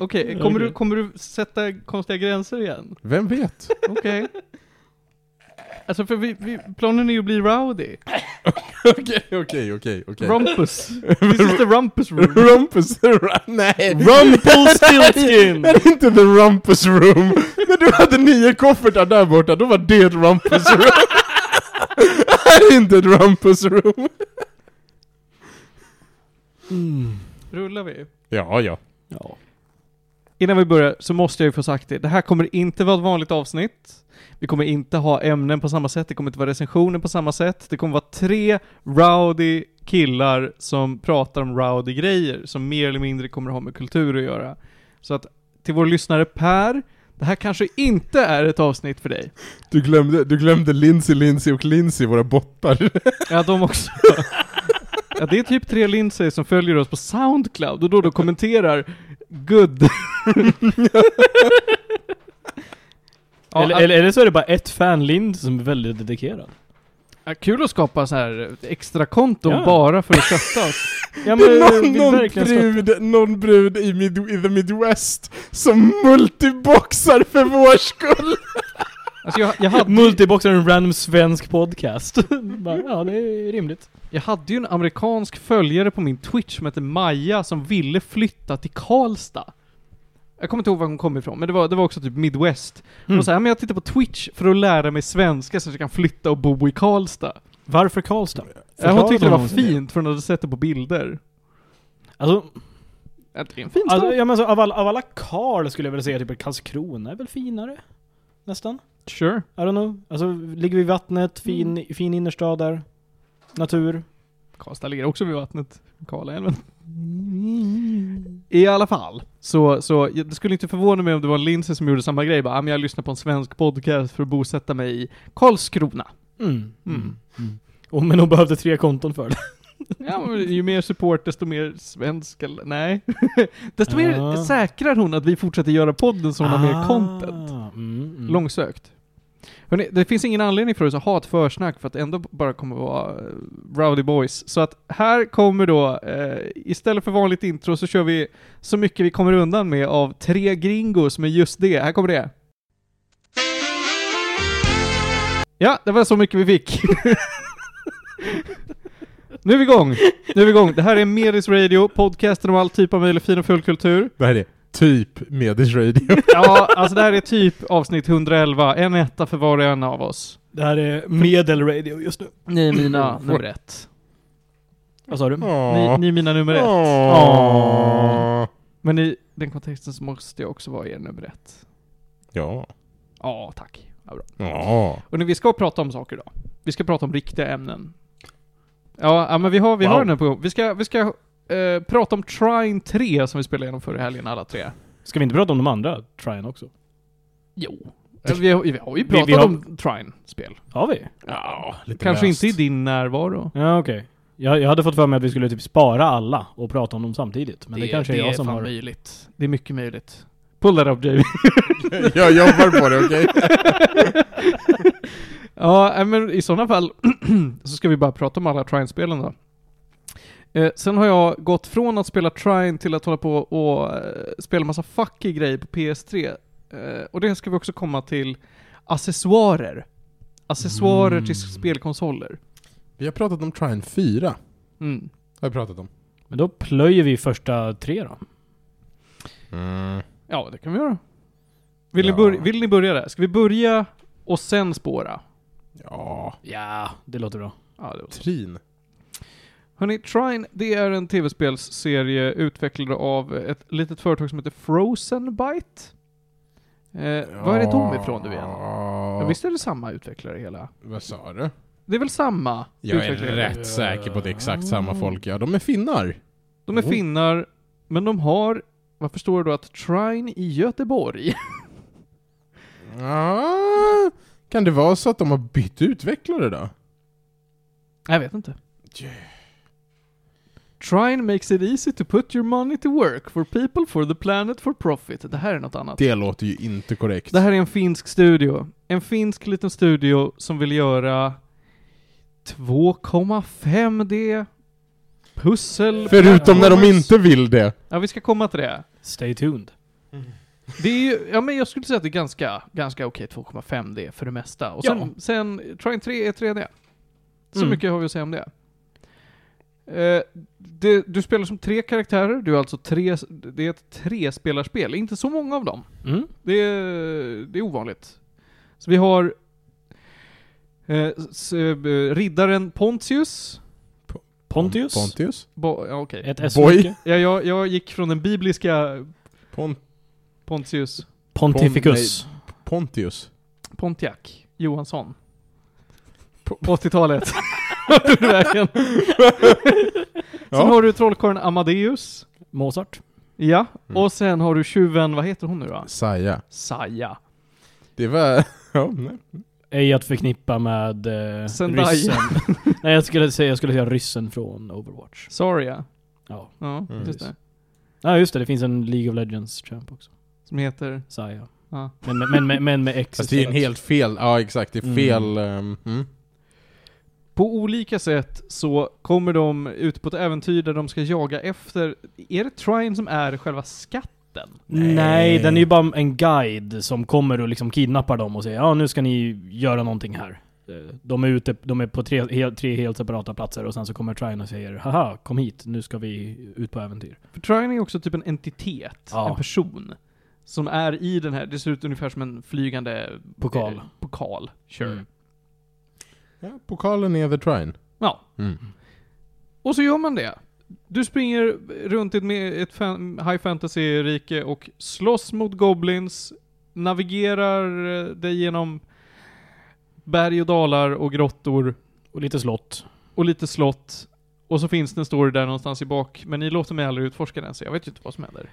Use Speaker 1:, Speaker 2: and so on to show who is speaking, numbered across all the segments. Speaker 1: Okej, kommer, du, kommer du sätta konstiga gränser igen?
Speaker 2: Vem vet?
Speaker 1: Okej. Alltså för vi, vi, planen är ju att bli rowdy.
Speaker 2: Okej, okej, okej, okej.
Speaker 1: Rumpus. This is the rumpus room.
Speaker 2: Rumpus Ru- Nej!
Speaker 1: Rumpelstiltskin!
Speaker 2: Är det inte the rumpus room? När du hade nio koffertar där borta, då var det ett rumpus room. är det inte ett rumpus room?
Speaker 1: Rullar vi?
Speaker 2: Ja, ja.
Speaker 3: Ja.
Speaker 1: Innan vi börjar så måste jag ju få sagt det. Det här kommer inte vara ett vanligt avsnitt. Vi kommer inte ha ämnen på samma sätt. Det kommer inte vara recensioner på samma sätt. Det kommer vara tre rowdy killar som pratar om rowdy grejer som mer eller mindre kommer ha med kultur att göra. Så att till vår lyssnare Per, det här kanske inte är ett avsnitt för dig.
Speaker 2: Du glömde, du glömde Lindsay, Lindsay och Lindsay, våra bottar.
Speaker 1: Ja, de också. Ja, det är typ tre linser som följer oss på Soundcloud och då då kommenterar good. ja,
Speaker 3: eller,
Speaker 1: att-
Speaker 3: eller, eller så är det bara ett fan Lind som är väldigt dedikerad.
Speaker 1: Ja, kul att skapa så här extra konton
Speaker 3: Ja.
Speaker 1: bara för att stötta oss.
Speaker 3: Ja
Speaker 2: någon,
Speaker 3: vill
Speaker 2: någon,
Speaker 3: verkligen stötta-
Speaker 2: brud, någon brud i, mid, i the midwest som multiboxar för vår skull.
Speaker 1: Alltså jag, jag, hade,
Speaker 3: Multiboxar är en random svensk podcast. bara, ja, det är rimligt.
Speaker 1: jag hade ju en amerikansk följare på min Twitch som hette Maja som ville flytta till Karlstad. Jag kommer inte ihåg var hon kom ifrån, men det var, det var också typ Midwest. Hon
Speaker 3: Mm.
Speaker 1: var så här, men jag tittar på Twitch för att lära mig svenska så att jag kan flytta och bo i Karlstad.
Speaker 3: Varför Karlstad?
Speaker 1: Ja, hon tyckte det var
Speaker 3: Förklarade hon
Speaker 1: fint för hon hade sett det på bilder.
Speaker 3: Alltså,
Speaker 1: Ja, det är en fin stad.
Speaker 3: alltså ja, men så, av, alla, av alla Karl skulle jag vilja säga typ Karlskrona är väl finare? Nästan.
Speaker 1: Sure.
Speaker 3: I don't know. Alltså, ligger vid vattnet, fin,
Speaker 1: Mm.
Speaker 3: fin innerstad där. Natur.
Speaker 1: Karlstad ligger också vid vattnet. Karlaälven. I alla fall, så, så jag- det skulle inte förvåna mig om det var en Lindsay som gjorde samma grej. Bara, "Ah, men jag lyssnar på en svensk podcast för att bosätta mig i Karlskrona.
Speaker 3: Mm.
Speaker 1: Mm.
Speaker 3: Och men hon behövde tre konton för det.
Speaker 1: Ja, men ju mer support desto mer svensk eller, nej. desto mer
Speaker 3: Ah.
Speaker 1: säkrar hon att vi fortsätter göra podden så hon har mer content.
Speaker 3: Mm, mm.
Speaker 1: Långsökt. Hörrni, det finns ingen anledning för oss att ha ett försnack för att det ändå bara kommer att vara eh, Rowdy Boys. Så att här kommer då, eh, istället för vanligt intro så kör vi så mycket vi kommer undan med av tre gringos med just det. Här kommer det. Ja, det var så mycket vi fick. nu är vi igång. Nu är vi igång. Det här är Medis Radio, podcasten om all typ av möjlig fin och full kultur.
Speaker 2: Det här är typ Medis Radio.
Speaker 1: Ja, alltså det här är typ avsnitt 111, en etta för var och en av oss.
Speaker 3: Det här är medelradio just nu.
Speaker 1: Ni är mina nummer ett.
Speaker 3: Vad sa du?
Speaker 1: Ni,
Speaker 2: Åh.
Speaker 1: ni är mina nummer ett.
Speaker 2: Åh.
Speaker 1: Men i den kontexten så måste jag också vara er nummer ett.
Speaker 2: Ja.
Speaker 1: Ja, tack. Ja, bra.
Speaker 2: Ja.
Speaker 1: Och nu, vi ska prata om saker idag. Vi ska prata om riktiga ämnen. Ja, ja men vi har, vi har
Speaker 2: Wow.
Speaker 1: den här på gång. Vi ska, vi ska eh, prata om Trine 3 som vi spelade igenom förra helgen alla tre.
Speaker 3: Ska vi inte prata om de andra tryen också?
Speaker 1: Jo. Eh, Vi har, vi har ju
Speaker 3: Vi-
Speaker 1: pratat
Speaker 3: vi har-
Speaker 1: om Trine-spel.
Speaker 3: Har vi?
Speaker 2: Ja, lite
Speaker 1: Kanske
Speaker 2: löst.
Speaker 1: inte i din närvaro.
Speaker 3: Ja, okej. Jag, jag hade fått för mig att vi skulle typ spara alla och prata om dem samtidigt. Men det, kanske är
Speaker 1: det
Speaker 3: jag
Speaker 1: är
Speaker 3: som
Speaker 1: fan
Speaker 3: har...
Speaker 1: möjligt. Det är mycket möjligt. Pull that up Jamie.
Speaker 2: Jag jobbar på det, okej?
Speaker 1: ja, nej, men i sådana fall så ska vi bara prata om alla Trine-spelen då. Eh, sen har jag gått från att spela Trine till att hålla på och eh, spela massa fucky grejer på PS3. Eh, och det ska vi också komma till accessoarer. Accessoarer
Speaker 3: Mm.
Speaker 1: till spelkonsoler.
Speaker 2: Vi har pratat om Trine 4.
Speaker 1: Mm.
Speaker 2: Har vi pratat om.
Speaker 3: Men då plöjer vi första tre då.
Speaker 2: Mm.
Speaker 1: Ja, det kan vi göra. Vill,
Speaker 2: Ja.
Speaker 1: ni börja, vill ni börja där? Ska vi börja och sen spåra?
Speaker 2: Ja.
Speaker 3: Ja, det låter bra.
Speaker 1: Ja, det var
Speaker 2: Trin.
Speaker 1: Hörrni, Trine, det är en tv-spelsserie utvecklad av ett litet företag som heter Frozen Byte. Eh, Var är det de ifrån nu igen? Ja. Visst är det samma utvecklare hela?
Speaker 2: Vad sa du?
Speaker 1: Det är väl samma
Speaker 2: Jag är
Speaker 1: utvecklare?
Speaker 2: rätt säker på att det är exakt samma folk. Ja, de är finnar.
Speaker 1: De är finnar, men de har, vad förstår du då, att Trine i Göteborg?
Speaker 2: Ah, kan det vara så att de har bytt utvecklare då?
Speaker 1: Jag vet inte. Trine makes it easy to put your money to work for people, for the planet, for profit. Det här är något annat.
Speaker 2: Det låter ju inte korrekt.
Speaker 1: Det här är en finsk studio. En finsk liten studio som vill göra 2,5D pussel.
Speaker 2: Förutom när de inte vill det.
Speaker 1: Ja, vi ska komma till det.
Speaker 3: Stay tuned.
Speaker 1: Det är ju, ja men jag skulle säga att det är ganska, ganska okej 2,5D för det mesta. Och sen,
Speaker 3: Ja.
Speaker 1: sen Trine 3 är 3D. Så
Speaker 3: Mm.
Speaker 1: mycket har vi att säga om det. Eh, det. Du spelar som tre karaktärer, du är alltså tre, det är ett trespelarspel, inte så många av dem.
Speaker 3: Mm.
Speaker 1: Det är, det är ovanligt. Så vi har eh, s, eh, riddaren Pontius.
Speaker 3: Pontius.
Speaker 2: Pontius?
Speaker 1: Bo, ja, okej.
Speaker 3: Ett S
Speaker 2: Boy.
Speaker 3: mycket.
Speaker 1: Ja, jag, jag gick från den bibliska
Speaker 2: Pon
Speaker 1: Pontius,
Speaker 3: Pontificus.
Speaker 2: Pontius?
Speaker 1: Pontiac Johansson.
Speaker 2: Po-
Speaker 1: På 80-talet. Vart tog du vägen?
Speaker 2: Ja.
Speaker 1: Sen har du trollkarlen Amadeus.
Speaker 3: Mozart.
Speaker 1: Ja.
Speaker 2: Mm.
Speaker 1: Och sen har du tjuven, vad heter hon nu då?
Speaker 2: Saja.
Speaker 1: Saja.
Speaker 2: Det var... Ja, nej.
Speaker 3: Ej att förknippa med eh,
Speaker 1: Zendaya.
Speaker 3: ryssen. Nej, jag skulle, säga, jag skulle säga ryssen från Overwatch.
Speaker 1: Saria.
Speaker 3: Ja.
Speaker 1: Ja,
Speaker 2: Mm.
Speaker 1: just det.
Speaker 3: Ja, just det. Det finns en League of Legends champ också.
Speaker 1: Som heter...
Speaker 3: Saya.
Speaker 1: Ja.
Speaker 3: Men, men, men, men, men med X
Speaker 2: Fast det är ju en
Speaker 3: istället.
Speaker 2: helt fel... Ja, exakt. Det är
Speaker 3: Mm.
Speaker 2: fel... ehm, mm.
Speaker 1: På olika sätt så kommer de ut på ett äventyr där de ska jaga efter... Är det Trine som är själva skatten?
Speaker 3: Nej.
Speaker 2: Nej.
Speaker 3: den är ju bara en guide som kommer och liksom kidnappar dem och säger ja nu ska ni göra någonting här. Eh, De är ute, de är på tre, hel, tre helt separata platser och sen så kommer Trine och säger haha kom hit, nu ska vi ut på äventyr.
Speaker 1: För Trine är också typ en entitet,
Speaker 3: Ja.
Speaker 1: en person. Som är i den här, det ser ut ungefär som en flygande...
Speaker 3: Pokal.
Speaker 1: eh, pokal. Sure.
Speaker 3: Mm.
Speaker 2: Ja, pokalen är The Trine.
Speaker 1: Ja.
Speaker 2: Mm.
Speaker 1: Och så gör man det. Du springer runt i ett, me- ett fan, high fantasy-rike och slåss mot goblins, navigerar eh, dig genom berg och dalar och grottor
Speaker 3: Och lite slott.
Speaker 1: och lite slott. Och så finns det en story där någonstans i bak, men ni låter mig aldrig utforska den så jag vet ju inte vad som händer.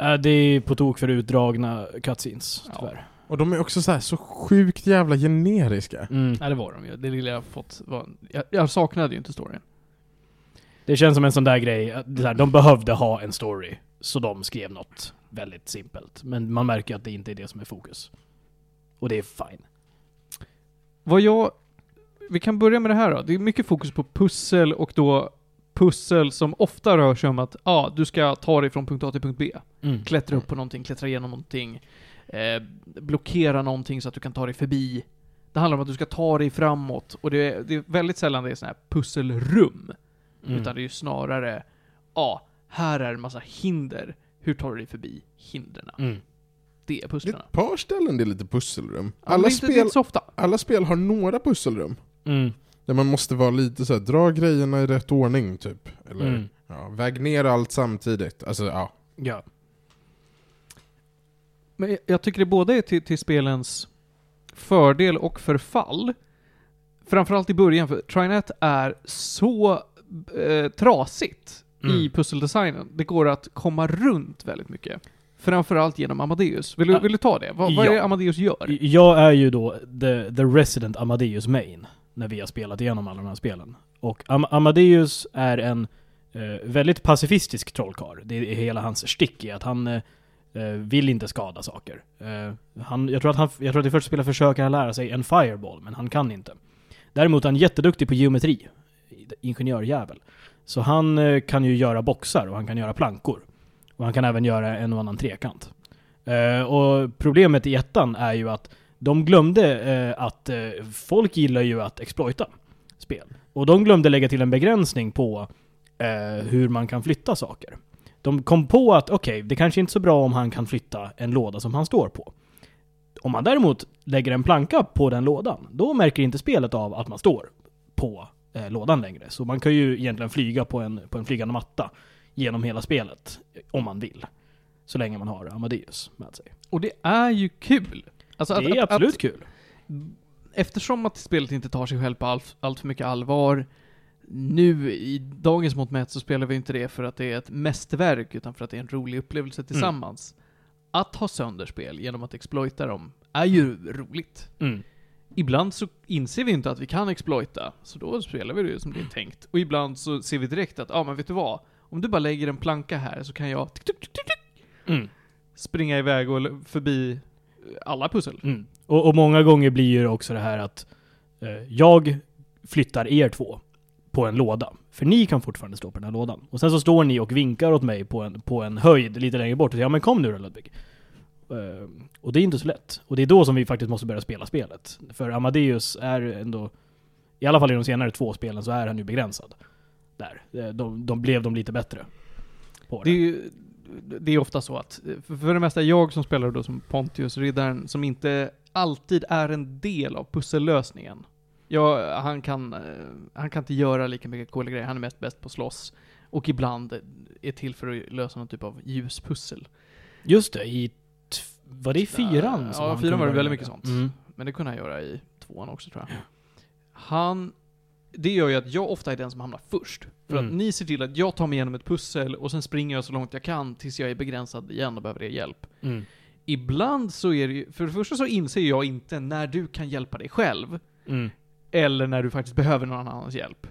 Speaker 3: Eh, Det är på tok för utdragna cutscenes,
Speaker 1: Ja.
Speaker 3: tyvärr.
Speaker 2: Och de är också så här så sjukt jävla generiska.
Speaker 3: Mm.
Speaker 1: Nej, det var de ju. Det lilla jag fått var... Jag, jag saknade ju inte storyn.
Speaker 3: Det känns som en sån där grej, att det här, de behövde ha en story. Så de skrev något väldigt simpelt. Men man märker att det inte är det som är fokus. Och det är fine.
Speaker 1: Vad jag... Vi kan börja med det här då. Det är mycket fokus på pussel och då pussel som ofta rör sig om att ja, du ska ta dig från punkt A till punkt B.
Speaker 3: 嗯
Speaker 1: Klättra upp på någonting, klättra igenom någonting, eh, blockera någonting så att du kan ta dig förbi. Det handlar om att du ska ta dig framåt och det är, det är väldigt sällan det är sådana här pusselrum.
Speaker 3: Mm.
Speaker 1: Utan det är ju snarare, ja, här är en massa hinder. Hur tar du dig förbi hindren?
Speaker 3: Mm.
Speaker 1: Det är
Speaker 2: Det är
Speaker 1: pusslen.
Speaker 2: ett par ställen det är lite pusselrum.
Speaker 1: Ja, men det
Speaker 2: Alla,
Speaker 1: är inte, det är
Speaker 2: spel,
Speaker 1: inte så ofta.
Speaker 2: alla spel har några pusselrum.
Speaker 3: Mm.
Speaker 2: Där man måste vara lite så här, dra grejerna i rätt ordning typ. Eller
Speaker 3: Mm.
Speaker 2: ja, väg ner allt samtidigt. Alltså ja.
Speaker 3: Ja.
Speaker 1: Men jag- jag tycker det både är till, till spelens fördel och förfall. Framförallt i början, för Trinet är så eh, trasigt
Speaker 3: Mm.
Speaker 1: i pusseldesignen. Det går att komma runt väldigt mycket. Framförallt genom Amadeus. Vill du,
Speaker 3: Ah.
Speaker 1: vill du ta det? Vad, vad är
Speaker 3: Ja.
Speaker 1: det Amadeus gör?
Speaker 3: Jag är ju då the, the resident Amadeus main när vi har spelat igenom alla de här spelen. Och Am- Amadeus är en eh, väldigt pacifistisk trollkarl. Det är hela hans stick i att han eh, eh, vill inte skada saker. Eh, han, jag, tror att han, jag tror att i första spelet försöker han lära sig en fireball, men han kan inte. Däremot är han jätteduktig på geometri. Ingenjörjävel. Så han eh, kan ju göra boxar och han kan göra plankor. Och han kan även göra en och annan trekant. Eh, och problemet i ettan är ju att de glömde eh, att eh, folk gillar ju att exploita spel. Och de glömde lägga till en begränsning på eh, hur man kan flytta saker. De kom på att okej, det kanske inte är så bra om han kan flytta en låda som han står på. Om man däremot lägger en planka på den lådan, då märker inte spelet av att man står på eh, lådan längre. Så man kan ju egentligen flyga på en, på en flygande matta genom hela spelet, eh, om man vill. Så länge man har Amadeus med sig.
Speaker 1: Och det är ju kul. Alltså att-
Speaker 3: det är
Speaker 1: att-
Speaker 3: absolut
Speaker 1: att,
Speaker 3: kul.
Speaker 1: Eftersom att spelet inte tar sig själv på allt, allt för mycket allvar. Nu i dagens mått mätt så spelar vi inte det för att det är ett mästerverk utan för att det är en rolig upplevelse tillsammans. Att ha sönder spel genom att exploita dem är ju roligt.
Speaker 3: Mm.
Speaker 1: Ibland så inser vi inte att vi kan exploita, så då spelar vi det som det är tänkt. Och ibland så ser vi direkt att, ja ah, men vet du vad? Om du bara lägger en planka här så kan jag tick, tick, tick, tick,
Speaker 3: Mm.
Speaker 1: springa iväg och l- förbi alla pussel.
Speaker 3: Mm. Och, och många gånger blir ju det också det här att eh, jag flyttar er två på en låda. För ni kan fortfarande stå på den här lådan. Och sen så står ni och vinkar åt mig på en, på en höjd lite längre bort och säger ja men kom nu då Ludvig. Eh, och det är inte så lätt. Och det är då som vi faktiskt måste börja spela spelet. För Amadeus är ändå, i alla fall i de senare två spelen så är han ju begränsad. Där. Eh, De, de blev de lite bättre. På
Speaker 1: Det är ju det är ofta så att, eh, för för det mesta jag som spelar då som Pontius, riddaren, som inte alltid är en del av pussellösningen. Ja, han kan, eh, han kan inte göra lika mycket coola grejer, han är mest bäst på att slåss. Och ibland är till för att lösa någon typ av ljuspussel.
Speaker 3: Just det, i... t- Var det i fyran?
Speaker 1: Ja,
Speaker 3: som
Speaker 1: fyran
Speaker 3: han
Speaker 1: var
Speaker 3: kunde
Speaker 1: det
Speaker 3: börja Mm.
Speaker 1: väldigt
Speaker 3: med
Speaker 1: mycket sånt. Men det kunde han göra i tvåan också tror jag. Han... Det gör ju att jag ofta är den som hamnar först. För att
Speaker 3: Mm.
Speaker 1: ni ser till att jag tar mig igenom ett pussel och sen springer jag så långt jag kan tills jag är begränsad igen och behöver er hjälp.
Speaker 3: Mm.
Speaker 1: Ibland så är det ju... För det första så inser jag inte när du kan hjälpa dig själv.
Speaker 3: Mm.
Speaker 1: Eller när du faktiskt behöver någon annans hjälp.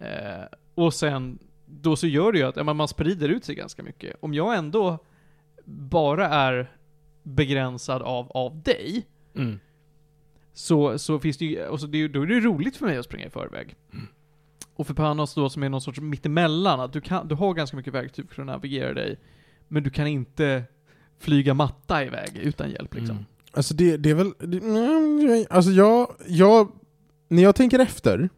Speaker 1: Eh, och sen... Då så gör det ju att ja, men man sprider ut sig ganska mycket. Om jag ändå bara är begränsad av, av dig
Speaker 3: Mm.
Speaker 1: så, så finns det ju, och så det, är ju- då är det ju roligt för mig att springa i förväg. Och för Panos då som är någon sorts mittemellan, att du, kan, du har ganska mycket verktyg för att navigera dig, men du kan inte flyga matta iväg utan hjälp liksom.
Speaker 3: Mm.
Speaker 2: Alltså det, det är väl... Det, nej, alltså jag, jag... När jag tänker efter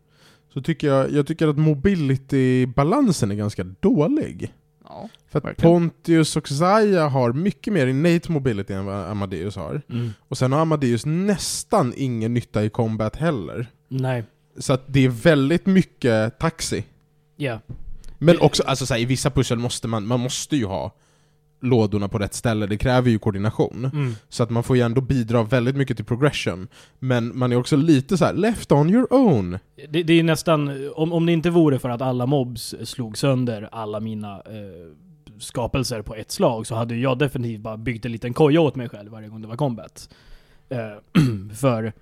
Speaker 2: så tycker jag, jag tycker att mobility-balansen är ganska dålig.
Speaker 1: Ja.
Speaker 2: För att
Speaker 1: Verkligen.
Speaker 2: Pontius och Zaya har mycket mer innate mobility än vad Amadeus har.
Speaker 3: Mm.
Speaker 2: Och sen har Amadeus nästan ingen nytta i combat heller.
Speaker 3: Nej.
Speaker 2: Så att det är väldigt mycket taxi.
Speaker 3: Ja.
Speaker 2: Men också, alltså så här, i vissa pussel måste man, man måste ju ha lådorna på rätt ställe, det kräver ju koordination.
Speaker 3: Mm.
Speaker 2: Så att man får ju ändå bidra väldigt mycket till progression. Men man är också lite så här: left on your own.
Speaker 3: Det, det är nästan, om, om det inte vore för att alla mobs slog sönder alla mina eh, skapelser på ett slag så hade jag definitivt bara byggt en liten koja åt mig själv varje gång det var combat. Eh, för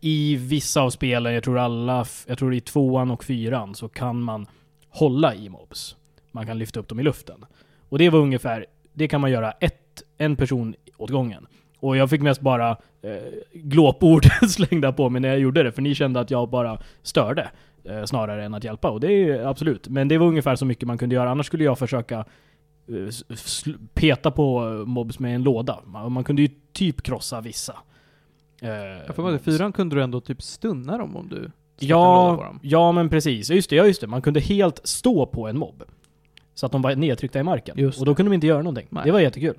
Speaker 3: i vissa av spelen, jag tror alla, f- jag tror i tvåan och fyran, så kan man hålla i mobs. Man kan lyfta upp dem i luften. Och det var ungefär, det kan man göra ett, en person åt gången. Och jag fick mest bara eh, glåpord slängda på mig när jag gjorde det, för ni kände att jag bara störde eh, snarare än att hjälpa. Och det är ju absolut, men det var ungefär så mycket man kunde göra. Annars skulle jag försöka eh, s- sl- peta på eh, mobs med en låda. Man, man kunde ju typ krossa vissa. eh,
Speaker 1: Jag får med att i
Speaker 3: mobs.
Speaker 1: fyran kunde du ändå typ stunna dem om du släppte en låda på
Speaker 3: Ja,
Speaker 1: dem.
Speaker 3: ja men precis. Ja, Just det, ja just det. Man kunde helt stå på en mobb. Så att de var nedtryckta i marken.
Speaker 1: Just
Speaker 3: och då
Speaker 1: det.
Speaker 3: kunde de inte göra någonting.
Speaker 1: Nej.
Speaker 3: Det var jättekul.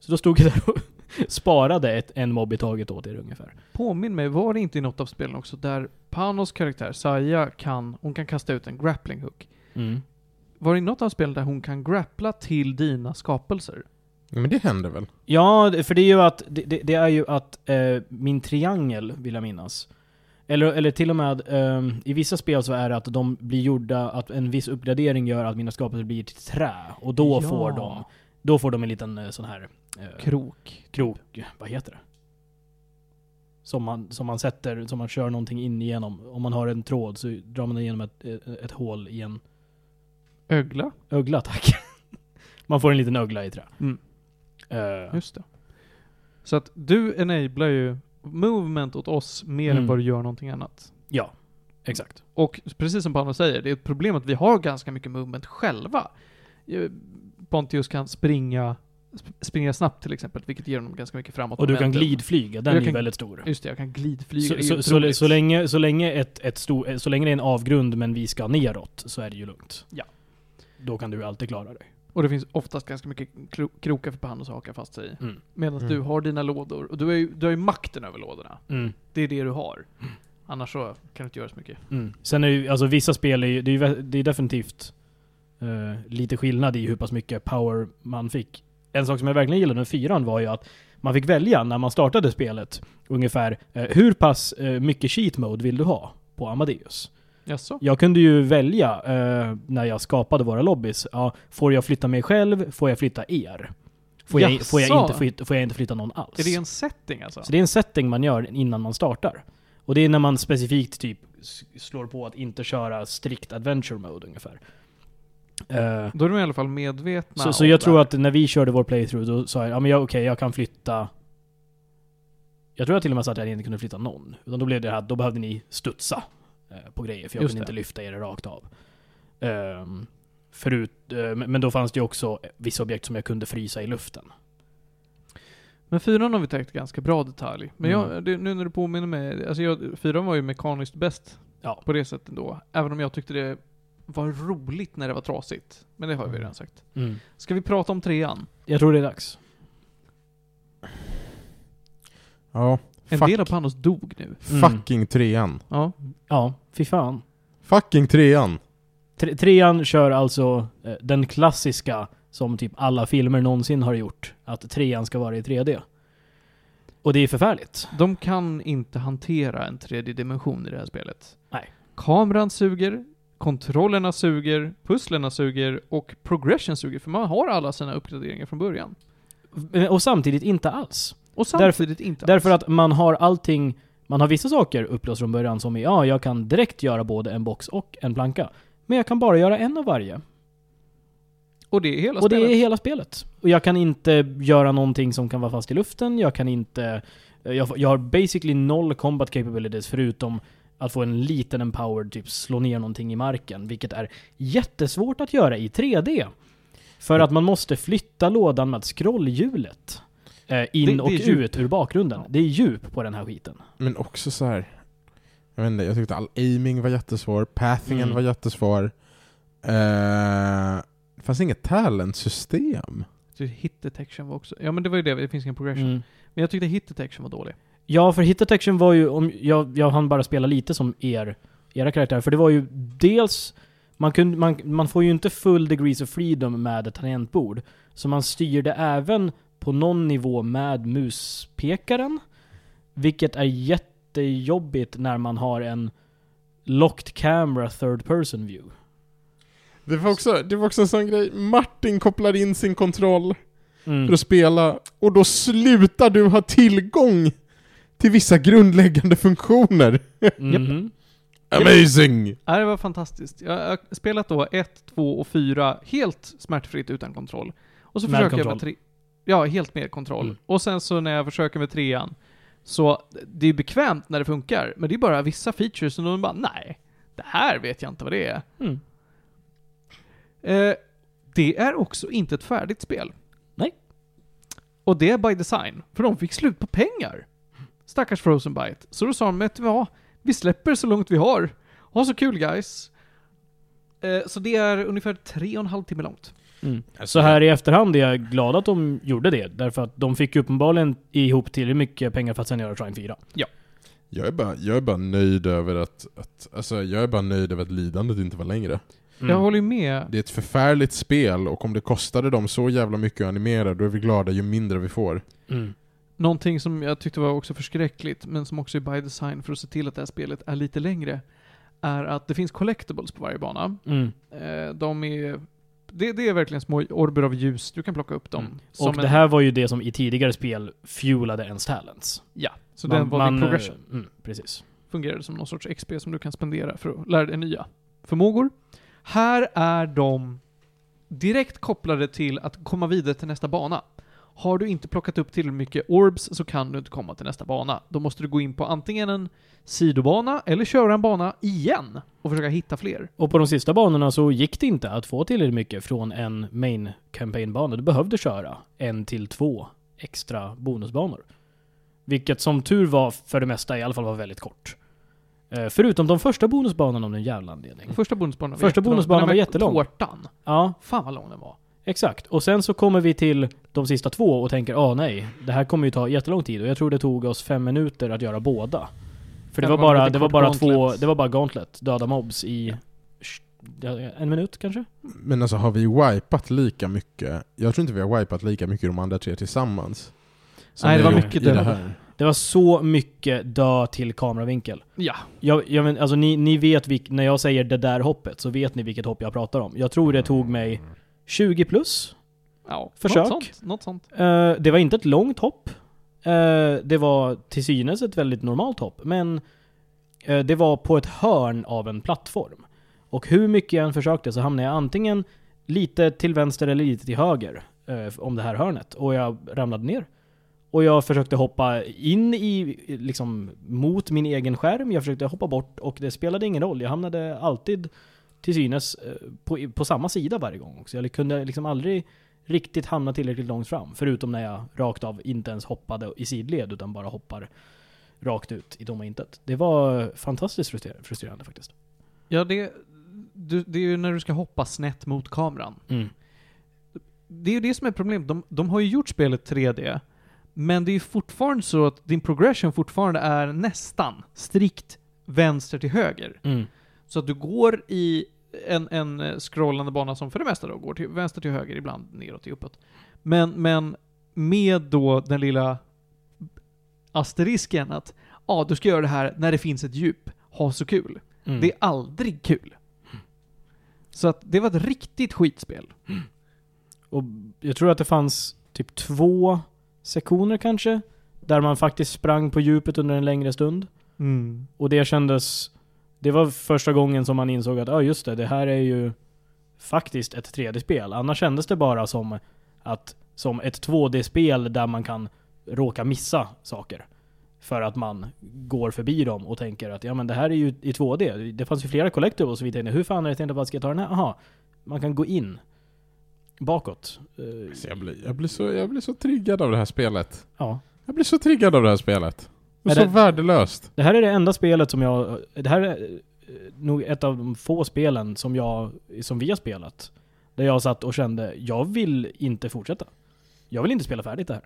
Speaker 3: Så då stod jag där och sparade ett, en mobb i taget åt er ungefär.
Speaker 1: Påminn mig, var det inte i något av spelen också där Panos karaktär, Saya, kan, hon kan kasta ut en grappling hook. Mm. Var det i något av spelen där hon kan grappla till dina skapelser?
Speaker 2: Ja, Men det händer väl?
Speaker 3: Ja, det- för det är ju att, det, det, det är ju att eh, min triangel, vill jag minnas. Eller, eller till och med, ehm, i vissa spel så är det att de blir gjorda, att en viss uppgradering gör att mina skapelser blir till trä. Och då,
Speaker 1: Ja.
Speaker 3: får, de, då får de en liten eh, sån här... eh,
Speaker 1: Krok.
Speaker 3: krok, vad heter det? Som man, som man sätter, som man kör någonting in igenom. Om man har en tråd så drar man igenom ett, ett hål i en
Speaker 1: Ögla?
Speaker 3: ögla, tack. Man får en liten ögla i trä.
Speaker 1: Mm.
Speaker 3: Eh,
Speaker 1: Just det. Så att du enablar ju movement åt oss mer
Speaker 3: Mm.
Speaker 1: än vad du gör någonting annat.
Speaker 3: ja, exakt.
Speaker 1: Och precis som Panos säger, det är ett problem att vi har ganska mycket movement själva. Eh, Pontius kan springa, sp- springa snabbt till exempel, vilket ger honom ganska mycket framåt.
Speaker 3: Och du kan
Speaker 1: momentum.
Speaker 3: glidflyga, den
Speaker 1: Jag
Speaker 3: är ju
Speaker 1: kan-
Speaker 3: väldigt stor.
Speaker 1: Just det, jag kan glidflyga.
Speaker 3: Så,
Speaker 1: det är
Speaker 3: så, så,
Speaker 1: otroligt.
Speaker 3: så länge, så, länge ett, ett stor, eh, så länge det är en avgrund men vi ska neråt så är det ju lugnt.
Speaker 1: Ja.
Speaker 3: Då kan du alltid klara dig.
Speaker 1: Och det finns oftast ganska mycket kro krokar för Panos att haka fast sig i.
Speaker 3: Mm.
Speaker 1: Medan
Speaker 2: Mm.
Speaker 1: du har dina lådor, och du har ju, du har ju makten över lådorna.
Speaker 3: Mm.
Speaker 1: Det är det du har. Annars så kan du inte göra så mycket.
Speaker 3: Mm. Sen är ju, alltså vissa spel är ju, det är, ju vä- det är definitivt eh, lite skillnad i hur pass mycket power man fick. En sak som jag verkligen gillade med fyran var ju att man fick välja när man startade spelet ungefär eh, hur pass eh, mycket cheat mode vill du ha på Amadeus?
Speaker 1: Jaså?
Speaker 3: Jag kunde ju välja eh, när jag skapade våra lobbys. Ja, får jag flytta mig själv? Får jag flytta er? Får jag, får jag,
Speaker 1: Jaså?
Speaker 3: inte, flytta, får jag inte flytta någon alls?
Speaker 1: Är det en setting alltså?
Speaker 3: Så det är en setting man gör innan man startar. Och det är när man specifikt typ s- slår på att inte köra strikt adventure mode ungefär. Eh,
Speaker 1: Då är de i alla fall medvetna
Speaker 3: så, så
Speaker 1: om
Speaker 3: jag
Speaker 1: det
Speaker 3: tror
Speaker 1: här.
Speaker 3: att när vi körde vår playthrough då sa jag, ja men jag, okej jag kan flytta jag tror jag till och med sa att jag inte kunde flytta någon. Utan då blev det här, då behövde ni studsa. eh, på grejer, för jag
Speaker 1: Just
Speaker 3: kunde
Speaker 1: det.
Speaker 3: inte lyfta i det rakt av. Ehm, förut, eh, men men då fanns det ju också vissa objekt som jag kunde frysa i luften.
Speaker 1: Men fyran har vi täckt ganska bra detalj. Men jag,
Speaker 3: Mm.
Speaker 1: det, nu när du påminner mig, alltså jag, fyran var ju mekaniskt bäst
Speaker 3: Ja.
Speaker 1: på det sättet då. Även om jag tyckte det var roligt när det var trasigt. Men det har
Speaker 3: Mm.
Speaker 1: vi redan sagt. Ska vi prata om trean?
Speaker 3: Jag tror det är dags.
Speaker 2: Ja.
Speaker 1: En
Speaker 2: Fuck,
Speaker 1: del av Panos dog nu.
Speaker 2: Fucking trean.
Speaker 1: Ja.
Speaker 3: Ja, fy fan.
Speaker 2: Fucking trean.
Speaker 3: Tre- Trean kör alltså eh, den klassiska som typ alla filmer någonsin har gjort. Att trean ska vara i 3D. Och det är förfärligt.
Speaker 1: De kan inte hantera en tredje dimension i det här spelet.
Speaker 3: Nej.
Speaker 1: Kameran suger, kontrollerna suger, pusslerna suger och progression suger. För man har alla sina uppgraderingar från början.
Speaker 3: Eh, Och samtidigt inte alls.
Speaker 1: Och
Speaker 3: Därför-
Speaker 1: samtidigt inte
Speaker 3: Därför
Speaker 1: alls.
Speaker 3: att man har allting, man har vissa saker upplöst från början som är ja, jag kan direkt göra både en box och en planka. Men jag kan bara göra en av varje.
Speaker 1: Och det är hela
Speaker 3: Och det
Speaker 1: spelet.
Speaker 3: är hela spelet. Och jag kan inte göra någonting som kan vara fast i luften, jag kan inte... eh, Jag, jag har basically noll combat capabilities förutom att få en liten empowered, typ slå ner någonting i marken, vilket är jättesvårt att göra i 3D. För att man måste flytta lådan med scrollhjulet eh,
Speaker 1: Det-
Speaker 3: in
Speaker 1: det
Speaker 3: och
Speaker 1: är djup.
Speaker 3: ut ur bakgrunden.
Speaker 1: Ja.
Speaker 3: Det är djup på den här skiten.
Speaker 2: Men också så här. Jag vet inte, jag tyckte all aiming var jättesvår, pathingen
Speaker 3: Mm.
Speaker 2: var jättesvår. Eh, det fanns inget talent-system.
Speaker 1: Så Hit detection var också... Ja men det var ju det, det finns ingen progression.
Speaker 3: Mm.
Speaker 1: Men jag tyckte hit detection var dålig.
Speaker 3: Ja, för hit detection var ju, om, jag, jag hann bara spela lite som er, era karaktärer, för det var ju dels, man, kunde, man, man får ju inte full degrees of freedom med ett tangentbord, så man styrde även på någon nivå med muspekaren, vilket är jättejobbigt när man har en locked camera third person view.
Speaker 2: Det var, också, det var också en sån grej, Martin kopplar in sin kontroll för
Speaker 3: Mm.
Speaker 2: att spela, och då slutar du ha tillgång till vissa grundläggande funktioner.
Speaker 3: Mhm.
Speaker 2: Amazing!
Speaker 1: Ja, Äh, det var fantastiskt. Jag jag har spelat då 1, 2 och 4 helt smärtfritt utan kontroll. Och så
Speaker 3: Med
Speaker 1: försöker jag
Speaker 3: kontroll.
Speaker 1: med tre... Ja, helt med kontroll.
Speaker 3: Mm.
Speaker 1: Och sen så när jag försöker med trean, så det är bekvämt när det funkar, men det är bara vissa features som de bara nej, det här vet jag inte vad det är.
Speaker 3: Mm.
Speaker 1: Eh, det är också inte ett färdigt spel.
Speaker 3: Nej.
Speaker 1: Och det är by design, för de fick slut på pengar. Stackars Frozen Byte. Så då sa de, vet du vad? Vi släpper så långt vi har. Ha så kul guys. Eh, så det är ungefär tre och en halv timme långt.
Speaker 3: Mm. Så här i efterhand är jag glad att de gjorde det, därför att de fick ju uppenbarligen ihop tillräckligt mycket pengar för att sen göra Trine 4.
Speaker 2: Jag är bara, jag är bara nöjd över att, att, alltså jag är bara nöjd över att lidandet inte var längre.
Speaker 3: Mm.
Speaker 1: Jag håller ju med.
Speaker 2: Det är ett förfärligt spel och om det kostade dem så jävla mycket att animera då är vi glada ju mindre vi får.
Speaker 3: Mm.
Speaker 1: Någonting som jag tyckte var också förskräckligt, men som också är by design för att se till att det här spelet är lite längre, är att det finns collectibles på varje bana.
Speaker 3: Mm.
Speaker 1: Eh, de är... Det, det är verkligen små orber av ljus, du kan plocka upp dem.
Speaker 3: Mm.
Speaker 1: Som
Speaker 3: Och
Speaker 1: en-
Speaker 3: det här var ju det som i tidigare spel fuelade ens talents.
Speaker 1: Ja, så den var din progression.
Speaker 3: eh, Mm, precis.
Speaker 1: Fungerade som någon sorts XP som du kan spendera för att lära dig nya förmågor. Här är de direkt kopplade till att komma vidare till nästa bana. Har du inte plockat upp tillräckligt mycket orbs så kan du inte komma till nästa bana. Då måste du gå in på antingen en sidobana eller köra en bana igen och försöka hitta fler.
Speaker 3: Och på de sista banorna så gick det inte att få tillräckligt mycket från en main campaign-bana. Du behövde köra en till två extra bonusbanor. Vilket som tur var, för det mesta i alla fall, var väldigt kort. Eh, Förutom de första bonusbanorna om någon jävla anledning.
Speaker 1: Första bonusbanan var
Speaker 3: Mm. Första
Speaker 1: jättelång.
Speaker 3: bonusbanan
Speaker 1: Den
Speaker 3: var
Speaker 1: här
Speaker 3: jättelång.
Speaker 1: Tårtan.
Speaker 3: Ja,
Speaker 1: Fan vad lång den var.
Speaker 3: Exakt. Och sen så kommer vi till de sista två och tänker ah nej, det här kommer ju ta jättelång tid och jag tror det tog oss fem minuter att göra båda. För det
Speaker 1: Ja,
Speaker 3: var
Speaker 1: det var
Speaker 3: bara,
Speaker 1: lite
Speaker 3: det var
Speaker 1: kort
Speaker 3: bara två,
Speaker 1: gauntlet.
Speaker 3: det var bara Gauntlet, döda mobs i sh- en minut kanske?
Speaker 2: Men alltså har vi wipat lika mycket? Jag tror inte vi har wipat lika mycket de andra tre tillsammans. som
Speaker 1: Nej, det
Speaker 2: vi
Speaker 1: var
Speaker 2: gjort
Speaker 1: mycket
Speaker 2: i det
Speaker 1: döda.
Speaker 2: här.
Speaker 3: Det var så mycket dö till kameravinkel.
Speaker 1: Ja,
Speaker 3: Jag, jag men, alltså ni, ni vet vilk, när jag säger det där hoppet så vet ni vilket hopp jag pratar om. Jag tror det tog mig 20 plus
Speaker 1: ja.
Speaker 3: Försök.
Speaker 1: Något sånt. Något sånt.
Speaker 3: Eh, det var inte ett långt hopp. Eh, det var till synes ett väldigt normalt hopp, men eh, det var på ett hörn av en plattform. Och hur mycket jag än försökte så hamnade jag antingen lite till vänster eller lite till höger eh, om det här hörnet. Och jag ramlade ner. Och jag försökte hoppa in i, liksom mot min egen skärm, jag försökte hoppa bort och det spelade ingen roll. Jag hamnade alltid till synes eh, på, på samma sida varje gång också. Jag kunde liksom aldrig riktigt hamna tillräckligt långt fram. Förutom när jag rakt av inte ens hoppade i sidled utan bara hoppar rakt ut i tomma intet. Det var fantastiskt frustrerande, frustrerande faktiskt.
Speaker 1: Ja, det, du, det är ju när du ska hoppa snett mot kameran. Det är ju det som är problemet. De, de har ju gjort spelet 3D, men det är ju fortfarande så att din progression fortfarande är nästan strikt vänster till höger. Så att du går i en, en eh, scrollande bana som för det mesta då går till vänster till höger, ibland neråt till uppåt. Men, men med då den lilla asterisken att ja, du ska göra det här när det finns ett djup. Ha så kul.
Speaker 3: Mm.
Speaker 1: Det är aldrig kul. Så att det var ett riktigt skitspel.
Speaker 3: Och jag tror att det fanns typ två sektioner kanske, där man faktiskt sprang på djupet under en längre stund.
Speaker 1: Mm.
Speaker 3: Och det kändes... Det var första gången som man insåg att ja ah, just det, det här är ju faktiskt ett 3D-spel. Annars kändes det bara som, att, som ett 2D-spel där man kan råka missa saker. För att man går förbi dem och tänker att ja men det här är ju i 2D. Det fanns ju flera collectibles och vi tänkte hur fan är det tänkt att ska jag ta den här? Aha, man kan gå in bakåt. Eh,
Speaker 2: Alltså, jag, blir, jag, blir så, jag blir så triggad av det här spelet.
Speaker 3: ja.
Speaker 2: Jag blir så triggad av det här spelet. Och
Speaker 3: Är
Speaker 2: så
Speaker 3: det-
Speaker 2: värdelöst.
Speaker 3: Det här är det enda spelet som jag... Det här är eh, nog ett av de få spelen som, jag, som vi har spelat. Där jag satt och kände, jag vill inte fortsätta. Jag vill inte spela färdigt det här.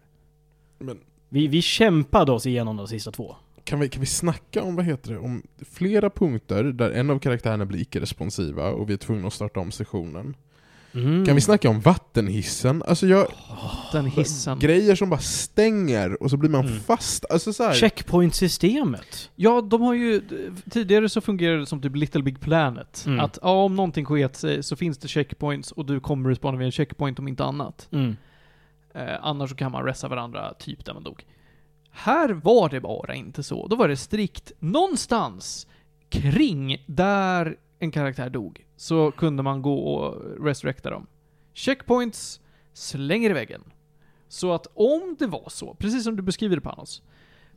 Speaker 2: Men
Speaker 3: Vi, vi kämpade oss igenom de sista två.
Speaker 2: kan vi, kan vi snacka om, vad heter det, om flera punkter där en av karaktärerna blir icke-responsiva och vi är tvungna att starta om sessionen?
Speaker 3: Mm.
Speaker 2: Kan vi snacka om vattenhissen? Alltså jag...
Speaker 1: Den hissen.
Speaker 2: Grejer som bara stänger och så blir man
Speaker 3: Mm.
Speaker 2: fast. Alltså så här,
Speaker 3: Checkpoint-systemet.
Speaker 1: Ja, de har ju... Tidigare så fungerade det som typ Little Big Planet.
Speaker 3: Mm.
Speaker 1: Att ja, om någonting sket sig så finns det checkpoints och du kommer respawna vid en checkpoint om inte annat.
Speaker 3: Mm.
Speaker 1: Eh, annars så kan man resa varandra typ där man dog. Här var det bara inte så. Då var det strikt någonstans kring där en karaktär dog så kunde man gå och resurrecta dem. Checkpoints slänger i väggen. Så att om det var så, precis som du beskriver det Panos,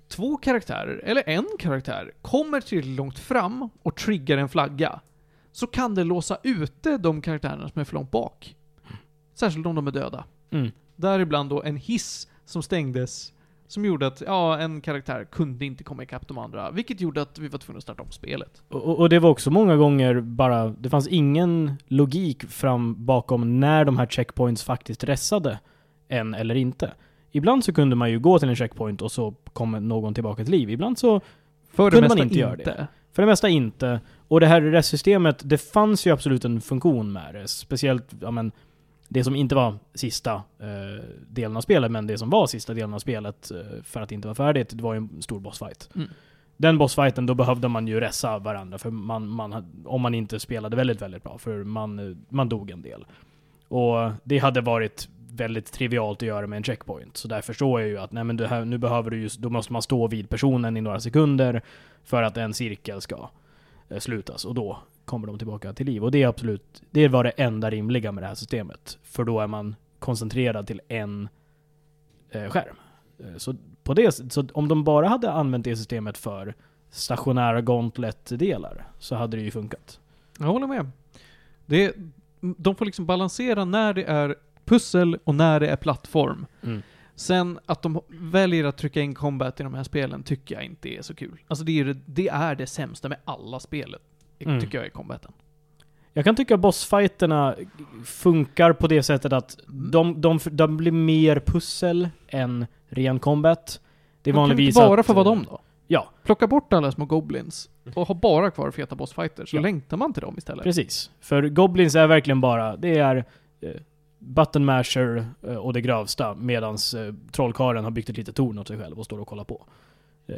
Speaker 1: två karaktärer, eller en karaktär, kommer till långt fram och triggar en flagga, så kan det låsa ute de karaktärerna som är för långt bak. Särskilt om de är döda.
Speaker 3: Mm.
Speaker 1: Däribland då en hiss som stängdes som gjorde att, ja, en karaktär kunde inte komma ikapp de andra, vilket gjorde att vi var tvungna att starta om spelet.
Speaker 3: Och- Och, och det var också många gånger bara, det fanns ingen logik fram bakom när de här checkpoints faktiskt ressade en eller inte. Ibland så kunde man ju gå till en checkpoint och så kom någon tillbaka till liv. Ibland så
Speaker 1: För
Speaker 3: Kunde man inte göra det? För det mesta inte. Och det här restsystemet, det fanns ju absolut en funktion med det. Speciellt, ja men, det som inte var sista eh, delen av spelet, men det som var sista delen av spelet eh, för att det inte var färdigt, det var ju en stor bossfight.
Speaker 1: Mm.
Speaker 3: Den bossfighten, då behövde man ju resa varandra, för man, man, hade- om man inte spelade väldigt, väldigt bra, för man, eh, man dog en del. Och det hade varit väldigt trivialt att göra med en checkpoint. Så där förstår jag ju att nej, men det här, nu behöver du just, då måste man stå vid personen i några sekunder för att en cirkel ska eh, slutas och då kommer de tillbaka till liv. Och det är absolut, det var det enda rimliga med det här systemet. För då är man koncentrerad till en eh, skärm. Eh, Så på det s- så om de bara hade använt det systemet för stationära Gauntlet-delar så hade det ju funkat.
Speaker 1: Jag håller med. Det, de får liksom balansera när det är pussel och när det är plattform. Sen att de väljer att trycka in combat i de här spelen tycker jag inte är så kul. Alltså det är det, det, är det sämsta med alla spelen,
Speaker 3: Mm.
Speaker 1: tycker jag, i combaten.
Speaker 3: Jag kan tycka bossfighterna funkar på det sättet att de, de, de blir mer pussel än ren combat. Det är
Speaker 1: Men kan vi
Speaker 3: vanligtvis
Speaker 1: inte bara
Speaker 3: att- eh,
Speaker 1: få vara dem då?
Speaker 3: Ja,
Speaker 1: Plocka bort alla små goblins och ha bara kvar feta bossfighter, så
Speaker 3: Ja.
Speaker 1: längtar man till dem istället.
Speaker 3: Precis. För Goblins är verkligen bara, det är eh, button masher eh, och det grövsta medan eh, trollkarlen har byggt ett litet torn åt sig själv och står och kollar på. Eh,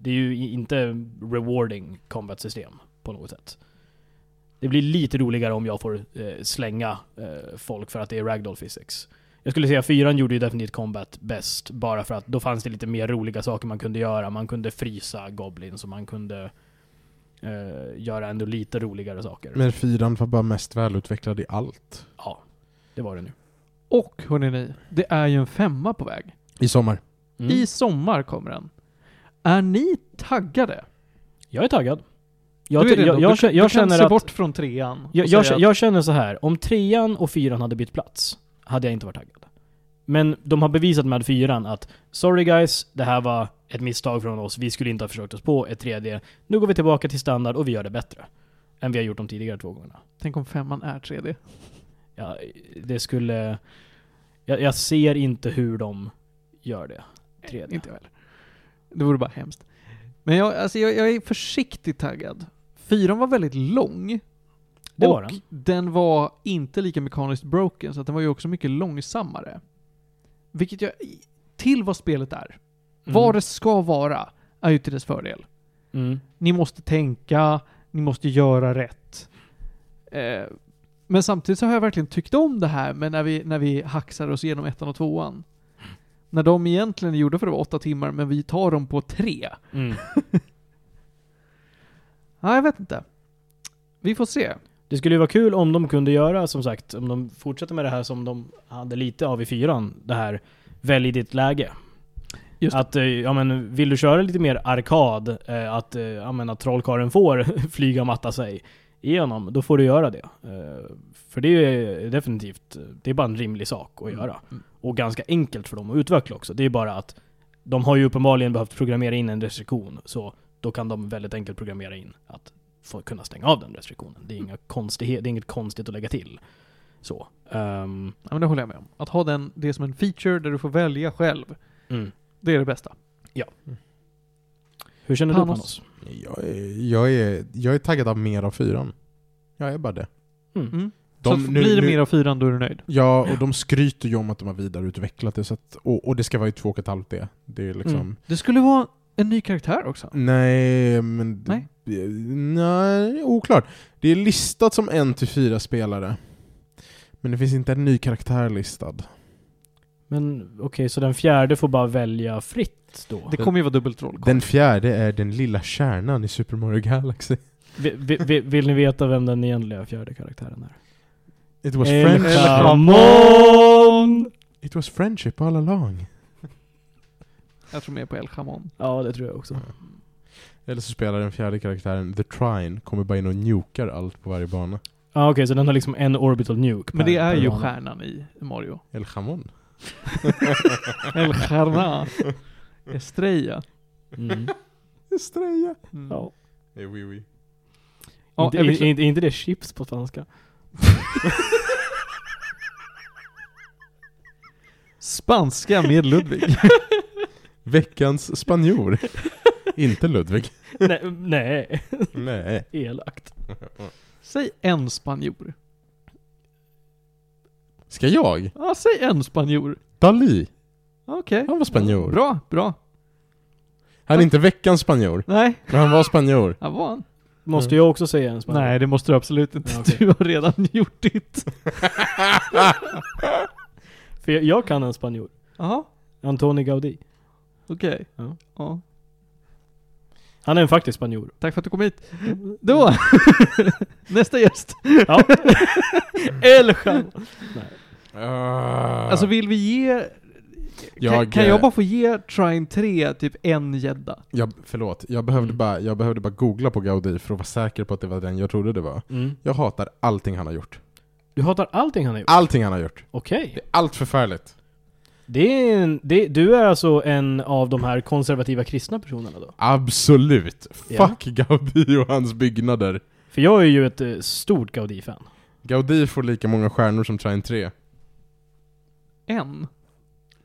Speaker 3: det är ju i- inte rewarding combat system på något sätt. Det blir lite roligare om jag får eh, slänga eh, folk för att det är ragdoll physics. Jag skulle säga fyran gjorde ju definitivt combat bäst, bara för att då fanns det lite mer roliga saker man kunde göra. Man kunde frysa goblins och man kunde eh, göra ändå lite roligare saker.
Speaker 2: men fyran var bara mest välutvecklad i allt.
Speaker 3: Ja, det var det nu.
Speaker 1: Och hörni, det är ju en femma på väg.
Speaker 2: I sommar.
Speaker 3: Mm.
Speaker 1: I sommar kommer den. Är ni taggade?
Speaker 3: Jag är taggad. Jag,
Speaker 1: Du är
Speaker 3: jag,
Speaker 1: det
Speaker 3: jag,
Speaker 1: då.
Speaker 3: jag,
Speaker 1: du,
Speaker 3: jag
Speaker 1: du kan
Speaker 3: känner
Speaker 1: se
Speaker 3: att...
Speaker 1: bort från trean. och
Speaker 3: Jag,
Speaker 1: säga
Speaker 3: jag,
Speaker 1: att-
Speaker 3: jag känner så här, om trean och fyran hade bytt plats, hade jag inte varit taggad. Men de har bevisat med fyran att Sorry guys, det här var ett misstag från oss, vi skulle inte ha försökt oss på ett 3D. Nu går vi tillbaka till standard och vi gör det bättre. Än vi har gjort de tidigare två gångerna.
Speaker 1: Tänk om femman är 3D.
Speaker 3: Ja, det skulle... Jag, jag ser inte hur de gör det. 3D.
Speaker 1: Inte jag heller. Det vore bara hemskt. Men jag, alltså jag, jag är försiktigt taggad. Fyran var väldigt lång.
Speaker 3: Det
Speaker 1: och
Speaker 3: var den.
Speaker 1: den var inte lika mekaniskt broken, så att den var ju också mycket långsammare. Vilket jag... Till vad spelet är. Vad det ska vara är ju till dess fördel.
Speaker 3: Mm.
Speaker 1: Ni måste tänka, ni måste göra rätt. Eh, men samtidigt så har jag verkligen tyckt om det här med när vi, när vi hacksar oss igenom ettan och tvåan. När de egentligen är gjorda för att vara åtta timmar, men vi tar dem på tre.
Speaker 3: Mm.
Speaker 1: Nej, jag vet inte. Vi får se.
Speaker 3: Det skulle ju vara kul om de kunde göra, som sagt, om de fortsätter med det här som de hade lite av i fyran. Det här, välj ditt läge.
Speaker 1: Just det.
Speaker 3: att, eh, ja men, vill du köra lite mer arkad, eh, att, eh, ja men, att trollkarlen får flyga och matta sig igenom, då får du göra det. Eh, för det är definitivt, eh, det är bara en rimlig sak att
Speaker 1: Mm.
Speaker 3: göra. Och ganska enkelt för dem att utveckla också. Det är bara att de har ju uppenbarligen behövt programmera in en restriktion, så då kan de väldigt enkelt programmera in att få kunna stänga av den restriktionen. Det är, inga konstighet, det är inget konstigt att lägga till. Så. ehm,
Speaker 1: Ja, men det håller jag med om. Att ha den, det som en feature där du får välja själv,
Speaker 3: mm.
Speaker 1: det är det bästa.
Speaker 3: Hur känner du
Speaker 1: Panos?
Speaker 3: Panos?
Speaker 2: Jag är, jag, är, jag är taggad av mer av fyran. Jag är bara det.
Speaker 3: Mm.
Speaker 1: Mm.
Speaker 2: De-
Speaker 1: så
Speaker 2: nu-
Speaker 1: blir det
Speaker 2: nu-
Speaker 1: mer av fyran, då är du nöjd.
Speaker 2: Ja, och de skryter ju om att de har vidareutvecklat det. Så att, och, och det ska vara i 2,5D. Det är liksom...
Speaker 3: Mm.
Speaker 1: Det skulle vara en ny karaktär också.
Speaker 2: Nej, men...
Speaker 1: Nej.
Speaker 2: det- Nej, oklart. Det är listat som en till fyra spelare. Men det finns inte en ny karaktär listad.
Speaker 3: Men okej, så den fjärde får bara välja fritt då?
Speaker 1: Det kommer ju vara dubbelt roll.
Speaker 2: Den fjärde är den lilla kärnan i Super Mario Galaxy.
Speaker 3: Vi- vi- vi- vill ni veta vem den egentliga fjärde karaktären är?
Speaker 2: It was,
Speaker 3: El
Speaker 2: friendship.
Speaker 1: Elka.
Speaker 3: Chamon!
Speaker 2: It was friendship all along.
Speaker 1: Jag tror mer på El Chamon.
Speaker 3: Ja, det tror jag också.
Speaker 2: Eller så spelar den fjärde karaktären The Trine, kommer bara in och njukar allt på varje bana.
Speaker 3: Ja, okej, så den har liksom en orbital nuke
Speaker 1: Men
Speaker 3: per-
Speaker 1: det är
Speaker 3: per
Speaker 1: ju
Speaker 3: bana.
Speaker 1: stjärnan i Mario.
Speaker 2: El Jamon.
Speaker 1: El Stjärna. Estrella.
Speaker 3: Mm.
Speaker 2: Estrella.
Speaker 1: Mm.
Speaker 3: Ja.
Speaker 2: Eh, oui, oui.
Speaker 1: Ja,
Speaker 3: inte,
Speaker 1: är vi
Speaker 3: är,
Speaker 1: klara?
Speaker 3: är, är inte det chips på svenska?
Speaker 1: Spanska med Ludvig.
Speaker 2: Veckans spanjor. inte Ludvig.
Speaker 3: nej, nej,
Speaker 2: Nej.
Speaker 3: elakt.
Speaker 1: säg en spanjor.
Speaker 2: Ska jag?
Speaker 1: Ja, säg en spanjor.
Speaker 2: Dali.
Speaker 1: Okej.
Speaker 2: Han var spanjor.
Speaker 1: Bra, bra.
Speaker 2: Han är inte veckans spanjor,
Speaker 1: Nej,
Speaker 2: men han var spanjor.
Speaker 1: han var han.
Speaker 3: Måste jag också säga en spanska?
Speaker 1: Mm. Nej, det måste du absolut inte.
Speaker 3: Ja, okej.
Speaker 1: Du har redan gjort ditt.
Speaker 3: För jag, jag kan en spanjor.
Speaker 1: Jaha,
Speaker 3: Antoni Gaudi.
Speaker 1: okej.
Speaker 3: Ja.
Speaker 1: Ja.
Speaker 3: Han är en faktisk spanjor.
Speaker 1: Tack för att du kom hit. Då, nästa gäst.
Speaker 3: Ja.
Speaker 1: El Chamon.
Speaker 2: Ah.
Speaker 1: Alltså vill vi ge...
Speaker 2: Jag,
Speaker 1: kan, kan
Speaker 2: eh,
Speaker 1: jag bara få ge Trine 3 typ en gädda?
Speaker 2: jag, förlåt, jag behövde,
Speaker 3: Mm.
Speaker 2: bara, jag behövde bara googla på Gaudi för att vara säker på att det var den jag trodde det var.
Speaker 3: Mm.
Speaker 2: Jag hatar allting han har gjort.
Speaker 3: Du hatar allting han har gjort?
Speaker 2: Allting han har gjort.
Speaker 3: Okej.
Speaker 2: Det är allt förfärligt.
Speaker 3: Det är en, det, du är alltså en av de här konservativa kristna personerna då?
Speaker 2: Absolut.
Speaker 3: Ja.
Speaker 2: Fuck Gaudi och hans byggnader.
Speaker 3: För jag är ju ett eh, stort Gaudi-fan.
Speaker 2: Gaudi får lika många stjärnor som Trine 3. En.
Speaker 1: En?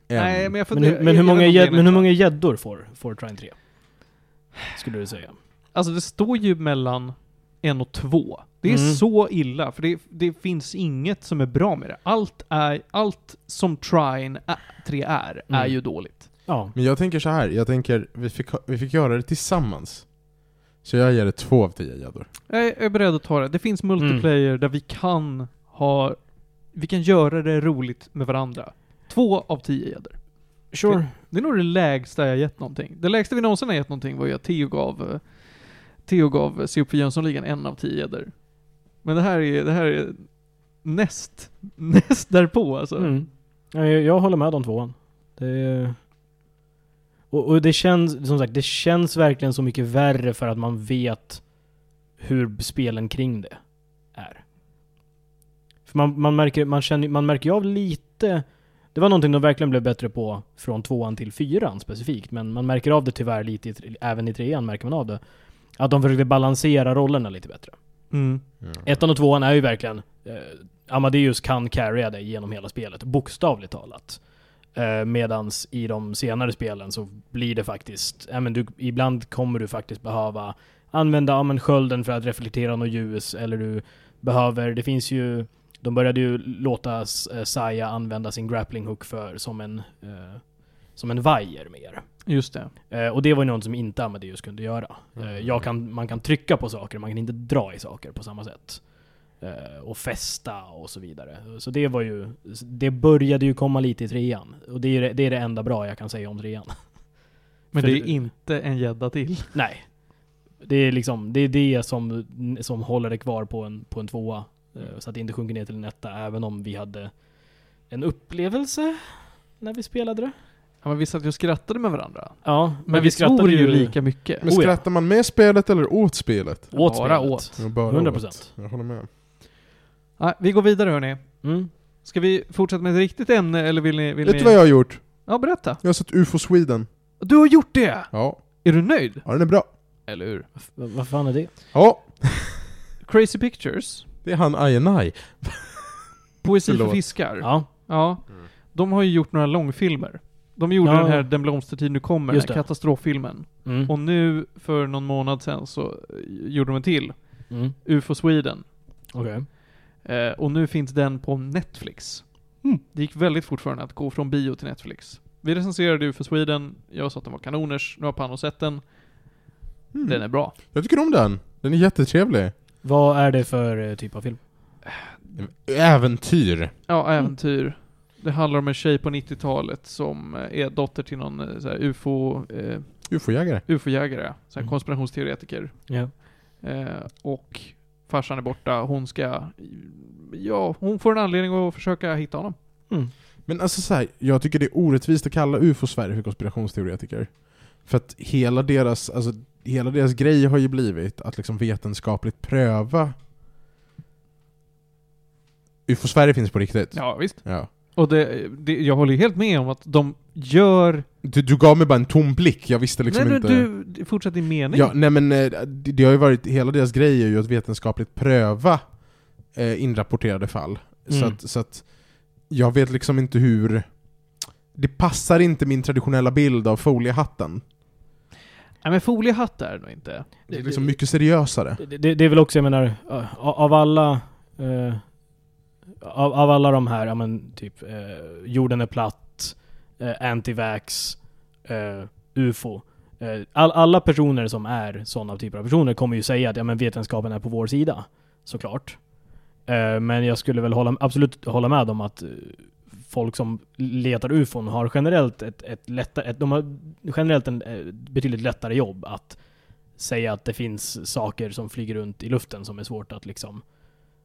Speaker 1: Nej, men jag
Speaker 3: Men, hur-
Speaker 1: funderar...
Speaker 3: men, hur
Speaker 1: jag vet
Speaker 3: många
Speaker 1: inte om det är
Speaker 3: gädd- men hur
Speaker 1: en-
Speaker 3: många gäddor får, får Trine 3? Skulle du säga.
Speaker 1: Alltså det står ju mellan en och två. Det är
Speaker 3: Mm.
Speaker 1: så illa, för det, det finns inget som är bra med det. Allt, är, allt som Trine 3 är, är
Speaker 3: Mm.
Speaker 1: ju dåligt.
Speaker 3: Ja.
Speaker 2: Men jag tänker så här. jag tänker, vi fick, ha- vi fick göra det tillsammans. Så jag ger det två av tio gäddor.
Speaker 1: Jag är, jag är beredd att ta det. Det finns multiplayer där vi kan ha... Vi kan göra det roligt med varandra. Två av tio gäddor.
Speaker 3: Sure.
Speaker 1: Det är nog det lägsta jag gett någonting. Det lägsta vi någonsin har gett någonting var ju att Theo gav... eh, Theo gav eh, C.O.P. Jönssonligan en av tio gäddor. Men det här är, det här är näst, näst därpå alltså.
Speaker 3: Mm. Ja, Jag, jag håller med om tvåan. Det är, Och, och det känns, som sagt, det känns verkligen så mycket värre för att man vet hur spelen kring det är. För man, man märker, man känner, man märker ju av lite, det var någonting de verkligen blev bättre på från tvåan till fyran specifikt, men man märker av det tyvärr lite, i tre- även i trean märker man av det. Att de försökte balansera rollerna lite bättre.
Speaker 1: Mm.
Speaker 3: Ettan och tvåan är ju verkligen... Eh, Amadeus kan carrya dig genom hela spelet, bokstavligt talat. Eh, medans i de senare spelen så blir det faktiskt... Ja, men du, ibland kommer du faktiskt behöva använda ja, men skölden för att reflektera något ljus, eller du behöver... Det finns ju... De började ju låta S- eh, Saya använda sin grappling hook för, som en... Eh, som en vajer mer.
Speaker 1: Just det.
Speaker 3: Eh, och det var ju något som inte Amadeus kunde göra. Eh,
Speaker 2: Mm.
Speaker 3: jag kan, man kan trycka på saker, man kan inte dra i saker på samma sätt. Eh, och fästa och så vidare. Så det var ju, det började ju komma lite i trean. Och det är det, det, är det enda bra jag kan säga om trean.
Speaker 1: Men
Speaker 3: För
Speaker 1: det är
Speaker 3: det-
Speaker 1: inte en gädda till.
Speaker 3: Nej. Det är liksom, det är det som, som håller det kvar på en, på en tvåa. Eh, Så att det inte sjunker ner till en etta, även om vi hade en upplevelse när vi spelade det.
Speaker 1: Ja, men vi satt ju och skrattade med varandra.
Speaker 3: Ja,
Speaker 1: Men, vi, tror ju lika mycket.
Speaker 2: Men
Speaker 3: Oh ja.
Speaker 2: skrattar man med spelet eller åt spelet?
Speaker 3: åt
Speaker 1: bara
Speaker 3: spelet.
Speaker 1: åt.
Speaker 2: Ja, bara
Speaker 3: 100%.
Speaker 2: åt. Jag håller med.
Speaker 1: Ja, vi går vidare hörni.
Speaker 3: Mm.
Speaker 1: Ska vi fortsätta med ett riktigt ämne eller vill ni... Vill
Speaker 2: Vet
Speaker 1: ni...
Speaker 2: du vad jag har gjort?
Speaker 1: Ja, berätta.
Speaker 2: Jag har sett UFO Sweden.
Speaker 1: Du har gjort det!
Speaker 2: Ja,
Speaker 1: Är du nöjd?
Speaker 2: ja den är bra.
Speaker 1: Eller hur?
Speaker 3: F- Vad fan är det?
Speaker 2: Ja,
Speaker 1: Crazy Pictures,
Speaker 2: det är han INI.
Speaker 1: Poesi för
Speaker 2: Förlåt.
Speaker 1: fiskar. Ja.
Speaker 3: Ja.
Speaker 1: De har ju gjort några långfilmer. De gjorde
Speaker 3: Ja.
Speaker 1: den här Den blomstertid nu kommer, den
Speaker 3: Just
Speaker 1: här
Speaker 3: det.
Speaker 1: katastroffilmen.
Speaker 3: Mm.
Speaker 1: Och nu, för någon månad sedan, så eh, gjorde de en till.
Speaker 3: Mm.
Speaker 1: UFO Sweden.
Speaker 3: Okej.
Speaker 1: Eh, och nu finns den på Netflix.
Speaker 3: Mm.
Speaker 1: Det gick väldigt fort för den att gå från bio till Netflix. Vi recenserade UFO Sweden, jag sa att den var kanoners, nu har Pano sett den,
Speaker 2: Mm.
Speaker 1: den är bra.
Speaker 2: Jag tycker om den. Den är jättetrevlig.
Speaker 3: Vad är det för eh, typ av film?
Speaker 2: Äventyr.
Speaker 1: Ja, äventyr. Det handlar om en tjej på 90-talet som eh, är dotter till någon eh, så här, UFO, eh,
Speaker 2: UFO-jägare.
Speaker 1: UFO-jägare, så här,
Speaker 3: Mm.
Speaker 1: konspirationsteoretiker.
Speaker 3: Ja.
Speaker 1: Eh, och farsan är borta, hon ska... Ja, hon får en anledning att försöka hitta honom.
Speaker 3: Mm.
Speaker 2: Men alltså så här, jag tycker det är orättvist att kalla UFO-Sverige för konspirationsteoretiker. För att hela deras, alltså, hela deras grej har ju blivit att liksom vetenskapligt pröva UFO-Sverige finns på riktigt.
Speaker 1: Ja, visst.
Speaker 2: Ja.
Speaker 1: Och det, det, jag håller ju helt med om att de gör
Speaker 2: Du, du gav mig bara en tom blick, jag visste liksom
Speaker 1: nej,
Speaker 2: inte...
Speaker 1: du, du, fortsätt din mening.
Speaker 2: Ja, nej men eh, det, det har ju varit, hela deras grej är ju att vetenskapligt pröva eh, inrapporterade fall. Så,
Speaker 3: Mm.
Speaker 2: att, så att jag vet liksom inte hur... Det passar inte min traditionella bild av foliehatten.
Speaker 1: Nej men foliehatt är det nog inte.
Speaker 2: Det är liksom mycket seriösare.
Speaker 3: Det, det, det är väl också, jag menar, ö, av alla... eh, av, av alla de här, ja men typ eh, jorden är platt, eh, antivax, eh, ufo. Eh, all, alla personer som är sådana typer av personer kommer ju säga att ja, men vetenskapen är på vår sida, såklart. Eh, men jag skulle väl hålla, absolut hålla med om att eh, folk som letar ufon har generellt ett, ett lättare, ett, de har generellt en eh, betydligt lättare jobb att säga att det finns saker som flyger runt i luften som är svårt att liksom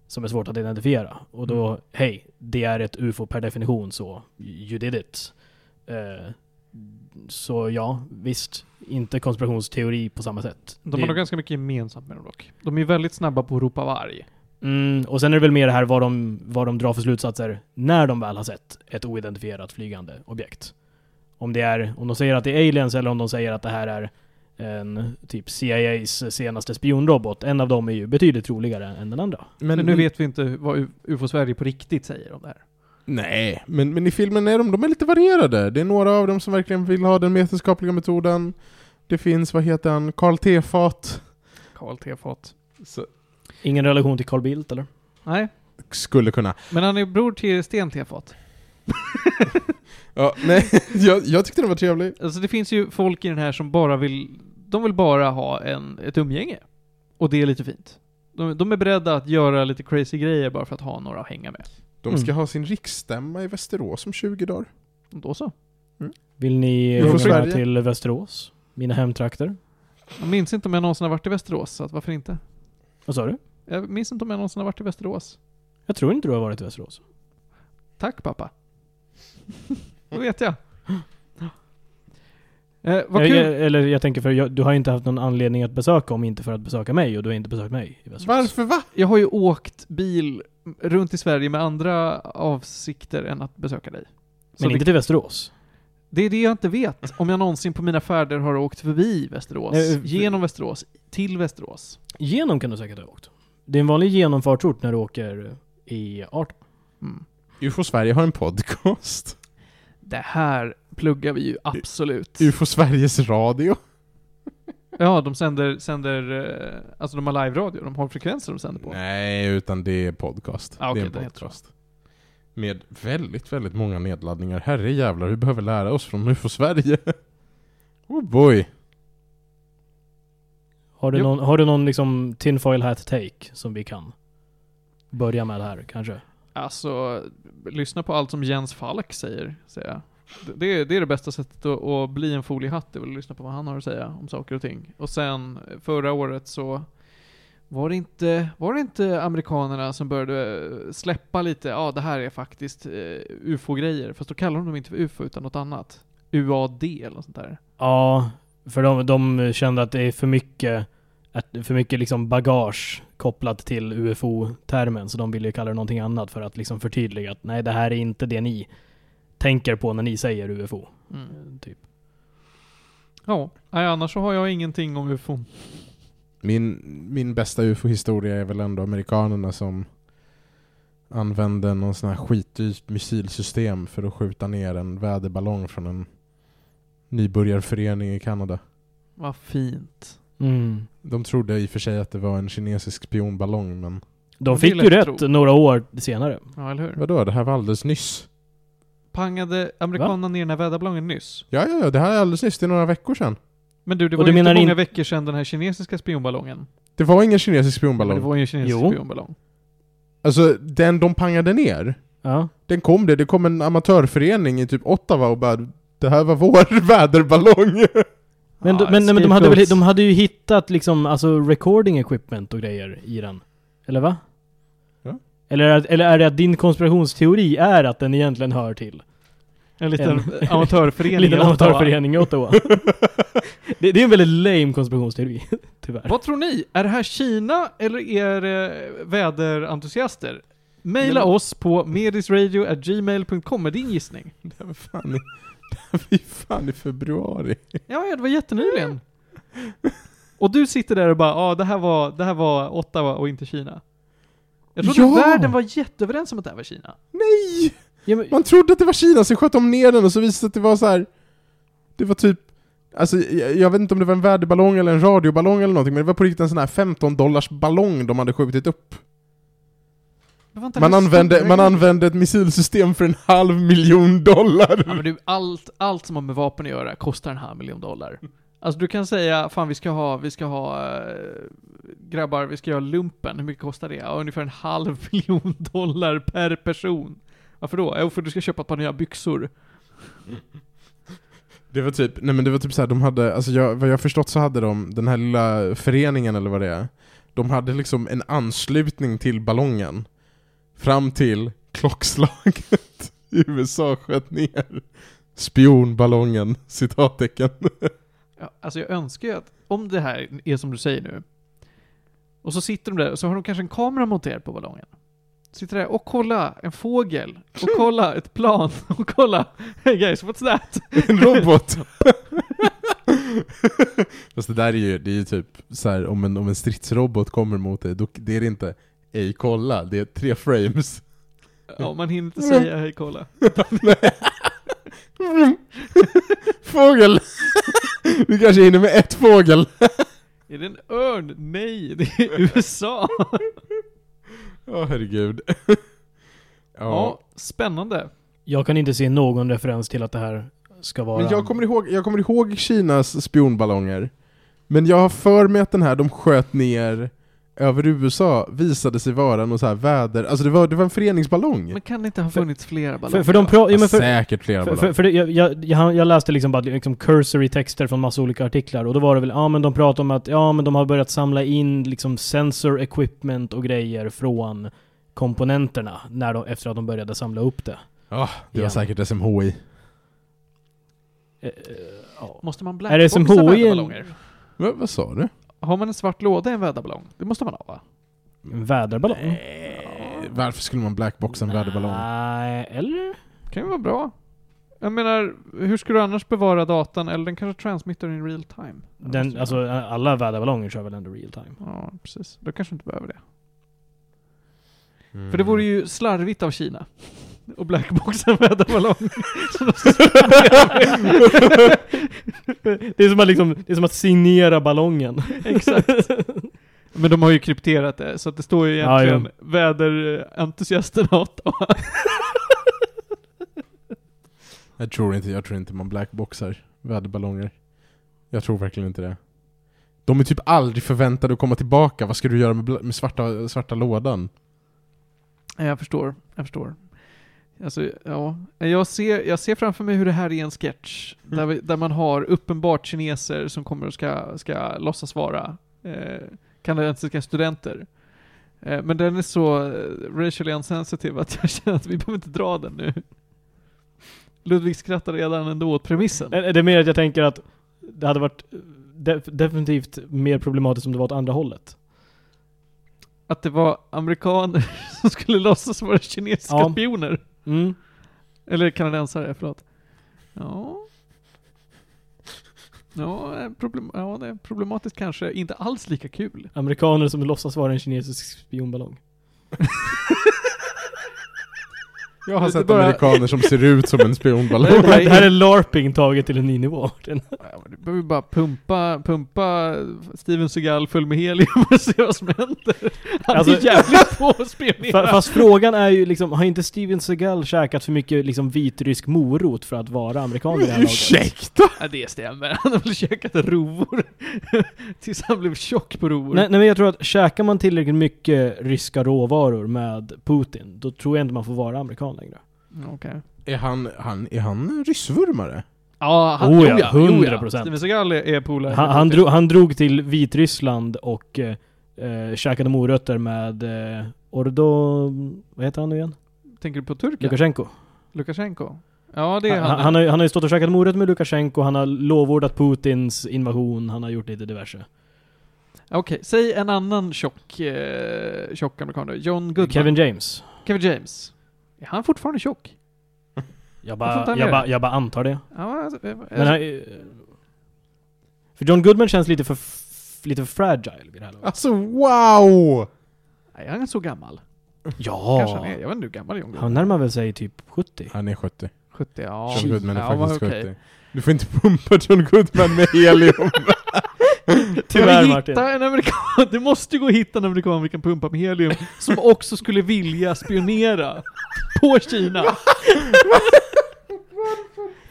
Speaker 3: som är svårt att identifiera. Och då,
Speaker 1: Mm.
Speaker 3: hej, det är ett UFO per definition så you did it. Eh, så ja, visst. Inte konspirationsteori på samma sätt.
Speaker 1: De
Speaker 3: Det-
Speaker 1: har nog ganska mycket gemensamt med dem dock. De är väldigt snabba på att ropa varg.
Speaker 3: Mm, och sen är det väl mer det här vad de, vad de drar för slutsatser när de väl har sett ett oidentifierat flygande objekt. Om, det är, om de säger att det är aliens eller om de säger att det här är en typ CIAs senaste spionrobot. En av dem är ju betydligt troligare än den andra.
Speaker 1: Men, nu vet vi inte vad U- UFO Sverige på riktigt säger om det här.
Speaker 2: Nej, men, men i filmen är de, de är lite varierade. Det är några av dem som verkligen vill ha den vetenskapliga metoden. Det finns, vad heter han, Karl Tefat.
Speaker 1: Karl Tefat.
Speaker 2: Så-
Speaker 3: Ingen relation till Carl Bildt eller?
Speaker 1: Nej,
Speaker 2: Skulle kunna.
Speaker 1: men han är bror till Sten Tefat.
Speaker 2: Ja, nej, jag, jag tyckte den var trevlig.
Speaker 1: Alltså det finns ju folk i den här som bara vill... De vill bara ha en, ett umgänge. Och det är lite fint. De, de är beredda att göra lite crazy grejer bara för att ha några att hänga med.
Speaker 2: De ska
Speaker 3: Mm.
Speaker 2: ha sin riksstämma i Västerås om 20 dagar.
Speaker 1: Då så.
Speaker 3: Vill ni
Speaker 2: Jo,
Speaker 3: åka
Speaker 2: Sverige.
Speaker 3: till Västerås? Mina hemtrakter?
Speaker 1: Jag minns inte om jag någonsin har varit i Västerås, så att varför inte?
Speaker 3: Vad sa du?
Speaker 1: Jag minns inte om jag någonsin har varit i Västerås.
Speaker 3: Jag tror inte du har varit i Västerås.
Speaker 1: Tack pappa. Då vet jag. Eh, vad
Speaker 3: Jag,
Speaker 1: kul.
Speaker 3: jag, eller jag tänker för jag, du har ju inte haft någon anledning att besöka om inte för att besöka mig och du har inte besökt mig i Västerås.
Speaker 2: Varför va?
Speaker 1: Jag har ju åkt bil runt i Sverige med andra avsikter än att besöka dig. Så
Speaker 3: Men
Speaker 1: det,
Speaker 3: inte till Västerås.
Speaker 1: det är det jag inte vet, om jag någonsin på mina färder har åkt förbi Västerås,
Speaker 3: Eh, eh,
Speaker 1: genom Västerås, till Västerås.
Speaker 3: Genom kan du säkert ha åkt. Det är en vanlig genomfartsort när du åker i 18.
Speaker 1: Mm.
Speaker 2: UFO Sverige har en podcast.
Speaker 1: Det här pluggar vi ju absolut.
Speaker 2: UFO Sveriges radio.
Speaker 1: Ja, de sänder, sänder, eh, alltså de har live-radio, de har frekvenser de sänder på.
Speaker 2: Nej, utan det är podcast.
Speaker 1: Ah, okej,
Speaker 2: det är
Speaker 1: den
Speaker 2: en
Speaker 1: heter så.
Speaker 2: podcast. Med väldigt, väldigt många nedladdningar. Herre jävlar, vi behöver lära oss från UFO Sverige. Oh boy.
Speaker 3: Har du
Speaker 1: Jo.
Speaker 3: någon, har du någon liksom tinfoil hat take som vi kan börja med här kanske?
Speaker 1: Alltså, lyssna på allt som Jens Falk säger, säger jag. Det- Det är, det är det bästa sättet att, att bli en foliehatt, det är väl att lyssna på vad han har att säga om saker och ting. Och sen, förra året så var det inte, var det inte amerikanerna som började eh, släppa lite, ja det här är faktiskt eh, UFO-grejer, fast då kallar de dem inte för UFO utan något annat. UAD eller något sånt där.
Speaker 3: Ja, för de, de kände att det är för mycket, att det är för mycket liksom bagage kopplat till UFO-termen, så de ville ju kalla det någonting annat för att liksom förtydliga att nej, det här är inte det ni tänker på när ni säger UFO.
Speaker 1: Mm.
Speaker 3: Typ.
Speaker 1: Ja, nej, annars så har jag ingenting om UFO.
Speaker 2: Min, min bästa UFO-historia är väl ändå amerikanerna som använde någon sån här skitdyrt missilsystem för att skjuta ner en väderballong från en nybörjarförening i Kanada.
Speaker 1: Vad fint.
Speaker 3: Mm.
Speaker 2: De trodde i och för sig att det var en kinesisk spionballong, men
Speaker 3: De
Speaker 1: Det
Speaker 3: fick
Speaker 1: är
Speaker 3: ju
Speaker 1: lätt att
Speaker 3: rätt
Speaker 1: tro.
Speaker 3: några år senare.
Speaker 1: Ja, eller hur?
Speaker 2: vadå, det här var alldeles nyss.
Speaker 1: Pangade amerikanerna ner den här väderballongen nyss?
Speaker 2: Ja, ja, ja, det här är alldeles nyss, det är några veckor sedan.
Speaker 1: Men du, det
Speaker 3: Och
Speaker 1: var
Speaker 3: du
Speaker 1: ju inte
Speaker 3: menar
Speaker 1: många
Speaker 3: in-
Speaker 1: veckor sedan den här kinesiska spionballongen.
Speaker 2: Det var ingen kinesisk
Speaker 1: Men
Speaker 2: spionballong.
Speaker 1: det var ju en kinesisk
Speaker 3: Jo.
Speaker 1: spionballong.
Speaker 2: Alltså, den de pangade ner,
Speaker 3: Ja.
Speaker 2: den kom det, det kom en amatörförening i typ Ottawa och bara Det här var vår väderballong!
Speaker 3: Men,
Speaker 1: Ja,
Speaker 3: de, men, nej, men de, hade
Speaker 1: scapegoats.
Speaker 3: väl, de hade ju hittat liksom, alltså recording equipment och grejer i den. Eller va?
Speaker 2: Ja.
Speaker 3: Eller, är- eller är det att din konspirationsteori är att den egentligen hör till?
Speaker 1: En liten
Speaker 3: en-
Speaker 1: amatörförening.
Speaker 3: En liten
Speaker 1: i Ottawa.
Speaker 3: amatörförening i Ottawa. det, det är en väldigt lame konspirationsteori, tyvärr.
Speaker 1: Vad tror ni? Är det här Kina eller är det väderentusiaster? Maila
Speaker 2: Nej, men-
Speaker 1: oss på medisradio.gmail.com är din gissning.
Speaker 2: Det här var fan i, det här var ju fan i februari.
Speaker 1: Ja, ja, det var jättenyligen. Och du sitter där och bara, ja ah, det, här var- det här var Ottawa och inte Kina. Jag trodde
Speaker 2: Ja!
Speaker 1: världen var jätteöverens om att det här var Kina.
Speaker 2: Nej!
Speaker 3: Ja, men,
Speaker 2: Man trodde att det var Kina, så sköt de ner den och så visade det sig att det var så här. Det var typ Alltså jag, jag vet inte om det var en väderballong eller en radioballong eller någonting men det var på riktigt en sån här 15 dollars ballong de hade skjutit upp.
Speaker 1: Men var inte
Speaker 2: Man
Speaker 1: det här
Speaker 2: använde,
Speaker 1: stora
Speaker 2: man
Speaker 1: grejer?
Speaker 2: använde ett missilsystem för en halv miljon
Speaker 1: Ja,
Speaker 2: dollar!
Speaker 1: men du, allt, allt som har med vapen att göra kostar en halv miljon dollar. Alltså du kan säga, fan vi ska ha, vi ska ha, eh, grabbar, vi ska göra lumpen, hur mycket kostar det? Ja, ungefär en halv miljon dollar per person. Varför då? Jo, för du ska köpa ett par nya byxor.
Speaker 2: Det var typ, nej men det var typ så här, de hade, alltså jag, vad jag förstått så hade de, den här lilla föreningen eller vad det är, de hade liksom en anslutning till ballongen fram till klockslaget i USA sköt ner spionballongen, citattecken.
Speaker 1: Ja, alltså jag önskar ju att, om det här är som du säger nu, och så sitter de där, och så har de kanske en kamera monterad på ballongen. Sitter där, och kolla, en fågel, och kolla, ett plan, och kolla, hey guys, what's that?
Speaker 2: En robot! Fast det där är ju, det är ju typ så här, om en, om en stridsrobot kommer mot dig, då, det är det inte Ej kolla, det är tre frames.
Speaker 1: Ja, man hinner inte säga, hej kolla.
Speaker 2: Fågel! Du kanske hinner med ett fågel.
Speaker 1: Är det en örn? Nej, det är USA! ja.
Speaker 2: Åh herregud. ja.
Speaker 1: spännande.
Speaker 3: jag kan inte se någon referens till att det här ska vara...
Speaker 2: Men jag kommer, ihåg, jag kommer ihåg Kinas spionballonger. Men jag har för mig att den här de sköt ner över USA visade sig vara någon så här väder... Alltså det var, det var en föreningsballong.
Speaker 1: Men kan det inte ha
Speaker 3: För-
Speaker 1: funnits flera
Speaker 3: för,
Speaker 1: ballonger?
Speaker 3: för de pra- ja, men för,
Speaker 2: Säkert flera
Speaker 3: För, för, för det, jag, jag, jag, jag läste liksom bara liksom cursory texter från massa olika artiklar och då var det väl, ja men de pratade om att, ja men de har börjat samla in liksom sensor equipment och grejer från komponenterna när de, efter att de började samla upp det.
Speaker 2: Ja, det var
Speaker 3: igen.
Speaker 2: säkert SMHI.
Speaker 3: Eh, eh, ja.
Speaker 1: Måste man
Speaker 3: Är det
Speaker 1: blackboxa
Speaker 3: som HI?
Speaker 1: väderballonger?
Speaker 2: Va, vad sa du?
Speaker 1: Har man en svart låda i en väderballong? Det måste man ha va?
Speaker 3: En väderballong?
Speaker 2: Eh, Varför skulle man blackboxa en väderballong?
Speaker 3: Nej, eller?
Speaker 1: kan ju vara bra. Jag menar, hur ska du annars bevara datan? Eller den kanske transmittar in real time? Det måste
Speaker 3: Den,
Speaker 1: ju
Speaker 3: alltså,
Speaker 1: vara.
Speaker 3: alla väderballonger kör väl ändå real time?
Speaker 1: Ja, precis. Då kanske du inte behöver det. För det
Speaker 3: Mm.
Speaker 1: vore ju slarvigt av Kina. Och blackboxa en väderballong. Så de ska
Speaker 3: det, är som att liksom, det är som att signera ballongen. Eh,
Speaker 1: Exakt. Men de har ju krypterat det, så att det står ju
Speaker 3: Ja,
Speaker 1: egentligen väderentusiasten Ottawa.
Speaker 2: Jag tror inte, jag tror inte man blackboxar väderballonger. Jag tror verkligen inte det. De är typ aldrig förväntade att komma tillbaka, vad ska du göra med, bla- med svarta, svarta lådan?
Speaker 1: Ja, Jag förstår, jag förstår. Alltså, ja. jag, ser, jag ser framför mig hur det här är en sketch. Där, vi, där man har uppenbart kineser som kommer och ska, ska låtsas vara eh, kanadensiska studenter. Eh, men den är så eh, racially insensitive att jag känner att vi behöver inte dra den nu. Ludvig skrattar redan ändå åt premissen.
Speaker 3: Det är mer att jag tänker att det hade varit eh, def- definitivt mer problematiskt om det var åt andra hållet.
Speaker 1: Att det var amerikaner som skulle låtsas vara kinesiska
Speaker 3: Ja.
Speaker 1: spioner.
Speaker 3: Mm.
Speaker 1: Eller kanadensare, förlåt. Ja. Ja, eh, problem, ja, det är problematiskt kanske. Inte alls lika kul.
Speaker 3: Amerikaner som låtsas vara en kinesisk spionballong.
Speaker 2: Jag har
Speaker 1: Det- det
Speaker 2: sett
Speaker 1: bara-
Speaker 2: amerikaner som ser ut som en
Speaker 1: Det är
Speaker 2: spionballong.
Speaker 3: Det
Speaker 1: bara-
Speaker 3: här är larping taget till en ny nivå. Den-
Speaker 1: Ja, men Du behöver bara pumpa, pumpa Steven Seagal full med helium och se vad som händer. Han är
Speaker 3: Alltså-
Speaker 1: jävligt på att
Speaker 3: Fa-
Speaker 1: spionera.
Speaker 3: Fast frågan är ju liksom, har inte Steven Seagal käkat för mycket liksom vitrysk morot för att vara amerikan i det här laget?
Speaker 2: Ursäkta!
Speaker 1: Ja, det stämmer. Han har väl käkat rovor. Tills han blev tjock på rovor.
Speaker 3: Nej, nej men jag tror att käkar man tillräckligt mycket ryska råvaror med Putin, då tror jag inte man får vara amerikan längre.
Speaker 1: Okej.
Speaker 2: Är han, han, är han ryssvurmare?
Speaker 1: Ja, han,
Speaker 3: Oh
Speaker 1: jo
Speaker 3: ja,
Speaker 1: ja, jo
Speaker 3: 100%.
Speaker 1: Steven Seagal är, är polare.
Speaker 3: Han, han, drog, han drog till Vitryssland och eh, eh, käkade morötter med eh, Ordo... Vad heter han nu igen?
Speaker 1: Tänker du på turken?
Speaker 3: Lukasjenko.
Speaker 1: Lukasjenko? Ja, det är
Speaker 3: Han,
Speaker 1: han.
Speaker 3: han, har, ju- han har ju stått och käkat morötter med Lukasjenko, han har lovordat Putins invasion, han har gjort lite diverse.
Speaker 1: Okej, säg en annan tjock, eh, tjock amerikan då. John Goodman. Kevin.
Speaker 3: Kevin James.
Speaker 1: James. Är han fortfarande tjock?
Speaker 3: Jag
Speaker 1: Varför inte
Speaker 3: bara,
Speaker 1: han
Speaker 3: jag
Speaker 1: gör
Speaker 3: bara,
Speaker 1: det?
Speaker 3: jag bara antar det.
Speaker 1: Ja, alltså, eh,
Speaker 3: Men han, eh, för John Goodman känns lite för, f- lite för fragile vid det här laget.
Speaker 2: Alltså wow!
Speaker 1: nej, han är så gammal. Kanske han är.
Speaker 3: Ja!
Speaker 1: Jag vet inte hur gammal John Goodman
Speaker 3: Han närmar väl sig typ 70?
Speaker 2: Han är 70.
Speaker 1: 70, ja.
Speaker 2: John Goodman är
Speaker 1: ja,
Speaker 2: faktiskt
Speaker 1: men okej. Mm,
Speaker 2: 70. Du får inte pumpa John Goodman med helium.
Speaker 1: Kan
Speaker 3: Tyvärr
Speaker 1: vi
Speaker 3: Martin.
Speaker 1: hitta en amerikan? Det måste ju gå att hitta en amerikan vi kan pumpa med helium, som också skulle vilja spionera på Kina.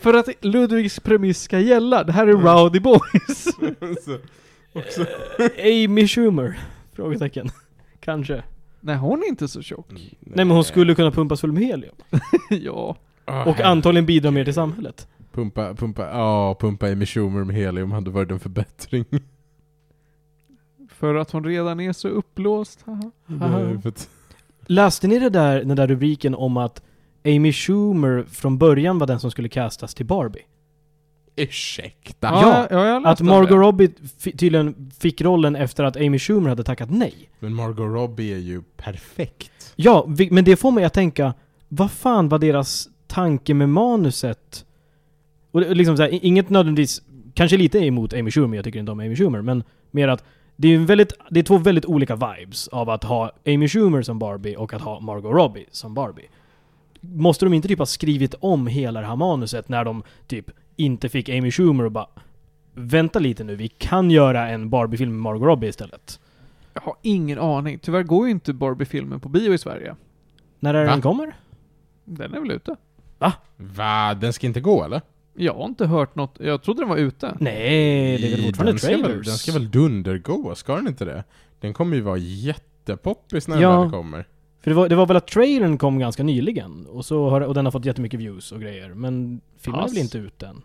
Speaker 1: För att Ludvigs premiss ska gälla. Det här är
Speaker 3: Mm.
Speaker 1: Rowdy Boys.
Speaker 2: Så, också.
Speaker 3: Eh, Amy Schumer? Frågetecken. Kanske.
Speaker 1: Nej, hon är inte så tjock.
Speaker 3: Nej men hon skulle kunna pumpas full med helium.
Speaker 1: ja.
Speaker 2: Ah,
Speaker 3: Och
Speaker 2: här-
Speaker 3: antagligen bidra mer till samhället.
Speaker 2: Pumpa, pumpa, ja pumpa Amy Schumer med helium hade varit en förbättring.
Speaker 1: För att hon redan är så uppblåst. haha.
Speaker 3: Aha.
Speaker 2: För att-
Speaker 3: Läste ni det där, den där rubriken om att Amy Schumer från början var den som skulle castas till Barbie?
Speaker 2: Ursäkta?
Speaker 1: Ja, ja, jag har läst
Speaker 3: Att
Speaker 1: om
Speaker 3: Margot
Speaker 1: det.
Speaker 3: Robbie fi- tydligen fick rollen efter att Amy Schumer hade tackat nej.
Speaker 2: Men Margot Robbie är ju perfekt.
Speaker 3: Ja, vi, men det får mig att tänka, vad fan var deras tanke med manuset? Och det- liksom så här, i- inget nödvändigtvis, kanske lite emot Amy Schumer, jag tycker inte om Amy Schumer, men mer att det är, ju en väldigt, det är två väldigt olika vibes av att ha Amy Schumer som Barbie och att ha Margot Robbie som Barbie. Måste de inte typ ha skrivit om hela det här manuset när de typ inte fick Amy Schumer och bara Vänta lite nu, vi kan göra en Barbie-film med Margot Robbie istället.
Speaker 1: Jag har ingen aning. Tyvärr går ju inte Barbie-filmen på bio i Sverige.
Speaker 3: När är det
Speaker 2: Va?
Speaker 3: den kommer?
Speaker 1: Den är väl ute?
Speaker 2: Va? Den ska inte gå eller?
Speaker 1: Jag har inte hört något. Jag trodde den var ute.
Speaker 3: Nej, det är väl
Speaker 2: I-
Speaker 3: fortfarande
Speaker 2: den ska väl-
Speaker 3: trailers?
Speaker 2: Den ska väl dundergå, ska den inte det? Den kommer ju vara jättepoppis när
Speaker 3: Ja.
Speaker 2: den väl kommer.
Speaker 3: För det var, det var väl att trailern kom ganska nyligen, och, så har, och den har fått jättemycket views och grejer, men filmen
Speaker 1: Pass.
Speaker 3: är väl inte ut än?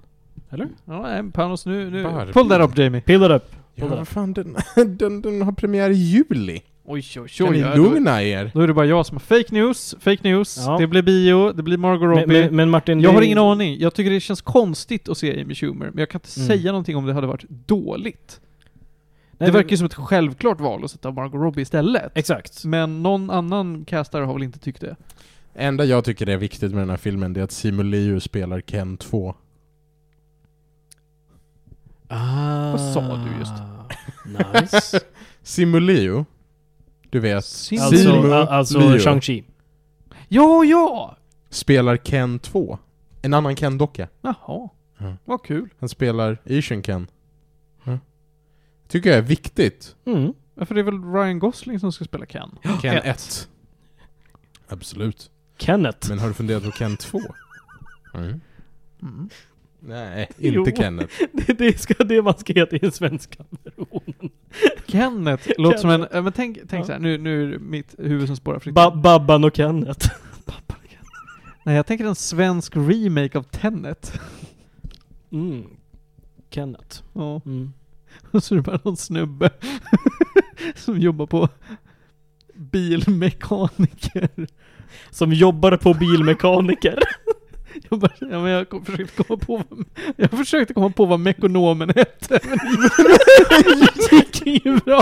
Speaker 3: Eller?
Speaker 1: Ja, nej, Panos nu... nu.
Speaker 2: Barbie.
Speaker 1: Pull that up Jamie.
Speaker 3: Pill it up!
Speaker 2: Ja,
Speaker 3: Kolla.
Speaker 2: vad fan, den, den, den har premiär i juli.
Speaker 1: Oj, oj, oj.
Speaker 2: Kan ni
Speaker 1: ja, då,
Speaker 2: lugna er?
Speaker 1: då är det bara jag som har fake news, fake news.
Speaker 3: Ja.
Speaker 1: Det blir bio, det blir Margot Robbie.
Speaker 3: Men, men, men Martin,
Speaker 1: jag
Speaker 3: det-
Speaker 1: har ingen aning. Jag tycker det känns konstigt att se Amy Schumer, men jag kan inte
Speaker 3: Mm.
Speaker 1: säga någonting om det hade varit dåligt.
Speaker 3: Nej,
Speaker 1: det
Speaker 3: men-
Speaker 1: verkar ju som ett självklart val att sätta Margot Robbie istället.
Speaker 3: Exakt.
Speaker 1: Men någon annan castare har väl inte tyckt det?
Speaker 2: enda jag tycker är viktigt med den här filmen det är att Simon Liu spelar Ken 2.
Speaker 3: Ah,
Speaker 1: Vad sa du just?
Speaker 3: Nice.
Speaker 2: Simon Liu, du vet,
Speaker 1: Sim-
Speaker 3: alltså,
Speaker 2: Simu
Speaker 3: a- alltså
Speaker 2: Liu.
Speaker 3: Shang-Chi.
Speaker 1: Ja, ja!
Speaker 2: spelar Ken 2. En annan Ken-docka.
Speaker 1: Jaha.
Speaker 2: Mm.
Speaker 1: Vad kul.
Speaker 2: Han spelar Asian Ken. Mm. Tycker jag är viktigt.
Speaker 3: Mm.
Speaker 1: Ja, För det är väl Ryan Gosling som ska spela Ken?
Speaker 2: Ken
Speaker 1: ett.
Speaker 2: 1. Absolut.
Speaker 3: Kenneth.
Speaker 2: Men har du funderat på Ken 2? Mm.
Speaker 1: Mm.
Speaker 2: Nej,
Speaker 3: Jo.
Speaker 2: inte Kenneth.
Speaker 3: det, det ska det man ska heta i den svenska versionen.
Speaker 1: Kenneth låter som en...
Speaker 3: Kenneth.
Speaker 1: äh, Men tänk, tänk
Speaker 3: Ja.
Speaker 1: så här, nu, nu är det mitt huvud som spårar fritt.
Speaker 3: Ba- Babban och Kenneth.
Speaker 1: Nej, jag tänker en svensk remake av Tenet.
Speaker 3: Mm. Kenneth.
Speaker 1: Ja,
Speaker 3: Mm.
Speaker 1: och så är det bara någon snubbe som jobbar på bilmekaniker.
Speaker 3: Som jobbar på bilmekaniker.
Speaker 1: Jag, bara, ja, men jag, kom, försökte komma på, vad- jag försökte komma på vad mekonomen hette, men det gick ju bra.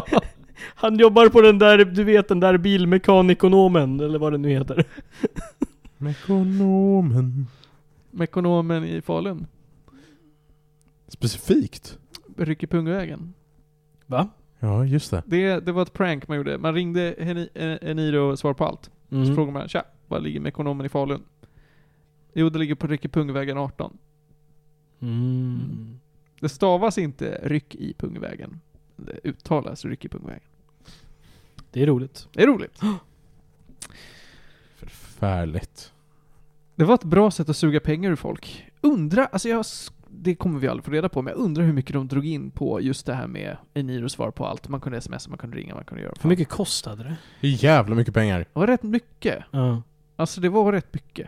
Speaker 3: Han jobbar på den där, du vet den där bilmekanikonomen, eller vad det nu heter.
Speaker 2: Mekonomen.
Speaker 1: Mekonomen i Falun,
Speaker 2: Specifikt?
Speaker 1: Ryckepungvägen.
Speaker 3: Va?
Speaker 2: Ja, just det.
Speaker 1: Det, det var ett prank man gjorde. Man ringde Heni- eh, Eniro och svarade på allt. Så
Speaker 3: Mm.
Speaker 1: frågade man, tja, var ligger Mekonomen i Falun? Jo, det ligger på Ryckepungvägen 18.
Speaker 3: Mm.
Speaker 1: Det stavas inte ryck i pungvägen. Det uttalas ryck i pungvägen.
Speaker 3: Det är roligt.
Speaker 1: Det är roligt.
Speaker 2: Förfärligt.
Speaker 1: Det var ett bra sätt att suga pengar ur folk. Undra, alltså jag, s- det kommer vi aldrig få reda på, men jag undrar hur mycket de drog in på just det här med Eniro svar på allt. Man kunde smsa, man kunde ringa, man kunde göra
Speaker 3: Hur mycket kostade det?
Speaker 2: Det är jävla mycket pengar.
Speaker 1: Det var rätt mycket.
Speaker 3: Ja.
Speaker 1: Alltså det var rätt mycket.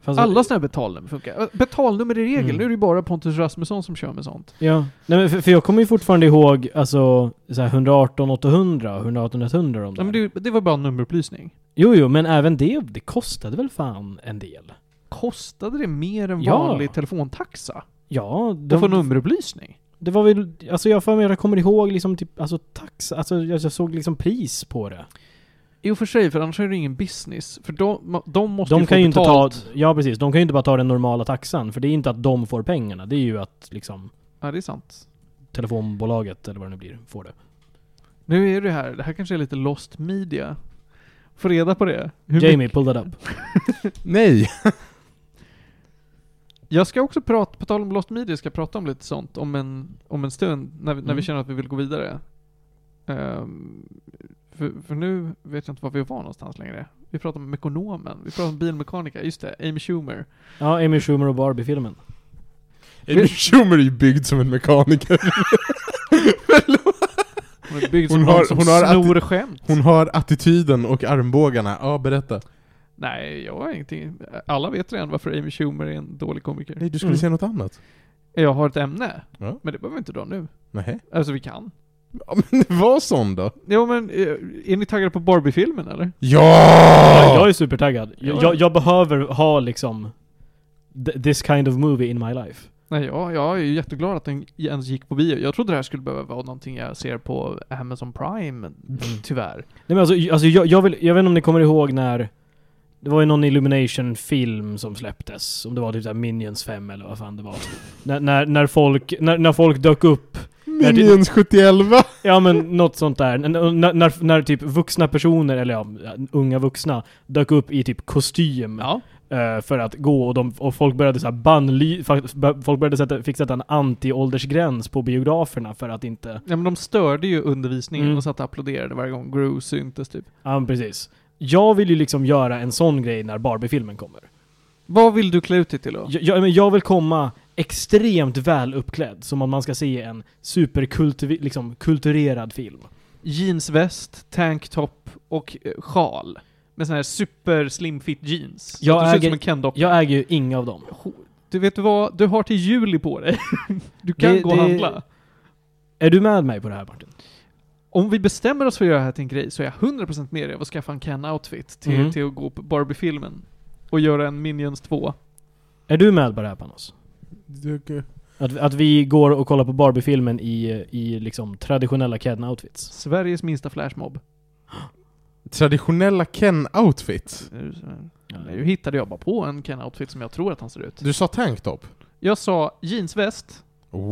Speaker 3: Fanns Alltså, det-
Speaker 1: Alla sådana här betalnummer funkar. Äh, Betalnummer är regel,
Speaker 3: Mm.
Speaker 1: nu är det ju bara Pontus Rasmusson som kör med sånt.
Speaker 3: Ja, Nej, men för, för jag kommer ju fortfarande ihåg alltså så här 118 800, 118 100 om det.
Speaker 1: Ja, men
Speaker 3: här.
Speaker 1: det, det var bara en nummerupplysning.
Speaker 3: Jo, jo, men även det, det kostade väl fan en del?
Speaker 1: Kostade det mer än
Speaker 3: Ja.
Speaker 1: vanlig telefontaxa?
Speaker 3: Ja,
Speaker 1: Att få
Speaker 3: de,
Speaker 1: nummerupplysning?
Speaker 3: det var väl, alltså jag har för mig, jag kommer ihåg liksom typ, alltså tax, alltså jag, jag såg liksom pris på det.
Speaker 1: Jo för sig, för annars är det ingen business. För de, de måste
Speaker 3: De
Speaker 1: ju
Speaker 3: kan
Speaker 1: få
Speaker 3: ju inte ta,
Speaker 1: betalt.
Speaker 3: ja precis, de kan ju inte bara ta den normala taxan, för det är inte att de får pengarna, det är ju att liksom
Speaker 1: Ja, det är sant.
Speaker 3: telefonbolaget eller vad det nu blir, får det.
Speaker 1: Nu är det här, det här kanske är lite lost media. Få reda på det. Hur mycket-
Speaker 3: Jamie, pull that up.
Speaker 2: Nej!
Speaker 1: Jag ska också prata, på tal om lost media, ska jag prata om lite sånt om en, om en stund, när vi, när vi
Speaker 3: Mm.
Speaker 1: känner att vi vill gå vidare. Ehm, för, för nu vet jag inte var vi var någonstans längre. Vi pratar om ekonomen, vi pratar om bilmekaniker, just det, Amy Schumer.
Speaker 3: Ja, Amy Schumer och Barbie-filmen.
Speaker 2: Amy Schumer är ju byggd som en mekaniker.
Speaker 1: Hon är byggd
Speaker 2: Hon
Speaker 1: som
Speaker 2: har-
Speaker 1: någon som
Speaker 2: hon har
Speaker 1: snor skämt.
Speaker 2: Hon har attityden och armbågarna. Ja, berätta.
Speaker 1: Nej, jag har ingenting. Alla vet redan varför Amy Schumer är en dålig komiker.
Speaker 2: Nej, du skulle
Speaker 3: skulle Mm.
Speaker 2: säga
Speaker 3: säga
Speaker 2: något annat.
Speaker 1: Jag har ett ämne.
Speaker 2: Ja.
Speaker 1: Men det behöver vi inte dra nu.
Speaker 2: Nej.
Speaker 1: Alltså vi kan.
Speaker 2: Ja, men det var sån då.
Speaker 1: Jo men, eh, är ni taggade på Barbie-filmen eller? Ah!
Speaker 3: Ja, jag
Speaker 2: Ja!
Speaker 3: är supertaggad.
Speaker 1: Ja.
Speaker 3: Jag, jag, jag behöver ha liksom th- this kind of movie in my life.
Speaker 1: Nej, ja, jag är ju jätteglad att den ens gick på bio. Jag trodde det här skulle behöva vara någonting jag ser på Amazon Prime, tyvärr.
Speaker 3: Nej men alltså, j- alltså jag, jag, vill, jag vet inte om ni kommer ihåg när det var ju någon Illumination-film som släpptes. Om det var typ såhär Minions 5 eller vad fan det var. när, när, när, folk, när, när folk dök upp.
Speaker 2: Minions 71!
Speaker 3: Ja men något sånt där. N- n- När, när, när typ vuxna personer, eller ja, unga vuxna, dök upp i typ kostym.
Speaker 1: Ja.
Speaker 3: eh, för att gå och, de, och folk började så här bannly, fa- folk började sätta, fick sätta en anti-åldersgräns på biograferna för att inte...
Speaker 1: ja men de störde ju undervisningen
Speaker 3: Mm.
Speaker 1: och satt och applåderade varje gång Gru syntes typ.
Speaker 3: Ja, men precis. Jag vill ju liksom göra en sån grej när Barbie-filmen kommer.
Speaker 1: Vad vill du klä ut dig till då?
Speaker 3: Jag, jag, men jag vill komma extremt väl uppklädd, som om man ska se en superkulturerad liksom, kulturerad film.
Speaker 1: Jeansväst, tanktop och eh, sjal. Med sådana här super slim fit jeans. Så
Speaker 3: Jag
Speaker 1: att du ser ut
Speaker 3: äger-
Speaker 1: som en Ken-docka.
Speaker 3: Jag äger ju inga av dem.
Speaker 1: Du vet vad? Du har till juli på dig. Du kan
Speaker 3: Det-
Speaker 1: gå och
Speaker 3: det-
Speaker 1: handla.
Speaker 3: Är du med mig på det här Martin?
Speaker 1: om vi bestämmer oss för att göra det här till en grej så är jag 100% med dig av att skaffa en Ken-outfit till,
Speaker 3: Mm.
Speaker 1: till att gå på Barbie-filmen. Och göra en Minions 2.
Speaker 3: Är du med på det här Panos?
Speaker 2: Det-
Speaker 3: Att, att vi går och kollar på Barbie-filmen i, i liksom traditionella Ken-outfits?
Speaker 1: Sveriges minsta flashmob.
Speaker 2: Traditionella Ken-outfit.
Speaker 1: Nu hittade jag bara på en Ken-outfit som jag tror att han ser ut.
Speaker 2: Du sa tanktop?
Speaker 1: Jag sa jeansväst,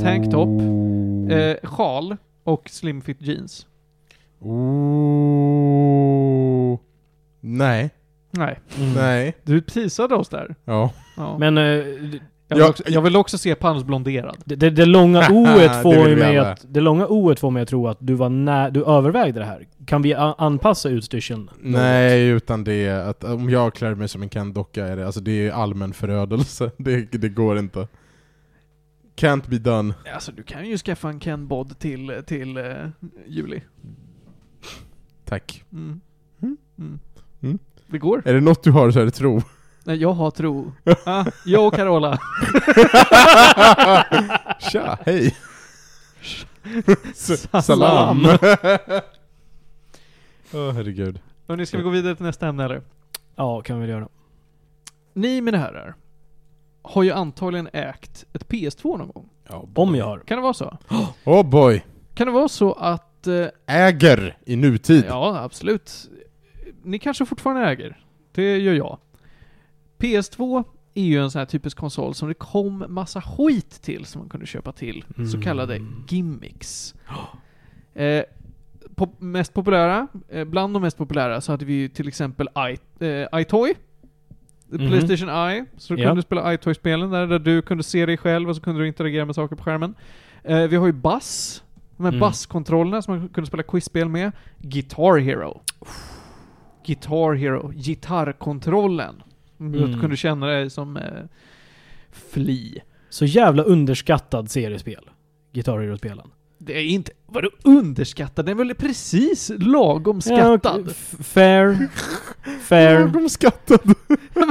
Speaker 1: Tanktop.
Speaker 2: Oh.
Speaker 1: eh, sjal och slimfit jeans.
Speaker 2: Oh. Nej.
Speaker 1: Nej,
Speaker 3: Mm.
Speaker 2: Nej.
Speaker 1: du prisade oss där.
Speaker 2: Ja.
Speaker 1: Ja.
Speaker 3: Men eh,
Speaker 1: jag, vill
Speaker 2: jag-
Speaker 1: också, jag vill också se Panos blonderad.
Speaker 3: Det, det, det långa
Speaker 2: Det
Speaker 3: oet får
Speaker 2: vill
Speaker 3: ju
Speaker 2: vi
Speaker 3: mig
Speaker 2: alla.
Speaker 3: att, det långa oet får mig att tro att du var när, du övervägde det här. Kan vi a- anpassa utstyrseln? något?
Speaker 2: Nej, utan det är att om jag klär mig som en Ken-docka är det, alltså det är allmän förödelse. Det, det går inte. Can't be done.
Speaker 1: Alltså du kan ju skaffa en Ken Bod till, till eh, juli.
Speaker 2: Tack.
Speaker 1: Mm.
Speaker 2: Mm.
Speaker 1: Mm.
Speaker 2: Mm.
Speaker 1: Det går.
Speaker 2: Är det något du har så är det tro.
Speaker 1: Nej, jag har tro. Ah, jag och Carola.
Speaker 2: Tja, hej.
Speaker 1: Salam.
Speaker 2: Salam.
Speaker 1: Mm.
Speaker 2: Åh herregud.
Speaker 1: Hörni, ska vi gå vidare till nästa ämne eller?
Speaker 3: Ja, kan vi göra.
Speaker 1: Ni mina herrar, har ju antagligen ägt ett PS2 någon gång.
Speaker 3: Om jag har.
Speaker 1: Kan det vara så?
Speaker 2: Oh boy.
Speaker 1: Kan det vara så att... Eh,
Speaker 2: Äger i nutid.
Speaker 1: ja, absolut. Ni kanske fortfarande äger? Det gör jag. PS2 är ju en sån här typisk konsol som det kom massa skit till som man kunde köpa till. Så
Speaker 3: Mm.
Speaker 1: kallade gimmicks. Eh, pop- mest populära, eh, bland de mest populära så hade vi ju till exempel I, eh, iToy.
Speaker 3: Mhm.
Speaker 1: Playstation Eye. Så du
Speaker 3: Ja.
Speaker 1: kunde du spela iToy-spelen där, där du kunde se dig själv och så kunde du interagera med saker på skärmen. Eh, vi har ju Bass. De här
Speaker 3: Mm.
Speaker 1: basskontrollerna som man kunde spela quizspel med. Guitar Hero. Guitar Hero. Gitarrkontrollen.
Speaker 3: Mm.
Speaker 1: Du kunde känna dig som eh, Flea.
Speaker 3: Så jävla underskattad seriespel. Guitar Hero-spelen.
Speaker 1: Det är inte... Vadå underskattad? Den är väl precis lagom
Speaker 3: Ja,
Speaker 1: skattad?
Speaker 3: och- f- fair. fair.
Speaker 2: Lagom skattad.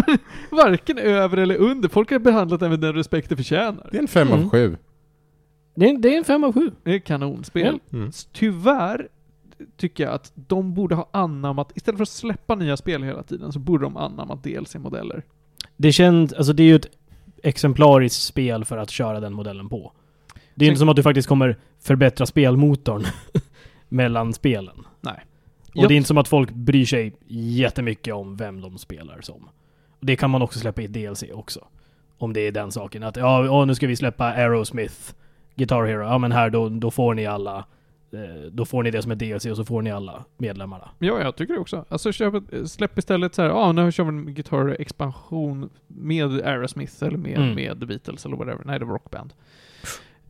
Speaker 1: Varken över eller under. Folk har behandlat den med den respekt det förtjänar.
Speaker 2: Det är en fem
Speaker 3: Mm.
Speaker 2: av sju.
Speaker 3: Det är, det är en fem av sju.
Speaker 1: Det är kanonspel.
Speaker 2: Mm.
Speaker 1: Tyvärr tycker jag att de borde ha anammat, istället för att släppa nya spel hela tiden, så borde de anammat DLC-modeller.
Speaker 3: Det känns, alltså det är ju ett exemplariskt spel för att köra den modellen på. Det är ju inte
Speaker 1: Tänk-
Speaker 3: som att du faktiskt kommer förbättra spelmotorn mellan spelen. Och det är inte som att folk bryr sig jättemycket om vem de spelar som. Och det kan man också släppa i ett DLC också. Om det är den saken. Att ja, åh, nu ska vi släppa Aerosmith, Guitar Hero. Ja men här, då, då får ni alla. eh, Då får ni det som är DLC och så får ni alla medlemmarna.
Speaker 1: Ja, jag tycker det också. Alltså köp, ett- släpp istället så här, ja ah, nu kör vi en gitarrexpansion med Aerosmith eller med,
Speaker 3: Mm.
Speaker 1: med Beatles eller whatever. Nej, det var Rockband.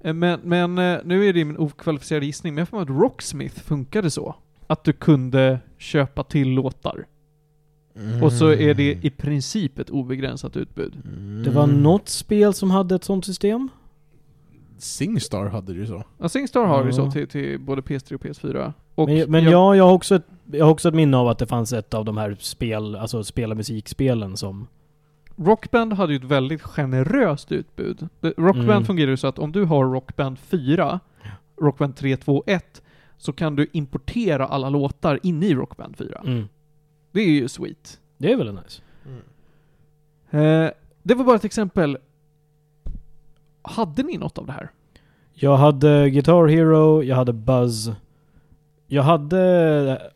Speaker 1: Eh, Men, men eh, nu är det min okvalificerade gissning, men jag får mig att Rocksmith funkade så. Att du kunde köpa till låtar.
Speaker 2: Mm.
Speaker 1: Och så är det i princip ett obegränsat utbud.
Speaker 3: Det var
Speaker 2: Mm.
Speaker 3: något spel som hade ett sånt system.
Speaker 2: Singstar hade du så.
Speaker 1: Ja, Singstar har ju så
Speaker 3: Ja.
Speaker 1: till, till både PS3 och PS4. Och
Speaker 3: men men
Speaker 1: jag-
Speaker 3: jag, jag, har också ett, jag har också ett minne av att det fanns ett av de här spel, alltså spela musikspelen som...
Speaker 1: Rockband hade ju ett väldigt generöst utbud. Det- Rockband
Speaker 3: Mm.
Speaker 1: fungerar ju så att om du har Rockband 4, Rockband 3, 2, 1, så kan du importera alla låtar in i Rockband 4.
Speaker 3: Mm.
Speaker 1: Det är ju sweet.
Speaker 3: Det är väl nice?
Speaker 2: Mm.
Speaker 1: Eh, det var bara ett exempel. Hade ni något av det här?
Speaker 3: Jag hade Guitar Hero, jag hade Buzz. Jag hade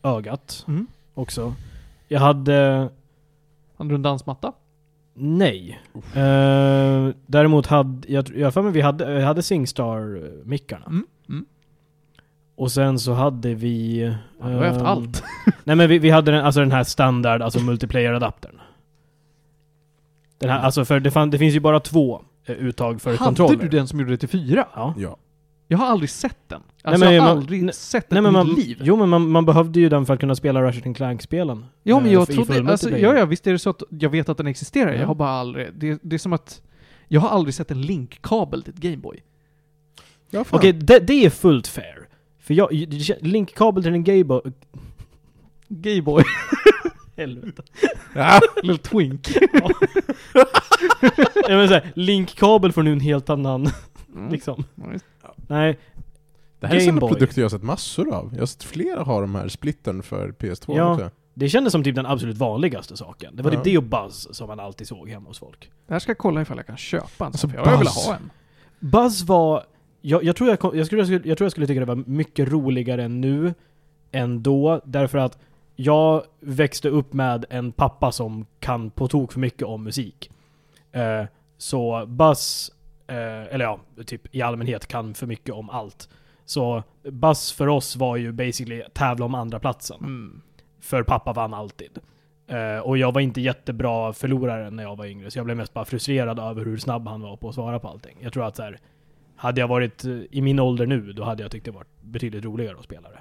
Speaker 3: ögat
Speaker 1: Mm.
Speaker 3: också. Jag hade...
Speaker 1: Hade du en dansmatta?
Speaker 3: Nej. Eh, däremot hade... Jag jag har för mig vi hade, jag hade Singstar-mickarna.
Speaker 1: Mm. Mm.
Speaker 3: Och sen så hade vi...
Speaker 1: Ja, du har ju haft
Speaker 3: ehm,
Speaker 1: allt.
Speaker 3: Nej men vi, vi hade den, alltså den här standard, alltså multiplayer-adaptern. Den här, alltså för det, fan, det finns ju bara två eh, uttag för
Speaker 1: Mm. Hade
Speaker 3: kontroller.
Speaker 1: du den som gjorde det till 4?
Speaker 3: Ja.
Speaker 2: Ja.
Speaker 1: Jag har aldrig sett den. Alltså
Speaker 3: men
Speaker 1: jag har
Speaker 3: man-
Speaker 1: aldrig
Speaker 3: nej-
Speaker 1: sett den
Speaker 3: Nej men
Speaker 1: i mitt
Speaker 3: man,
Speaker 1: liv.
Speaker 3: jo men man, man behövde ju den för att kunna spela Ratchet and Clank-spelen.
Speaker 1: Ja men
Speaker 3: Eh,
Speaker 1: jag
Speaker 3: för- i
Speaker 1: trodde,
Speaker 3: full
Speaker 1: alltså, ja,
Speaker 3: multiplayer.
Speaker 1: ja visst är det så att jag vet att den existerar,
Speaker 3: Ja.
Speaker 1: jag har bara aldrig, det, det är som att jag har aldrig sett en linkkabel till ett Gameboy.
Speaker 2: ja fan.
Speaker 3: Okej, det, det är fullt fair. För jag, linkkabel till en gaybo...
Speaker 1: Gameboy.
Speaker 3: Helvete.
Speaker 2: Ah,
Speaker 1: Little twink. Mm.
Speaker 3: Nej men såhär, linkkabel får nu en helt annan, liksom.
Speaker 1: Ja, visst.
Speaker 3: Nej.
Speaker 2: Det här är
Speaker 3: Game
Speaker 2: sådana
Speaker 3: Boy.
Speaker 2: produkter jag har sett massor av. Jag har sett flera ha de här splittern för PS2
Speaker 3: Ja.
Speaker 2: också.
Speaker 3: Det kändes som typ den absolut vanligaste saken. Det var
Speaker 2: Ja.
Speaker 3: typ det och Buzz som man alltid såg hemma hos folk.
Speaker 1: Det här ska jag kolla ifall jag kan köpa en
Speaker 2: Alltså,
Speaker 1: sån, för jag vill
Speaker 2: Buzz.
Speaker 1: ha en.
Speaker 3: Buzz var... Jag, jag, tror jag, kom, jag, skulle, jag, skulle, jag tror jag skulle tycka det var mycket roligare nu än då, därför att jag växte upp med en pappa som kan på tok för mycket om musik. Eh, så Buzz, eh, eller ja, typ i allmänhet kan för mycket om allt. Så Buzz för oss var ju basically tävla om andra platsen.
Speaker 1: Mm.
Speaker 3: För pappa vann alltid. Eh, och jag var inte jättebra förlorare när jag var yngre, så jag blev mest bara frustrerad över hur snabb han var på att svara på allting. Jag tror att så här, hade jag varit eh, i min ålder nu, då hade jag tyckt det varit betydligt roligare att spela det.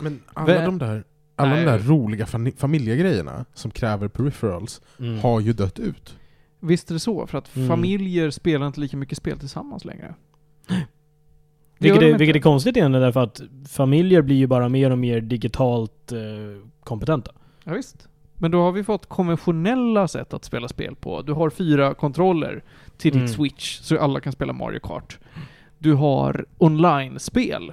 Speaker 2: Men
Speaker 1: Vä-
Speaker 2: alla de där, alla de
Speaker 1: Nej.
Speaker 2: där roliga fami- familjegrejerna som kräver peripherals
Speaker 1: Mm.
Speaker 2: har ju dött ut.
Speaker 1: Visst är det så, för att
Speaker 3: Mm.
Speaker 1: familjer spelar inte lika mycket spel tillsammans längre. Det gör
Speaker 3: vilket,
Speaker 1: de
Speaker 3: är,
Speaker 1: inte.
Speaker 3: vilket är konstigt egentligen, därför att familjer blir ju bara mer och mer digitalt eh, kompetenta.
Speaker 1: Ja, visst. Men då har vi fått konventionella sätt att spela spel på. Du har fyra kontroller till ditt
Speaker 3: Mm.
Speaker 1: Switch, så alla kan spela Mario Kart. Du har online-spel.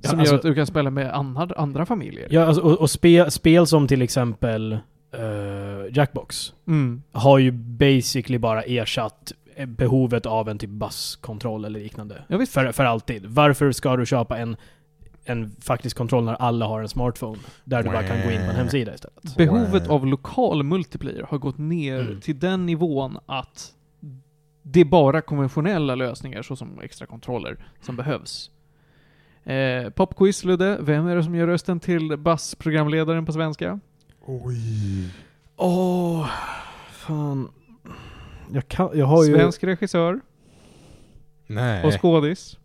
Speaker 3: Ja,
Speaker 1: som
Speaker 3: alltså-
Speaker 1: gör att du kan spela med andra, andra familjer.
Speaker 3: Ja, alltså, och och spe, spel som till exempel eh, Jackbox.
Speaker 1: Mm.
Speaker 3: har ju basically bara ersatt eh, behovet av en typ basskontroll eller liknande.
Speaker 1: Ja, visst.
Speaker 3: För, för alltid. Varför ska du köpa en, en faktisk kontroll när alla har en smartphone? Där du bara kan gå in på en hemsida istället.
Speaker 1: Behovet av lokal multiplayer har gått ner
Speaker 3: Mm.
Speaker 1: till den nivån att det är bara konventionella lösningar såsom extra kontroller som behövs. Eh, Popquiz Ludde, vem är det som gör rösten till bassprogramledaren på svenska?
Speaker 2: Oj.
Speaker 3: Åh, fan. Jag, kan, jag har ju...
Speaker 1: Svensk regissör
Speaker 2: Nej.
Speaker 1: och skådis.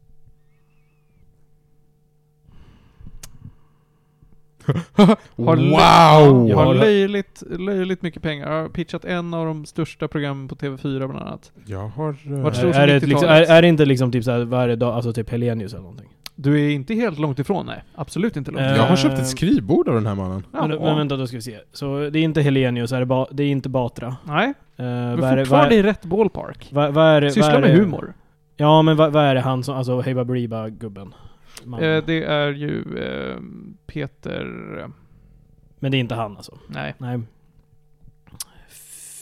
Speaker 1: har lö-
Speaker 2: wow!
Speaker 1: Jag
Speaker 3: Ja.
Speaker 1: har löjligt, löjligt mycket pengar. Jag har pitchat en av de största programmen på TV4 bland annat.
Speaker 2: Jag har... eh,
Speaker 1: Vart
Speaker 3: Är,
Speaker 1: stod-
Speaker 3: är, det ett liksom, är,
Speaker 1: 90-talet.
Speaker 3: är det inte liksom typ såhär varje dag, alltså typ Helenius eller någonting?
Speaker 1: Du är inte helt långt ifrån, nej. Absolut inte långt
Speaker 3: Eh,
Speaker 1: ifrån.
Speaker 2: Jag har köpt ett skrivbord av den här mannen.
Speaker 1: Ja,
Speaker 3: Men, men vänta, då ska vi se. Så det är inte Helenius, är det, ba, det är inte Batra.
Speaker 1: nej,
Speaker 3: Eh,
Speaker 1: du
Speaker 3: vad är
Speaker 1: är
Speaker 3: det- vad är-
Speaker 1: fortfarande i rätt ballpark.
Speaker 3: vad- vad är det- vad
Speaker 1: Syssla
Speaker 3: är
Speaker 1: med
Speaker 3: det-
Speaker 1: humor.
Speaker 3: Ja, men vad, vad är det han som, alltså Heba Briba gubben? Man.
Speaker 1: Eh, det är ju ehm, Peter... eh,
Speaker 3: Men det är inte han alltså?
Speaker 1: Nej.
Speaker 3: Nej.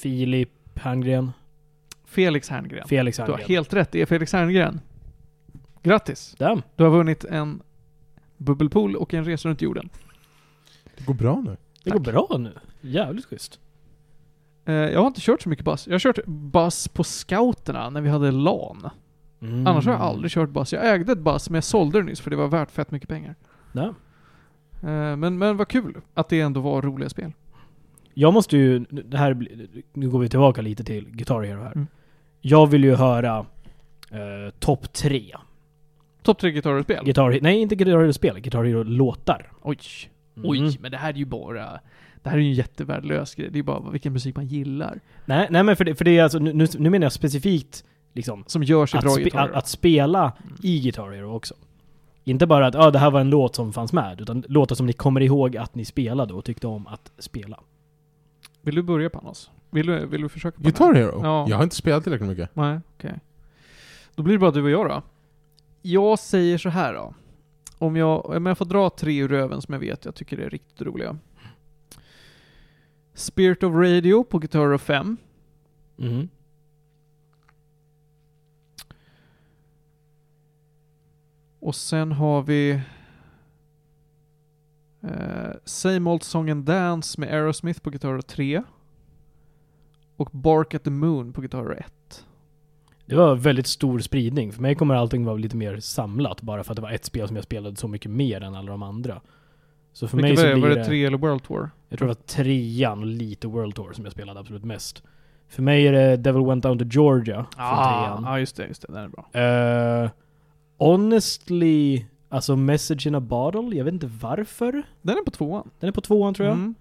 Speaker 3: Filip Herngren?
Speaker 1: Felix Herngren.
Speaker 3: Felix
Speaker 1: Du har
Speaker 3: Herngren?
Speaker 1: helt rätt, det är Felix Herngren. Grattis!
Speaker 3: Damn.
Speaker 1: Du har vunnit en bubbelpool och en resa runt jorden.
Speaker 2: Det går bra nu.
Speaker 3: Det går bra nu. Jävligt schysst.
Speaker 1: Eh, jag har inte kört så mycket buss. Jag har kört buss på scouterna när vi hade LAN.
Speaker 3: Mm.
Speaker 1: Annars har jag aldrig kört buss. Jag ägde ett buss men jag sålde det nyss för det var värt fett mycket pengar.
Speaker 3: Nej.
Speaker 1: Eh, men, men vad kul att det ändå var roliga spel.
Speaker 3: Jag måste ju, det här, blir- nu går vi tillbaka lite till Guitar Hero här.
Speaker 1: Mm.
Speaker 3: Jag vill ju höra eh, topp tre.
Speaker 1: Topp tre gitarrspel.
Speaker 3: Guitar, nej, inte Guitar Hero-spel, Guitar Hero-låtar.
Speaker 1: Oj.
Speaker 3: Mm.
Speaker 1: Oj, men det här är ju bara... Det här är ju en jättevärdelös grej. Det är bara vilken musik man gillar.
Speaker 3: Nej, nej men för det, för det är alltså, nu, nu- nu menar jag specifikt liksom
Speaker 1: Som görs i
Speaker 3: att,
Speaker 1: bra
Speaker 3: spe- att,
Speaker 1: gitarrer.
Speaker 3: att spela
Speaker 1: Mm.
Speaker 3: i Guitar Hero också. Inte bara att ah, det här var en låt som fanns med, utan låtar som ni kommer ihåg att ni spelade och tyckte om att spela.
Speaker 1: Vill du börja Panos? Vill du, vill du försöka? på den
Speaker 2: Guitar
Speaker 1: här?
Speaker 2: Hero?
Speaker 1: Ja.
Speaker 2: Jag har inte spelat tillräckligt mycket.
Speaker 1: Nej, okej. Då blir det bara du och jag då. Jag säger så här då. Om jag, om jag får dra tre ur röven som jag vet jag tycker är riktigt roliga. Spirit of Radio på Guitar Hero 5. Mhm.
Speaker 3: Mm.
Speaker 1: Och sen har vi... Eh, Same Old Song and Dance med Aerosmith på Guitar Hero 3. Och Bark at the Moon på Guitar Hero 1.
Speaker 3: Det var väldigt stor spridning. För mig kommer allting vara lite mer samlat, bara för att det var ett spel som jag spelade så mycket mer än alla de andra. Så för
Speaker 1: Vilka
Speaker 3: mig
Speaker 1: var,
Speaker 3: så
Speaker 1: det?
Speaker 3: blir
Speaker 1: var
Speaker 3: det
Speaker 1: det tre eller World Tour?
Speaker 3: Jag tror det var trean och lite World Tour som jag spelade absolut mest. För mig är det Devil Went Down to Georgia från trean.
Speaker 1: Ah, ja just det, just det. Den är bra.
Speaker 3: Eh, honestly, alltså Message in a Bottle, jag vet inte varför.
Speaker 1: Den är på tvåan.
Speaker 3: Den är på tvåan tror jag.
Speaker 1: Mm.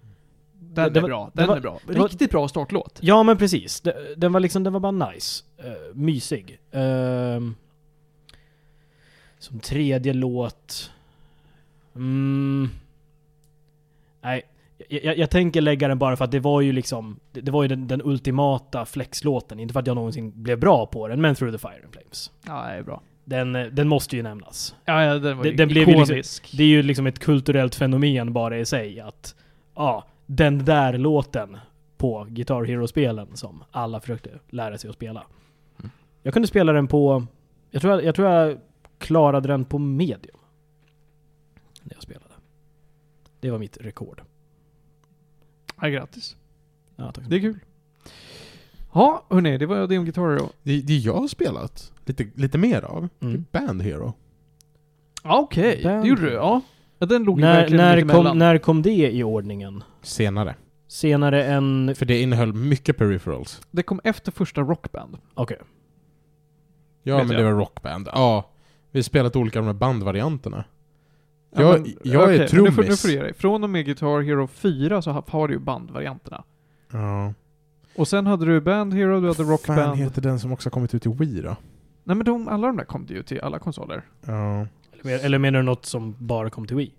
Speaker 3: Det-
Speaker 1: Den
Speaker 3: det
Speaker 1: är
Speaker 3: var-
Speaker 1: bra,
Speaker 3: det
Speaker 1: den
Speaker 3: var-
Speaker 1: är bra.
Speaker 3: det var-
Speaker 1: Riktigt bra startlåt.
Speaker 3: Ja men precis, De- den var liksom, den var bara nice. Eh, mysig. Ehm, som tredje låt... Mm. Nej, jag, jag, jag tänker lägga den bara för att det var ju liksom, det, det var ju den, den ultimata flexlåten. Inte för att jag någonsin blev bra på den, men Through the Fire and Flames.
Speaker 1: Ja, det är bra.
Speaker 3: Den, eh, den måste ju nämnas.
Speaker 1: Ja, ja den var
Speaker 3: Det-
Speaker 1: ju
Speaker 3: den blev ju
Speaker 1: ikonisk.
Speaker 3: liksom- Det är ju liksom ett kulturellt fenomen bara i sig att ja, den där låten på Guitar Hero-spelen som alla försökte lära sig att spela.
Speaker 2: Mm.
Speaker 3: Jag kunde spela den på, jag tror jag, jag, tror jag klarade den på medium. När jag spelade. Det var mitt rekord.
Speaker 1: Ja, grattis.
Speaker 3: Ja, tack.
Speaker 1: Det är kul. Ja, hörni, det var det om Guitar Hero.
Speaker 2: Det, det jag har spelat lite, lite mer av,
Speaker 3: Mm.
Speaker 2: Band Hero.
Speaker 1: Ja, okej.
Speaker 3: Den-
Speaker 1: Det gjorde du, ja. ja den låg ju
Speaker 3: När,
Speaker 1: verkligen
Speaker 3: när,
Speaker 1: mittemellan.
Speaker 3: kom, när kom det i ordningen?
Speaker 2: Senare.
Speaker 3: Senare än...
Speaker 2: För det innehöll mycket peripherals.
Speaker 1: Det kom efter första Rockband.
Speaker 3: Okej.
Speaker 2: Ja,
Speaker 1: Vet
Speaker 2: men
Speaker 1: jag.
Speaker 2: det var rockband. Ja. Vi har spelat olika av de här bandvarianterna.
Speaker 1: Ja,
Speaker 2: Jag-
Speaker 1: men-
Speaker 2: jag är
Speaker 1: okej, men Nu får, nu
Speaker 2: trummis.
Speaker 1: får du ge dig. Från och med Guitar Hero 4 så har- har du ju bandvarianterna.
Speaker 2: Ja.
Speaker 1: Och sen hade du Band Hero, du hade
Speaker 2: fan
Speaker 1: Rockband.
Speaker 2: heter den som också har kommit ut i Wii då?
Speaker 1: Nej men de, alla de där kom ju till alla konsoler.
Speaker 2: Ja.
Speaker 3: Eller, eller menar du något som bara kom till Wii?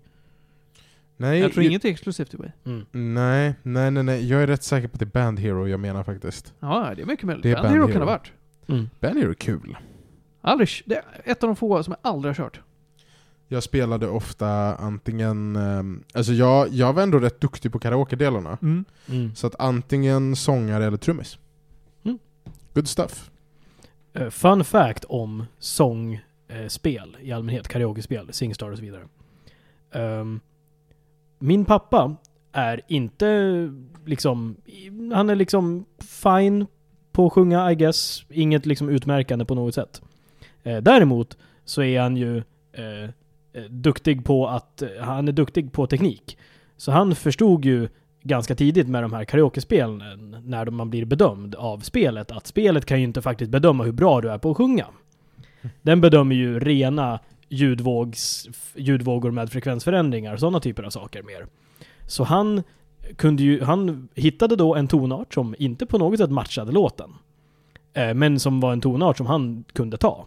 Speaker 2: Nej,
Speaker 1: jag tror
Speaker 2: ju-
Speaker 1: inget är exklusivt till Wii.
Speaker 3: Mm.
Speaker 2: Nej, nej, nej, nej. Jag är rätt säker på att det är Band Hero jag menar faktiskt.
Speaker 1: Ja, det är mycket möjligt.
Speaker 2: Det är
Speaker 1: Band
Speaker 2: Band
Speaker 1: Hero kan
Speaker 2: Hero.
Speaker 1: ha varit.
Speaker 3: Mm.
Speaker 2: Band Hero är kul.
Speaker 1: Aldrig, det är ett av de få som jag aldrig har kört.
Speaker 2: Jag spelade ofta antingen... ehm, Alltså jag, jag var ändå rätt duktig på karaoke-delarna.
Speaker 1: Mm.
Speaker 3: Mm.
Speaker 2: Så att antingen sångare eller trummis.
Speaker 3: Mm.
Speaker 2: Good stuff.
Speaker 3: Eh, Fun fact om sångspel i allmänhet, karaoke-spel, Singstar och så vidare. Ehm, min pappa är inte liksom, han är liksom fine på att sjunga I guess, inget liksom utmärkande på något sätt. Eh, däremot så är han ju eh, eh, duktig på att, eh, han är duktig på teknik. Så han förstod ju ganska tidigt med de här karaokespelen eh, när de- man blir bedömd av spelet att spelet kan ju inte faktiskt bedöma hur bra du är på att sjunga. Den bedömer ju rena ljudvågs, f- ljudvågor med frekvensförändringar och sådana typer av saker mer. Så han kunde ju, han hittade då en tonart som inte på något sätt matchade låten. Eh, Men som var en tonart som han kunde ta.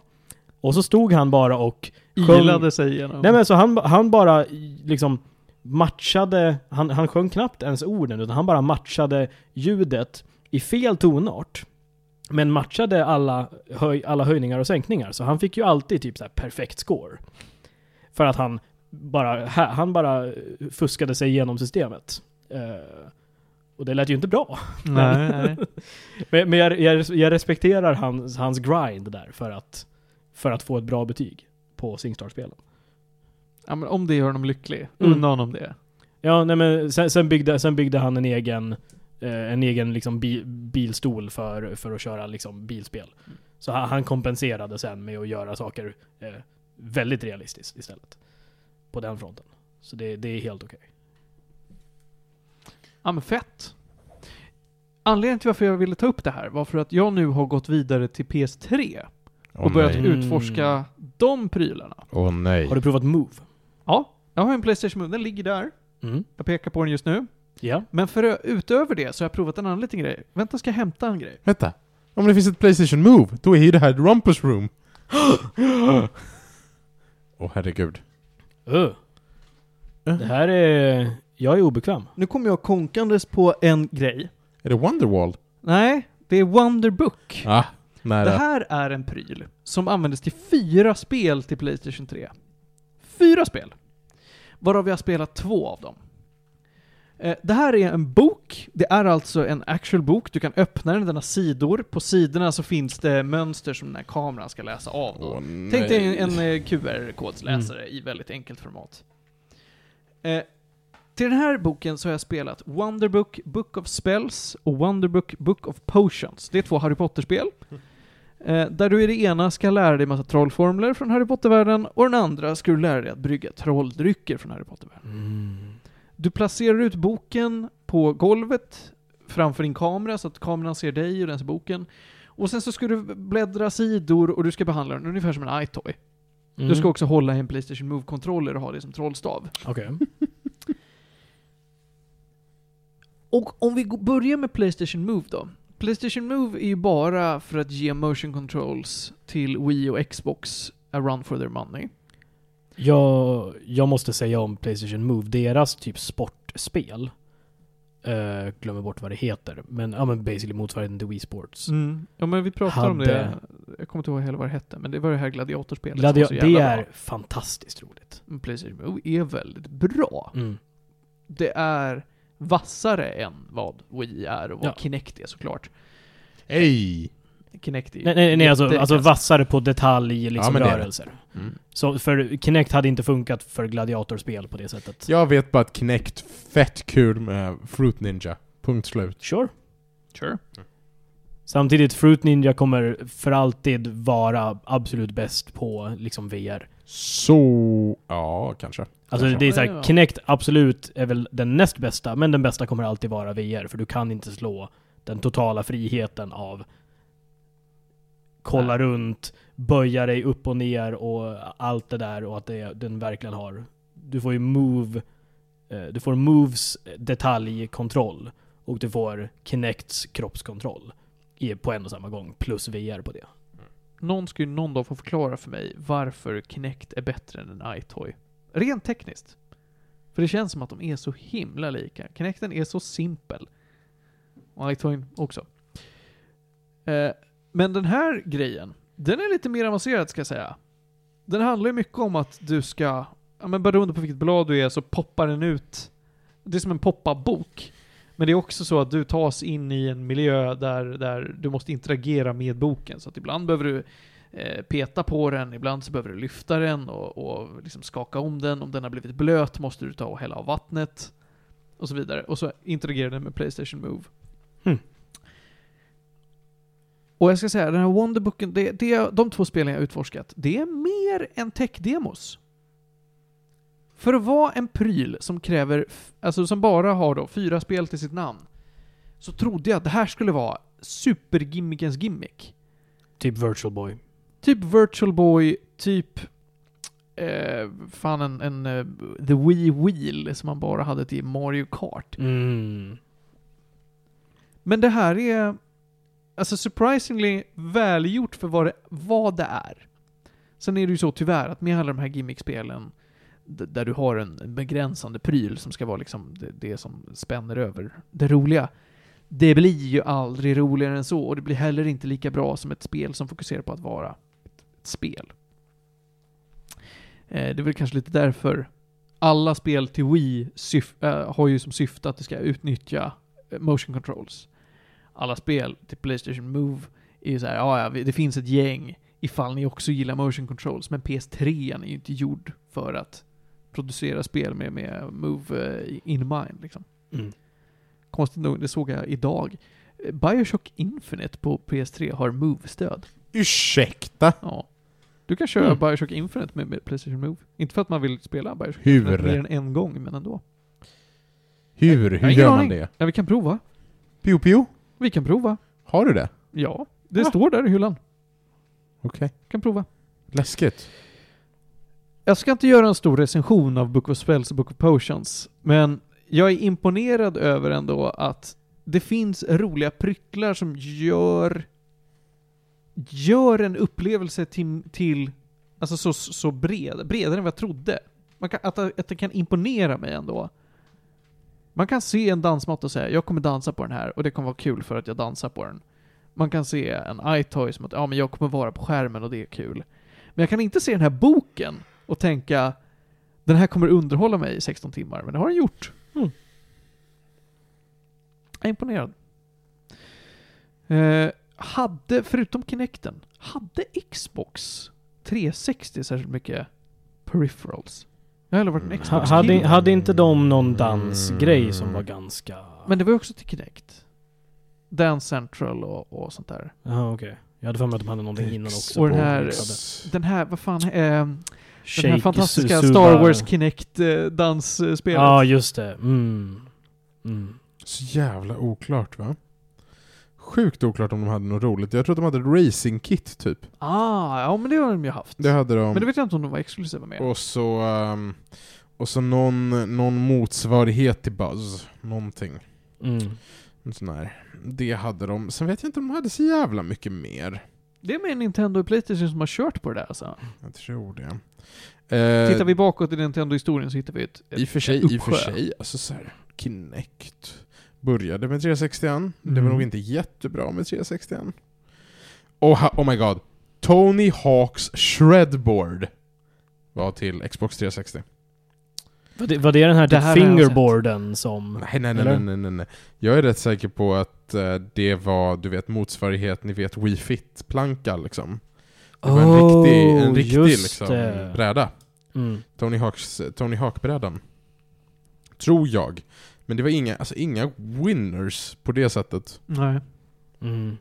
Speaker 3: Och så stod han bara och Sjung-
Speaker 1: Ilade sig igenom.
Speaker 3: Nej men så han, han bara liksom matchade, han, han sjöng knappt ens orden utan han bara matchade ljudet i fel tonart. Men matchade alla, höj, alla höjningar och sänkningar så han fick ju alltid typ så här perfekt score. För att han bara, ha- han bara fuskade sig igenom systemet. Eh, och det lät ju inte bra.
Speaker 1: nej, nej.
Speaker 3: Men, men jag, jag, jag respekterar hans, hans grind där för att, för att få ett bra betyg på Singstar-spelen.
Speaker 1: Ja, men om det gör honom lycklig,
Speaker 3: Mm.
Speaker 1: unna honom det.
Speaker 3: Ja, nej men sen, sen, byggde, sen byggde han en egen, eh, en egen liksom bi, bilstol för, för att köra liksom bilspel. Så han, han kompenserade sen med att göra saker eh, väldigt realistiskt istället. På den fronten. Så det, det är helt okej.
Speaker 1: Ja men fett. Anledningen till varför jag ville ta upp det här var för att jag nu har gått vidare till PS3 och börjat
Speaker 3: nej. Mm.
Speaker 1: utforska de prylarna.
Speaker 2: Åh nej.
Speaker 3: Har du provat Move?
Speaker 1: Ja, jag har en Playstation Move, den ligger där.
Speaker 3: Mm.
Speaker 1: Jag pekar på den just nu.
Speaker 3: Ja.
Speaker 1: Men för ö- utöver det så har jag provat en annan liten grej. Vänta, ska jag hämta en grej?
Speaker 2: Vänta. Om det finns ett Playstation Move, då är ju det här ett Rumpus Room. Åh herregud.
Speaker 3: Öh. Det här är... Jag är obekväm.
Speaker 1: Nu kommer jag konkandes på en grej.
Speaker 2: Är det Wonderwall?
Speaker 1: Nej, det är Wonderbook.
Speaker 2: Ah, nära.
Speaker 1: Det här är en pryl som användes till fyra spel till Playstation 3. Fyra spel! Varav jag har spelat två av dem. Eh, Det här är en bok. Det är alltså en actual bok. Du kan öppna den, den har sidor. På sidorna så finns det mönster som den här kameran ska läsa av. Då.
Speaker 2: Åh, nej.
Speaker 1: Tänk dig en, en eh, QR-kodsläsare i väldigt enkelt format. Eh, till den här boken så har jag spelat Wonderbook Book of Spells och Wonderbook Book of Potions. Det är två Harry Potter-spel. Eh, där du i det ena ska lära dig massa trollformler från Harry Potter-världen och den andra ska du lära dig att brygga trolldrycker från Harry Potter-världen. Mm. Du placerar ut boken på golvet framför din kamera så att kameran ser dig och den ser boken. Och sen så ska du bläddra sidor och du ska behandla den ungefär som en iToy.
Speaker 3: Mm.
Speaker 1: Du ska också hålla i en Playstation Move-kontroller och ha det som trollstav.
Speaker 3: Okej.
Speaker 1: Och om vi go- börjar med Playstation Move då. Playstation Move är ju bara för att ge motion controls till Wii och Xbox a run for their money.
Speaker 3: Jag, jag måste säga om Playstation Move, deras typ sportspel. eh,
Speaker 1: Mm.
Speaker 3: glömmer bort vad det heter, men ja men basically motsvarigheten till Wii Sports.
Speaker 1: Ja men vi pratade om
Speaker 3: Hade-
Speaker 1: det jag kommer inte ihåg heller vad det hette, men det var det här gladiatorspelet som var
Speaker 3: Gladio-
Speaker 1: så
Speaker 3: det
Speaker 1: jävla
Speaker 3: är
Speaker 1: bra.
Speaker 3: fantastiskt roligt. Mm.
Speaker 1: Men Playstation Move är väldigt bra. Det är vassare än vad Wii är och vad
Speaker 3: Ja.
Speaker 1: Kinect är såklart.
Speaker 2: Ej!
Speaker 1: Kinect är ju
Speaker 3: Nej, nej, nej alltså,
Speaker 1: jätte-
Speaker 3: alltså vassare på detalj, liksom
Speaker 2: men det är det.
Speaker 3: rörelser.
Speaker 2: Mm.
Speaker 3: Så för Kinect hade inte funkat för gladiatorspel på det sättet.
Speaker 2: Jag vet bara att Kinect, fett kul med Fruit Ninja. Punkt slut.
Speaker 3: Sure.
Speaker 1: Sure.
Speaker 3: Samtidigt, Fruit Ninja kommer för alltid vara absolut bäst på liksom VR.
Speaker 2: Så... Ja, kanske.
Speaker 3: Alltså det är så
Speaker 1: Ja, ja.
Speaker 3: här, Kinect absolut är väl den näst bästa, men den bästa kommer alltid vara VR, för du kan inte slå den totala friheten av kolla
Speaker 1: Nej.
Speaker 3: runt, böja dig upp och ner och allt det där och att det, den verkligen har. Du får ju move, eh, du får moves eh, detaljkontroll och du får Kinects kroppskontroll i, på en och samma gång, plus VR på det.
Speaker 1: Någon ska ju någon dag få förklara för mig varför Kinect är bättre än en iToy. Rent tekniskt. För det känns som att de är så himla lika. Kinecten är så simpel. Och iToyn också. Eh, men den här grejen, den är lite mer avancerad ska jag säga. Den handlar ju mycket om att du ska, ja men beroende på vilket blad du är så poppar den ut. Det är som en poppa-bok. Men det är också så att du tas in i en miljö där, där du måste interagera med boken. Så att ibland behöver du eh, peta på den, ibland så behöver du lyfta den och, och liksom skaka om den. Om den har blivit blöt måste du ta och hälla av vattnet. Och så vidare. Och så interagerar den med Playstation Move.
Speaker 3: Hmm.
Speaker 1: Och jag ska säga, den här Wonderbooken, det, det, de två spelen jag utforskat, det är mer än tech-demos. För att vara en pryl som kräver, f- alltså som bara har då fyra spel till sitt namn, så trodde jag att det här skulle vara supergimmickens gimmick.
Speaker 3: Typ Virtual Boy.
Speaker 1: Typ Virtual Boy, typ... Eh, fan en... en eh, The Wii Wheel som man bara hade till Mario Kart.
Speaker 3: Mm.
Speaker 1: Men det här är... Alltså surprisingly välgjort för vad det, vad det är. Sen är det ju så tyvärr att med alla de här gimmickspelen d- där du har en en begränsande pryl som ska vara liksom det, det som spänner över det roliga. Det blir ju aldrig roligare än så och det blir heller inte lika bra som ett spel som fokuserar på att vara ett, ett spel. Eh, det är väl kanske lite därför alla spel till Wii syf- eh, har ju som syfte att det ska utnyttja eh, motion controls. Alla spel till Playstation Move är ju så här, ja, ja, vi- det finns ett gäng ifall ni också gillar motion controls, men PS3 är ju inte gjord för att producera spel med, med Move eh, in mind liksom.
Speaker 3: Mm.
Speaker 1: Konstigt nog, det såg jag idag. Eh, Bioshock Infinite på PS3 har Move-stöd.
Speaker 2: Ursäkta?
Speaker 1: Ja. Du kan köra
Speaker 3: Mm.
Speaker 1: Bioshock Infinite med, med Playstation Move. Inte för att man vill spela Bioshock
Speaker 2: Hur?
Speaker 1: Infinite mer än en gång, men ändå.
Speaker 2: Hur?
Speaker 1: har
Speaker 2: Hur
Speaker 1: ingen
Speaker 2: gör man
Speaker 1: aning.
Speaker 2: det?
Speaker 1: Ja, vi kan prova.
Speaker 2: Pio Pio?
Speaker 1: Vi kan prova.
Speaker 2: Har du det?
Speaker 1: Ja, det
Speaker 2: Ja.
Speaker 1: står där i hyllan.
Speaker 2: Okej.
Speaker 1: Kan prova.
Speaker 2: Läskigt.
Speaker 1: Jag ska inte göra en stor recension av Book of Spells och Book of Potions, men jag är imponerad över ändå att det finns roliga pryttlar som gör gör en upplevelse till, till alltså så, så bred, bredare än vad jag trodde. Man kan, att, att det kan imponera mig ändå. Man kan se en dansmatta och säga jag kommer dansa på den här och det kommer vara kul för att jag dansar på den. Man kan se en iToy som att ja, men jag kommer vara på skärmen och det är kul. Men jag kan inte se den här boken och tänka den här kommer underhålla mig i 16 timmar, men det har den gjort.
Speaker 3: Mm.
Speaker 1: Jag är imponerad. Eh, hade, förutom Kinecten, hade Xbox 360 särskilt mycket peripherals? Jag har aldrig varit en
Speaker 2: Mm.
Speaker 1: xbox
Speaker 3: Ha- Hade,
Speaker 1: kille.
Speaker 3: hade inte de någon dansgrej som
Speaker 2: Mm.
Speaker 3: var ganska...
Speaker 1: Men det var ju också till Kinect. Dance Central och, och sånt där.
Speaker 3: Jaha, okej. Jag hade för mig att de hade någonting innan också.
Speaker 1: Och den
Speaker 3: på-
Speaker 1: här-
Speaker 3: hade.
Speaker 1: Den här, vad fan, eh, den här
Speaker 3: Shake
Speaker 1: fantastiska
Speaker 3: Suva-
Speaker 1: Star Wars eh, Kinect-dansspelet.
Speaker 3: Ja, just det. Mm. Mm.
Speaker 2: Så jävla oklart va? Sjukt oklart om de hade något roligt. Jag tror att de hade ett racingkit typ.
Speaker 1: Ah, ja men det har de ju haft.
Speaker 2: Det hade de.
Speaker 1: Men det vet jag inte om de var exklusiva med.
Speaker 2: Och så... ehm, och så någon, någon motsvarighet till Buzz. Någonting.
Speaker 3: Mm.
Speaker 2: En sån här. Det hade de. Sen vet jag inte om de hade så jävla mycket mer.
Speaker 1: Det är med Nintendo och Playstation som har kört på det där alltså.
Speaker 2: Jag tror det. Eh,
Speaker 1: Tittar vi bakåt i Nintendo-historien så hittar vi ett...
Speaker 2: I och
Speaker 1: ett
Speaker 2: för sig, i och för
Speaker 1: uppsjö.
Speaker 2: sig. Alltså så här, Kinect. Började med 360 Det var
Speaker 3: Mm.
Speaker 2: nog inte jättebra med 360 Och ha- oh my god. Tony Hawks Shredboard var till Xbox 360.
Speaker 3: Var det, var det den här,
Speaker 1: Det
Speaker 3: typ
Speaker 1: här har jag sett.
Speaker 3: fingerboarden som...
Speaker 2: Nej, nej, nej,
Speaker 3: Eller?
Speaker 2: nej, nej, nej, nej. Jag är rätt säker på att eh, det var, du vet, motsvarighet, ni vet, Wii Fit-planka liksom. Det var en riktig, en
Speaker 3: Oh,
Speaker 2: riktig
Speaker 3: just
Speaker 2: liksom,
Speaker 3: det.
Speaker 2: bräda.
Speaker 3: Mm.
Speaker 2: Tony Hawks, Tony Hawk-brädan. Tror jag. Men det var inga, alltså inga winners på det sättet.
Speaker 1: Nej.
Speaker 3: Mm.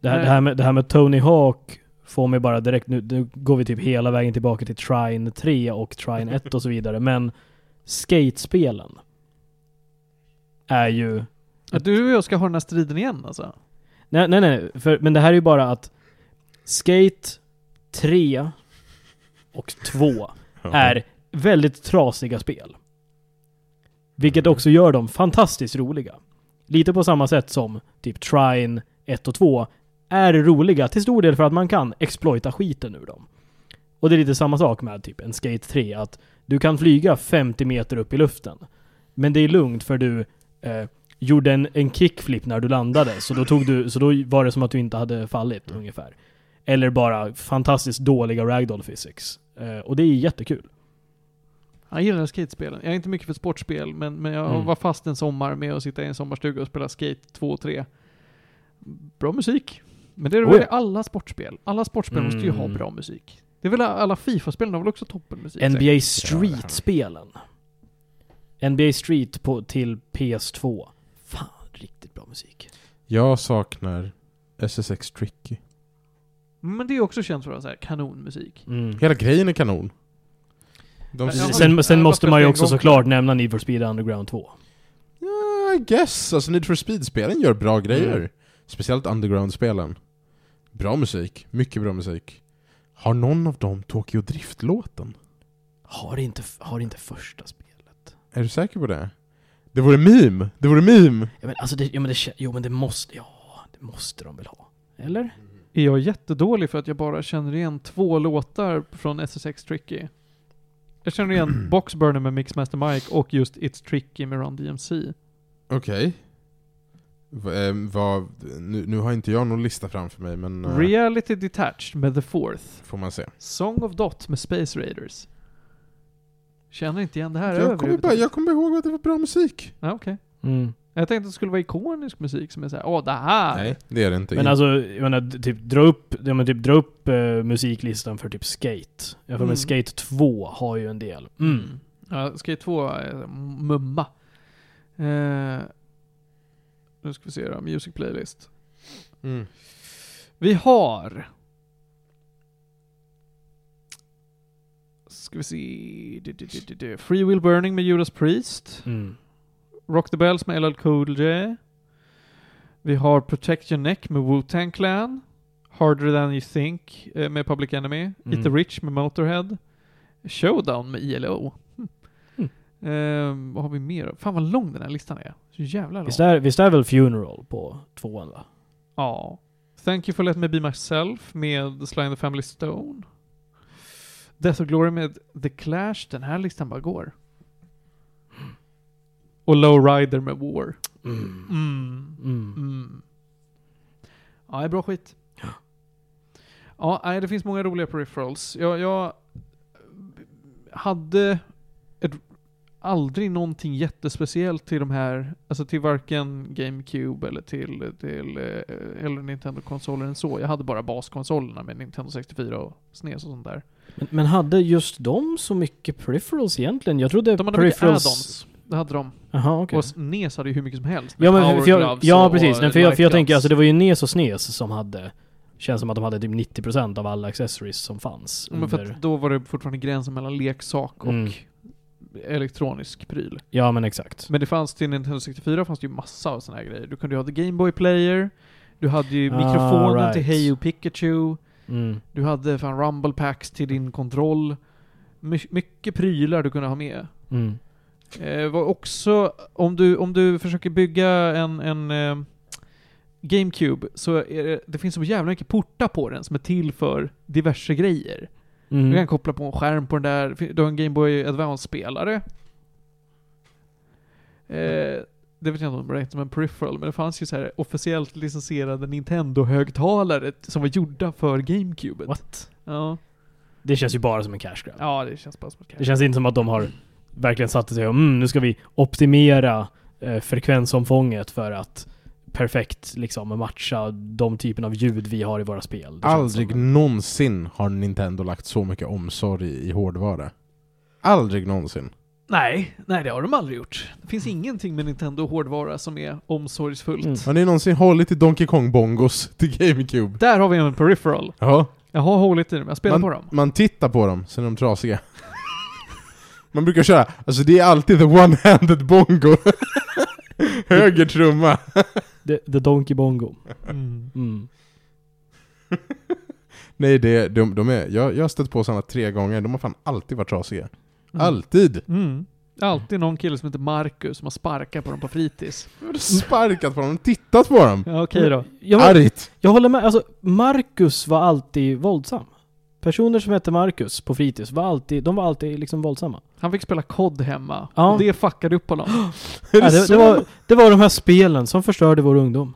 Speaker 3: Det, här,
Speaker 1: Nej.
Speaker 3: det, här med, det här med Tony Hawk får mig bara direkt, nu, nu går vi typ hela vägen tillbaka till Trine 3 och Trine 1 och så vidare, men skatespelen är ju...
Speaker 1: Att du och jag ska ha den här striden igen alltså?
Speaker 3: Nej, nej, nej. För, men det här är ju bara att Skate 3 och 2 är väldigt trasiga spel. Vilket också gör dem fantastiskt roliga. Lite på samma sätt som typ Trine 1 och 2 är roliga till stor del för att man kan exploita skiten ur dem. Och det är lite samma sak med typ en Skate 3, att du kan flyga 50 meter upp i luften. Men det är lugnt för du eh, gjorde en, en kickflip när du landade, så då, tog du, så då var det som att du inte hade fallit
Speaker 2: Mm.
Speaker 3: ungefär. Eller bara fantastiskt dåliga ragdoll physics. Eh, och det är jättekul.
Speaker 1: Jag gillar skatespelen. Jag är inte mycket för sportspel, men, men jag
Speaker 3: Mm.
Speaker 1: var fast en sommar med att sitta i en sommarstuga och spela Skate 2 och 3. Bra musik. Men det är
Speaker 3: Oh,
Speaker 1: väl
Speaker 3: ja.
Speaker 1: alla sportspel. Alla sportspel måste ju ha
Speaker 3: Mm.
Speaker 1: bra musik. Det är väl alla Fifa-spel, de har väl också toppenmusik?
Speaker 3: NBA
Speaker 2: det här.
Speaker 3: Street-spelen. NBA Street på, till PS2. Fan, riktigt bra musik.
Speaker 2: Jag saknar SSX Tricky.
Speaker 1: Men det är också känt för att vara så här kanonmusik.
Speaker 2: Hela grejen är kanon. De
Speaker 1: Ja,
Speaker 2: s-
Speaker 3: Mm. Sen, sen
Speaker 1: jag
Speaker 3: måste
Speaker 1: bara
Speaker 3: man ju
Speaker 1: spelar en
Speaker 3: också
Speaker 1: gång.
Speaker 3: såklart nämna Need for Speed Underground 2.
Speaker 2: I guess. Alltså Need for Speed-spelen gör bra grejer.
Speaker 3: Mm.
Speaker 2: Speciellt Underground-spelen. Bra musik. Mycket bra musik. Har någon av dem Tokyo Drift-låten?
Speaker 3: Har inte, har inte första spelet.
Speaker 2: Är du säker på det? Det vore meme! Det vore meme!
Speaker 3: Ja, men alltså det, ja, men det, kä- jo men det måste, ja, det måste de väl ha? Eller?
Speaker 1: Är jag jättedålig för att jag bara känner igen två låtar från SSX Tricky? Jag känner igen Boxburner med Mixmaster Mike och just It's Tricky med Run DMC.
Speaker 2: Okej. V- ehm, vad- Nu, nu har inte jag någon lista framför mig, men... eh,
Speaker 1: Reality Detached med The Fourth.
Speaker 2: får man se.
Speaker 1: Song of Dot med Space Raiders. Känner inte igen det här
Speaker 2: Jag kommer, bara,
Speaker 1: överhuvudtaget.
Speaker 2: jag kommer ihåg att det var bra musik.
Speaker 1: Ja, okej.
Speaker 3: Mm.
Speaker 1: Jag tänkte att det skulle vara ikonisk musik som är såhär, åh det här!
Speaker 2: Nej, det är det inte.
Speaker 3: Men alltså, jag menar, d- typ dra upp, ja, men typ, dra upp eh, musiklistan för typ Skate. Jag får
Speaker 1: Mm.
Speaker 3: med Skate 2 har ju en del. Mm.
Speaker 1: Ja, Skate 2, eh, mumma. Eh, nu ska vi se då, Music Playlist.
Speaker 2: Mm.
Speaker 1: Vi har... Ska vi se... Du, du, du, du, du. Free Will Burning med Judas Priest.
Speaker 3: Mm.
Speaker 1: Rock the Bells med LL Cool J. Vi har Protect Your Neck med Wu-Tang Clan. Harder Than You Think eh, med Public Enemy. Eat the
Speaker 3: Mm.
Speaker 1: Rich med Motorhead. Showdown med ILO. Hm.
Speaker 3: Mm.
Speaker 1: Ehm, vad har vi mer? Fan vad lång den här listan är. Så jävla lång.
Speaker 3: Visst, är, visst är väl Funeral på tvåan va?
Speaker 1: Ja. Thank You For Let Me Be Myself med Sly and the Family Stone. Death of Glory med The Clash. Den här listan bara går. Och Low Rider med War.
Speaker 3: Mm.
Speaker 1: Mm.
Speaker 3: Mm.
Speaker 1: Mm. Ja, det är bra skit. Ja, nej, det finns många roliga peripherals. Jag, jag hade ett, aldrig någonting jättespeciellt till de här, alltså till varken GameCube eller till, till eh, eller Nintendo-konsoler än så. Jag hade bara baskonsolerna med Nintendo 64 och SNES och sånt där.
Speaker 3: Men, men hade just de så mycket peripherals egentligen? Jag trodde
Speaker 1: De hade mycket
Speaker 3: peripherals...
Speaker 1: add-ons. Det hade de.
Speaker 3: Jaha, okej.
Speaker 1: Och SNES hade ju hur mycket som helst. med
Speaker 3: Ja, men
Speaker 1: power
Speaker 3: för jag,
Speaker 1: gloves
Speaker 3: ja
Speaker 1: och
Speaker 3: precis. Nej, för jag, för
Speaker 1: light
Speaker 3: jag tänker,
Speaker 1: gloves.
Speaker 3: alltså det var ju NES och SNES som hade... Känns som att de hade typ 90% av alla accessories som fanns.
Speaker 1: Ja, Men för
Speaker 3: under-
Speaker 1: att då var det fortfarande gränsen mellan leksak och
Speaker 3: Mm.
Speaker 1: elektronisk pryl.
Speaker 3: Ja men exakt.
Speaker 1: Men det fanns till Nintendo 64 fanns det ju massa av såna här grejer. Du kunde ju ha The Game Boy Player, du hade ju
Speaker 3: Ah,
Speaker 1: mikrofonen
Speaker 3: right.
Speaker 1: till Hey You Pikachu,
Speaker 3: Mm.
Speaker 1: du hade fan Rumble Packs till din kontroll. My- mycket prylar du kunde ha med.
Speaker 3: Mm.
Speaker 1: Eh, var också, om du, om du försöker bygga en, en eh, GameCube så är det, det finns så jävla mycket portar på den som är till för diverse grejer.
Speaker 3: Mm.
Speaker 1: Du kan koppla på en skärm på den där, du har en Game Boy Advance-spelare. Eh, det vet jag inte om det räknas som en peripheral, men det fanns ju så här officiellt licensierade Nintendo-högtalare som var gjorda för GameCube.
Speaker 3: What?
Speaker 1: Ja.
Speaker 3: Det känns ju bara som en cash grab.
Speaker 1: ja, det känns bara som
Speaker 3: Det känns inte som att de har verkligen satt sig och mm, nu ska vi optimera eh, frekvensomfånget för att perfekt liksom matcha de typen av ljud vi har i våra spel. Det känns
Speaker 2: Aldrig
Speaker 3: som-
Speaker 2: någonsin har Nintendo lagt så mycket omsorg i, i hårdvara. Aldrig någonsin.
Speaker 1: Nej, nej det har de aldrig gjort. Det finns ingenting med Nintendo hårdvara som är omsorgsfullt.
Speaker 3: Mm.
Speaker 2: Har ni någonsin hållit i Donkey Kong-bongos till GameCube?
Speaker 1: Där har vi en peripheral.
Speaker 2: Ja.
Speaker 1: Jag har hållit i dem, jag spelar på
Speaker 2: Man-
Speaker 1: dem.
Speaker 2: Man tittar på dem, sen är de trasiga. Man brukar köra, alltså det är alltid the one-handed bongo. Höger trumma.
Speaker 3: The, the Donkey Bongo.
Speaker 1: Mm.
Speaker 3: Mm.
Speaker 2: Nej, det, de, de är, jag, jag har stött på sådana tre gånger, de har fan alltid varit trasiga. Alltid!
Speaker 1: Mm. Alltid någon kille som heter Marcus som har sparkat på dem på fritids.
Speaker 2: Jag har sparkat på dem, tittat på dem.
Speaker 1: Ja, okej då.
Speaker 3: Jag, håller-
Speaker 2: Argt!
Speaker 3: jag håller med, alltså Marcus var alltid våldsam. Personer som hette Marcus på fritids var alltid, de var alltid liksom våldsamma.
Speaker 1: Han fick spela kod hemma.
Speaker 3: Ja.
Speaker 1: Och det fuckade upp honom.
Speaker 2: Är det
Speaker 3: Ja, det,
Speaker 2: så?
Speaker 3: det, var, det var de här spelen som förstörde vår ungdom.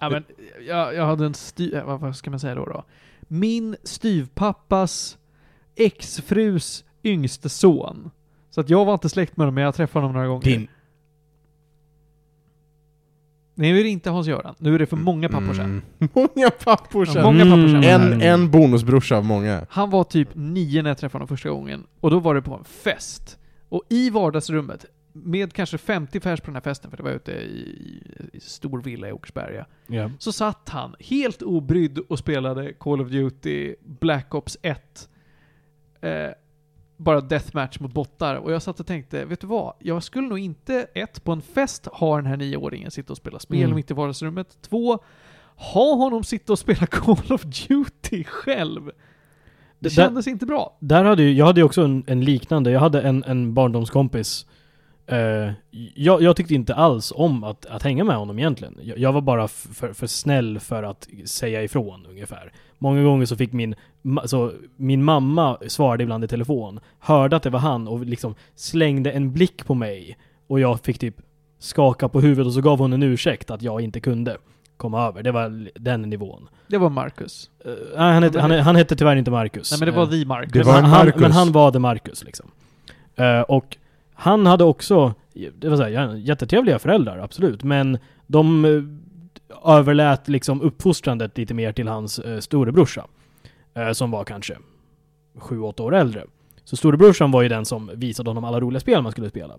Speaker 1: Ja, men jag, jag hade en styv... eh, Vad vad ska man säga då? då? Min styvpappas exfrus yngste son. Så att jag var inte släkt med honom, men jag träffade honom några gånger.
Speaker 2: Din-
Speaker 1: Nej, nu är det inte Hans-Göran. Nu är det för många pappor sen.
Speaker 2: Mm. Många pappor sen.
Speaker 1: Ja, många pappor sen.
Speaker 2: En, en bonusbrorsa av många.
Speaker 1: Han var typ nio när jag träffade honom första gången. Och då var det på en fest. Och i vardagsrummet, med kanske 50 pers på den här festen, för det var ute i, i stor villa i Åkersberga.
Speaker 3: Ja.
Speaker 1: Så satt han helt obrydd och spelade Call of Duty Black Ops 1. Eh, bara deathmatch mot bottar. Och jag satt och tänkte, vet du vad? Jag skulle nog inte, ett, på en fest ha den här nioåringen sitta och spela spel
Speaker 3: Mm.
Speaker 1: mitt i vardagsrummet. Två, ha honom sitta och spela Call of Duty själv. Det
Speaker 3: Där-
Speaker 1: kändes inte bra.
Speaker 3: Där hade ju, jag hade ju också en, en liknande, jag hade en, en barndomskompis. Eh, jag, jag tyckte inte alls om att, att hänga med honom egentligen. Jag, jag var bara f- för, för snäll för att säga ifrån ungefär. Många gånger så fick min, ma- så min mamma svarade ibland i telefon, hörde att det var han och liksom slängde en blick på mig. Och jag fick typ skaka på huvudet och så gav hon en ursäkt att jag inte kunde komma över. Det var l- den nivån.
Speaker 1: Det var Marcus.
Speaker 3: Eh, nej, han, hette, han, han hette tyvärr inte Marcus.
Speaker 1: Nej men det
Speaker 3: Eh,
Speaker 1: var The Marcus.
Speaker 2: Det var en
Speaker 3: men, han,
Speaker 2: Marcus.
Speaker 3: men han var The Marcus liksom. Eh, och han hade också, det var så här, ja, jättetrevliga föräldrar, absolut. Men de eh, överlät liksom uppfostrandet lite mer till hans uh, storebrorsa. eh, som var kanske sju åtta år äldre. Så storebrorsan var ju den som visade honom alla roliga spel man skulle spela.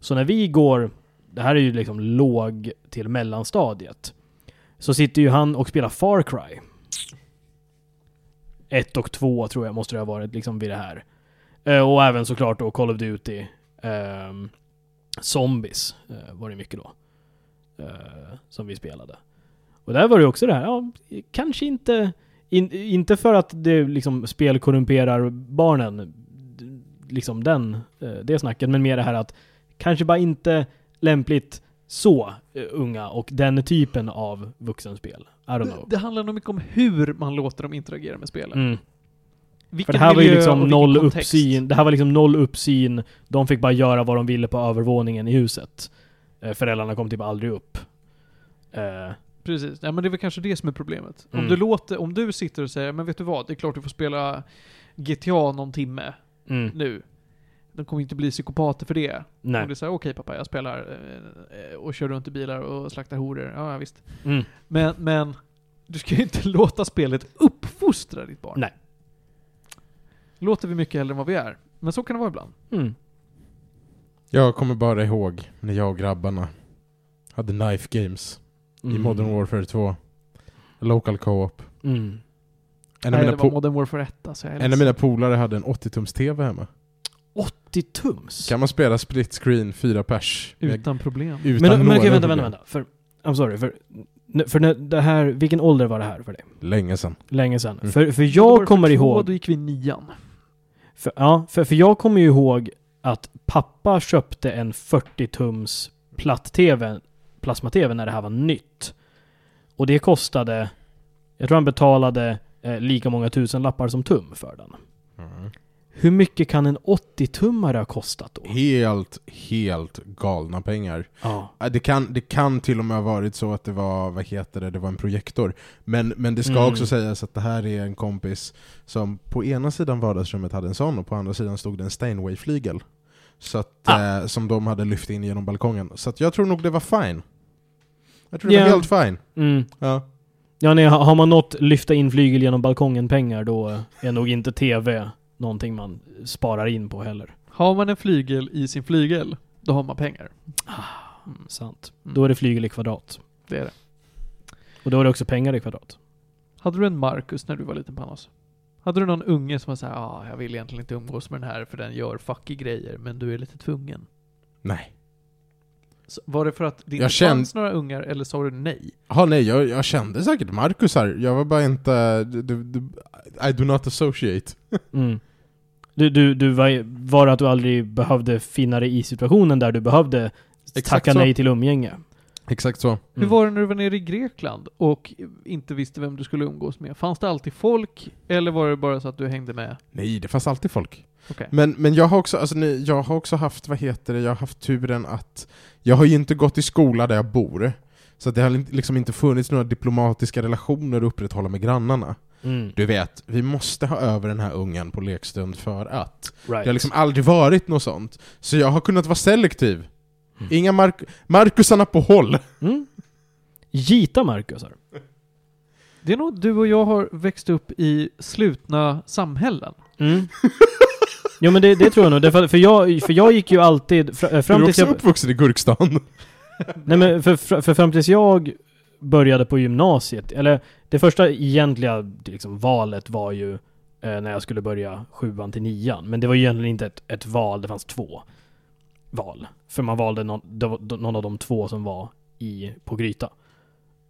Speaker 3: Så när vi går, det här är ju liksom låg till mellanstadiet. Så sitter ju han och spelar Far Cry. Ett och två tror jag måste det ha varit liksom vid det här. Eh, och även såklart då Call of Duty. ehm, zombies eh, var det mycket då. eh, som vi spelade. Och där var det också det här, ja, kanske inte... In, inte för att det liksom spel korrumperar barnen. d- Liksom den, eh, det snacket. Men mer det här att kanske bara inte lämpligt så eh, unga och den typen av vuxenspel. I don't
Speaker 1: Det,
Speaker 3: know.
Speaker 1: det handlar nog mycket om hur man låter dem interagera med spelet.
Speaker 3: Mm. För
Speaker 1: Vilken
Speaker 3: det här var ju
Speaker 1: miljö och
Speaker 3: liksom
Speaker 1: vilken
Speaker 3: noll
Speaker 1: kontext.
Speaker 3: uppsyn. Det här var liksom noll uppsyn. De fick bara göra vad de ville på övervåningen i huset. Eh, Föräldrarna kom typ aldrig upp. Eh,
Speaker 1: Precis, ja, men det är väl kanske det som är problemet. Om,
Speaker 3: Mm.
Speaker 1: du låter, om du sitter och säger men vet du vad, det är klart du får spela GTA någon timme
Speaker 3: mm,
Speaker 1: nu. De kommer inte bli psykopater för det. Om
Speaker 3: nej.
Speaker 1: du säger okej pappa, jag spelar eh, eh, och kör runt i bilar och slaktar horor. Ja, ja visst.
Speaker 3: Mm.
Speaker 1: Men, men du ska ju inte låta spelet uppfostra ditt barn.
Speaker 3: Nej.
Speaker 1: Låter vi mycket äldre än vad vi är. Men så kan det vara ibland.
Speaker 3: Mm.
Speaker 2: Jag kommer bara ihåg när jag och grabbarna hade knife games i
Speaker 3: Mm.
Speaker 2: Modern Warfare 2. Local co-op.
Speaker 3: Mm.
Speaker 2: En av,
Speaker 1: Nej, det
Speaker 2: mina,
Speaker 1: var
Speaker 2: po-
Speaker 1: Modern Warfare 1 alltså. Jag är
Speaker 2: en av
Speaker 1: ledsen.
Speaker 2: mina polare hade en 80-tums-TV hemma.
Speaker 3: 80 tums?
Speaker 2: Kan man spela split screen, fyra pers? med-
Speaker 1: Utan problem.
Speaker 2: Utan
Speaker 3: men men
Speaker 2: några
Speaker 3: okej, vänta, vänta,
Speaker 2: problem.
Speaker 3: vänta. För, I'm sorry. För, n- för när det här, vilken ålder var det här för dig?
Speaker 2: Länge sedan.
Speaker 3: Länge sedan.
Speaker 2: Mm.
Speaker 3: För, för
Speaker 1: Modern Warfare
Speaker 3: jag kommer
Speaker 1: 2,
Speaker 3: ihåg...
Speaker 1: Då gick vi i nian.
Speaker 3: För, ja, för, för jag kommer ju ihåg att pappa köpte en 40-tums platt-tv, plasma-tv när det här var nytt. Och det kostade, jag tror han betalade eh, lika många tusen lappar som tum för den. Hur mycket kan en 80-tummare ha kostat då?
Speaker 2: Helt, helt galna pengar.
Speaker 3: Ja.
Speaker 2: Ja, Det kan, det kan till och med ha varit så att det var, vad heter det, det var en projektor. Men, men det ska
Speaker 3: Mm.
Speaker 2: också sägas att det här är en kompis som på ena sidan vardagsrummet hade en sån och på andra sidan stod det en Steinway-flygel. Så att, eh, som de hade lyft in genom balkongen. Så att jag tror nog det var fine. Jag tror
Speaker 3: Ja.
Speaker 2: det var helt fine.
Speaker 3: Mm.
Speaker 2: Ja.
Speaker 3: Ja, nej, har har man nått lyfta in flygel genom balkongen pengar då är nog inte TV någonting man sparar in på heller.
Speaker 1: Har man en flygel i sin flygel, då har man pengar.
Speaker 3: Sant.
Speaker 1: Mm.
Speaker 3: Då är det flygel i kvadrat.
Speaker 1: Det är det.
Speaker 3: Och då är det också pengar i kvadrat.
Speaker 1: Hade du en Marcus när du var liten Panos? Hade du någon unge som var såhär, ja, ah, jag vill egentligen inte umgås med den här för den gör fucky grejer, men du är lite tvungen?
Speaker 2: Nej.
Speaker 1: Så var det för att det
Speaker 2: Jag
Speaker 1: inte
Speaker 2: känn-
Speaker 1: fanns några ungar, eller sa du nej?
Speaker 2: Ja, nej, jag, jag kände säkert Marcus här. Jag var bara inte... Du, du, du, I do not associate.
Speaker 3: Mm. Du, du, du var, var det att du aldrig behövde finna dig i situationen där du behövde
Speaker 2: Exakt
Speaker 3: tacka
Speaker 2: så.
Speaker 3: nej till umgänge? Mm.
Speaker 2: Exakt så.
Speaker 1: Hur var det när du var nere i Grekland och inte visste vem du skulle umgås med? Fanns det alltid folk, eller var det bara så att du hängde med?
Speaker 2: Nej, det fanns alltid folk.
Speaker 1: Okej.
Speaker 2: Men, men jag, har också, alltså, nej, jag har också haft, vad heter det, jag har haft turen att jag har ju inte gått i skola där jag bor. Så att det har inte- liksom inte funnits några diplomatiska relationer att upprätthålla med grannarna.
Speaker 3: Mm.
Speaker 2: Du vet, vi måste ha över den här ungen på lekstund för att.
Speaker 3: Right.
Speaker 2: Det har liksom aldrig varit något sånt. Så jag har kunnat vara selektiv.
Speaker 3: Mm.
Speaker 2: Inga Mark- Markusarna på håll.
Speaker 3: mm. Gita Marcus här.
Speaker 1: Det är nog du och jag har växt upp i slutna samhällen.
Speaker 3: Mm. Jo men det, det tror jag nog, Därför- för jag, för jag gick ju alltid fr- eh,
Speaker 2: du
Speaker 3: fram
Speaker 2: är
Speaker 3: tills
Speaker 2: också
Speaker 3: jag...
Speaker 2: uppvuxen i Gurkstan.
Speaker 3: Nej men för, för, för fram tills jag började på gymnasiet, eller det första egentliga liksom, valet var ju eh, när jag skulle börja sjuan till nian. Men det var ju egentligen inte ett, ett val, det fanns två val. För man valde någon, det var- någon av de två som var i, på Gryta.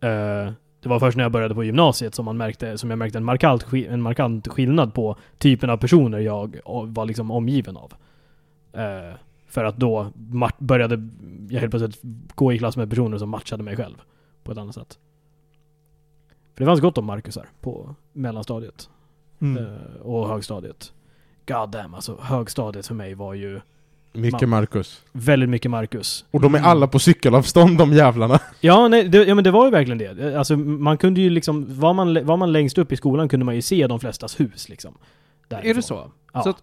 Speaker 3: Eh, det var först när jag började på gymnasiet som, man märkte, som jag märkte en markant, ski- en markant skillnad på typen av personer jag o- var liksom omgiven av. Eh, för att då ma- började jag helt plötsligt gå i klass med personer som matchade mig själv på ett annat sätt. För det fanns gott om Marcusar på mellanstadiet
Speaker 1: Mm.
Speaker 3: eh, och högstadiet. God damn alltså, högstadiet för mig var ju
Speaker 2: Mycket Marcus.
Speaker 3: väldigt mycket Marcus.
Speaker 2: Och de är alla på cykelavstånd de jävlarna.
Speaker 3: Ja, nej, det, ja men det var ju verkligen det. Alltså man kunde ju liksom, var man, var man längst upp i skolan kunde man ju se de flestas hus liksom.
Speaker 1: Är det
Speaker 3: Därifrån.
Speaker 1: så?
Speaker 3: Ja.
Speaker 1: Så att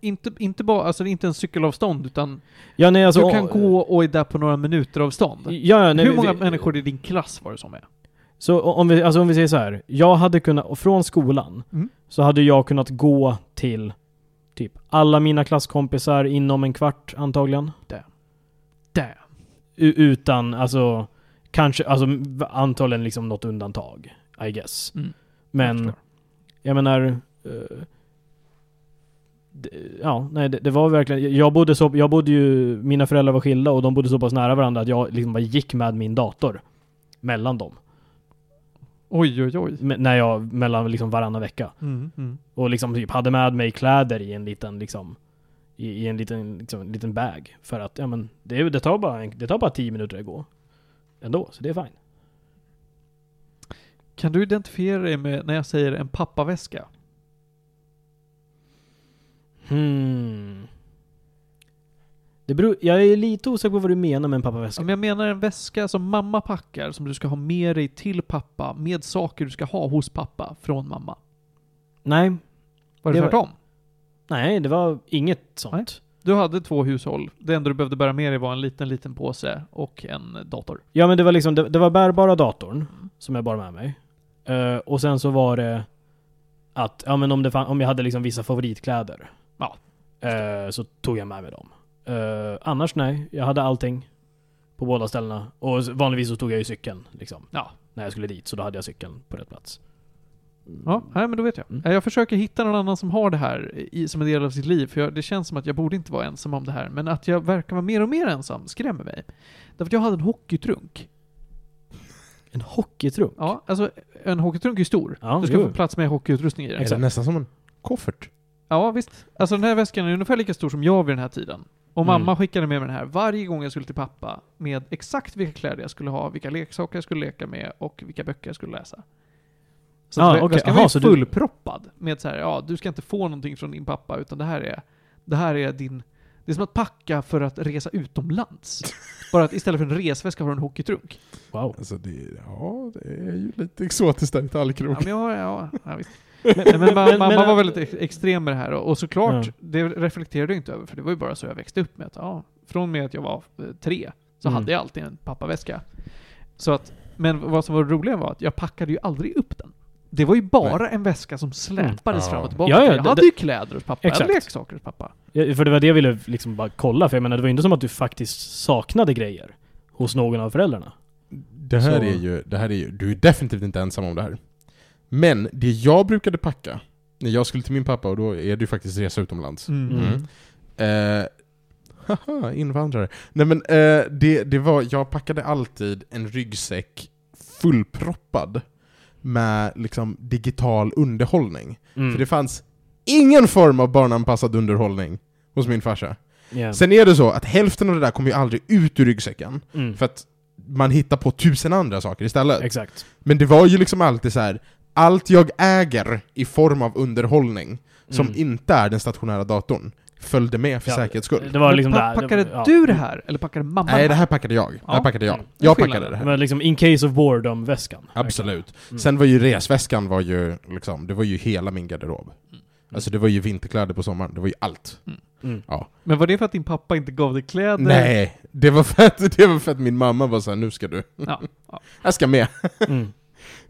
Speaker 1: inte, inte bara, alltså det är inte en cykelavstånd, utan
Speaker 3: ja, nej, alltså,
Speaker 1: du kan gå och är där på några minuter avstånd.
Speaker 3: Ja, ja, nej,
Speaker 1: Hur
Speaker 3: vi-
Speaker 1: många
Speaker 3: vi-
Speaker 1: människor i din klass var det som är?
Speaker 3: Så o- om vi, alltså om vi säger så här. Jag hade kunnat, och från skolan,
Speaker 1: Mm.
Speaker 3: så hade jag kunnat gå till typ alla mina klasskompisar inom en kvart antagligen.
Speaker 1: Damn.
Speaker 3: U- utan, alltså, kanske, alltså m- antagligen liksom något undantag. I guess.
Speaker 1: Mm.
Speaker 3: Men, jag, menar... eh, d- ja, nej det, det var verkligen, jag bodde så, jag bodde ju, mina föräldrar var skilda och de bodde så pass nära varandra att jag liksom bara gick med min dator. Mellan dem.
Speaker 1: Oj, oj, oj.
Speaker 3: Me- när jag, mellan liksom varannan vecka.
Speaker 1: Mm, mm.
Speaker 3: Och liksom typ hade med mig kläder i en liten liksom i, i en liten, liksom, en liten bag. För att, ja men, det, är- det, tar bara, en- det tar bara tio minuter att gå. Ändå, så det är fine.
Speaker 1: Kan du identifiera dig med när jag säger en pappaväska?
Speaker 3: Hmm. Det beror, jag är lite osäker på vad du menar med en pappaväska.
Speaker 1: Om jag menar en väska som mamma packar, som du ska ha med dig till pappa, med saker du ska ha hos pappa, från mamma.
Speaker 3: Nej,
Speaker 1: Var det,
Speaker 3: Det var-
Speaker 1: tvärtom?
Speaker 3: nej, det var inget sånt.
Speaker 1: Du hade två hushåll. Det enda du behövde bära med dig var en liten, liten påse och en dator.
Speaker 3: Ja men det var liksom, det, det var bärbara datorn som jag bar med mig. Eh, och sen så var det att, ja men om, det fan, om jag hade liksom vissa favoritkläder.
Speaker 1: Ja.
Speaker 3: eh, så tog jag med mig dem. Eh, annars nej, jag hade allting. På båda ställena. Och s- vanligtvis så tog jag ju cykeln liksom.
Speaker 1: Ja.
Speaker 3: När jag skulle dit, så då hade jag cykeln på rätt plats.
Speaker 1: Ja, nej, men då vet jag. Eh,
Speaker 3: Mm.
Speaker 1: Jag försöker hitta någon annan som har det här i, som en del av sitt liv, för jag, det känns som att jag borde inte vara ensam om det här, men att jag verkar vara mer och mer ensam skrämmer mig. Därför att jag hade en hockeytrunk.
Speaker 3: En hockeytrunk?
Speaker 1: Ja, alltså en hockeytrunk är ju stor.
Speaker 3: Ja,
Speaker 1: du ska
Speaker 3: jo.
Speaker 1: få plats med hockeyutrustning i den.
Speaker 2: Är det nästan som en koffert?
Speaker 1: Ja, visst. Alltså den här väskan är ungefär lika stor som jag vid den här tiden. Och
Speaker 3: Mm.
Speaker 1: mamma skickade med mig den här varje gång jag skulle till pappa med exakt vilka kläder jag skulle ha, vilka leksaker jag skulle leka med och vilka böcker jag skulle läsa. Så att
Speaker 3: Ah,
Speaker 1: vä-
Speaker 3: okej.
Speaker 1: väskan
Speaker 3: Aha,
Speaker 1: var
Speaker 3: så
Speaker 1: ju
Speaker 3: du-
Speaker 1: fullproppad med så här, ja du ska inte få någonting från din pappa utan det här är, det här är din, det är som att packa för att resa utomlands. Bara att istället för en resväska har du en hockeytrunk.
Speaker 3: Wow.
Speaker 2: Alltså det, ja, det är ju lite exotiskt där i
Speaker 1: Ja,
Speaker 2: Tallkrok.
Speaker 1: men jag, har- ja, ja visst. Men, men, mamma,
Speaker 3: men-
Speaker 1: mamma var
Speaker 3: men-
Speaker 1: väldigt ex- extrem med det här och, och såklart,
Speaker 3: Ja.
Speaker 1: det reflekterade jag inte över för det var ju bara så jag växte upp med att, ja, från och med att jag var eh, tre så
Speaker 3: Mm.
Speaker 1: hade jag alltid en pappaväska. Så att, men vad som var roligare var att jag packade ju aldrig upp den. Det var ju bara en väska som släpades
Speaker 2: Mm.
Speaker 1: fram
Speaker 2: Ja.
Speaker 1: och tillbaka.
Speaker 3: Ja,
Speaker 1: För
Speaker 3: ja,
Speaker 1: jag
Speaker 3: det-
Speaker 1: hade
Speaker 3: det-
Speaker 1: ju kläder hos pappa, jag
Speaker 3: Exakt.
Speaker 1: hade leksaker hos pappa.
Speaker 3: Ja, För det var det jag ville liksom bara kolla, för jag menar det var ju inte som att du faktiskt saknade grejer hos någon av föräldrarna.
Speaker 2: Det här,
Speaker 3: Så-
Speaker 2: är ju, det här är ju, du är definitivt inte ensam om det här. Men det jag brukade packa, när jag skulle till min pappa, och då är det ju faktiskt resa utomlands. Mm. Eh, haha, invandrare. Nej men eh, det, det var, jag packade alltid en ryggsäck fullproppad med liksom digital underhållning.
Speaker 3: Mm.
Speaker 2: För det fanns ingen form av barnanpassad underhållning hos min farsa.
Speaker 3: Ja.
Speaker 2: Sen är det så att hälften av det där kommer ju aldrig ut ur ryggsäcken.
Speaker 3: Mm.
Speaker 2: För att man hittar på tusen andra saker istället.
Speaker 3: Exakt.
Speaker 2: Men det var ju liksom alltid så här. allt jag äger i form av underhållning som
Speaker 3: Mm.
Speaker 2: inte är den stationära datorn följde med för
Speaker 3: Ja,
Speaker 2: säkerhets skull.
Speaker 3: Det var
Speaker 1: Men
Speaker 3: liksom
Speaker 1: pa-
Speaker 3: där-
Speaker 1: packade
Speaker 3: ja.
Speaker 1: du det här? Eller packade mamma
Speaker 2: Nej, det här packade jag. Det här
Speaker 1: Ja.
Speaker 2: packade jag.
Speaker 3: Mm.
Speaker 2: Jag
Speaker 1: Skillnad.
Speaker 2: packade det här.
Speaker 3: Men liksom in case of boredom-väskan.
Speaker 2: Absolut.
Speaker 3: Mm.
Speaker 2: Sen var ju resväskan var ju liksom, det var ju hela min garderob. Alltså det var ju vinterkläder på sommaren, det var ju allt.
Speaker 3: Mm.
Speaker 1: Men var det för att din pappa inte gav dig kläder?
Speaker 2: Nej, det var för att, det var för att min mamma var så här, nu ska du.
Speaker 1: Ja, ja.
Speaker 2: Jag ska med.
Speaker 3: Mm.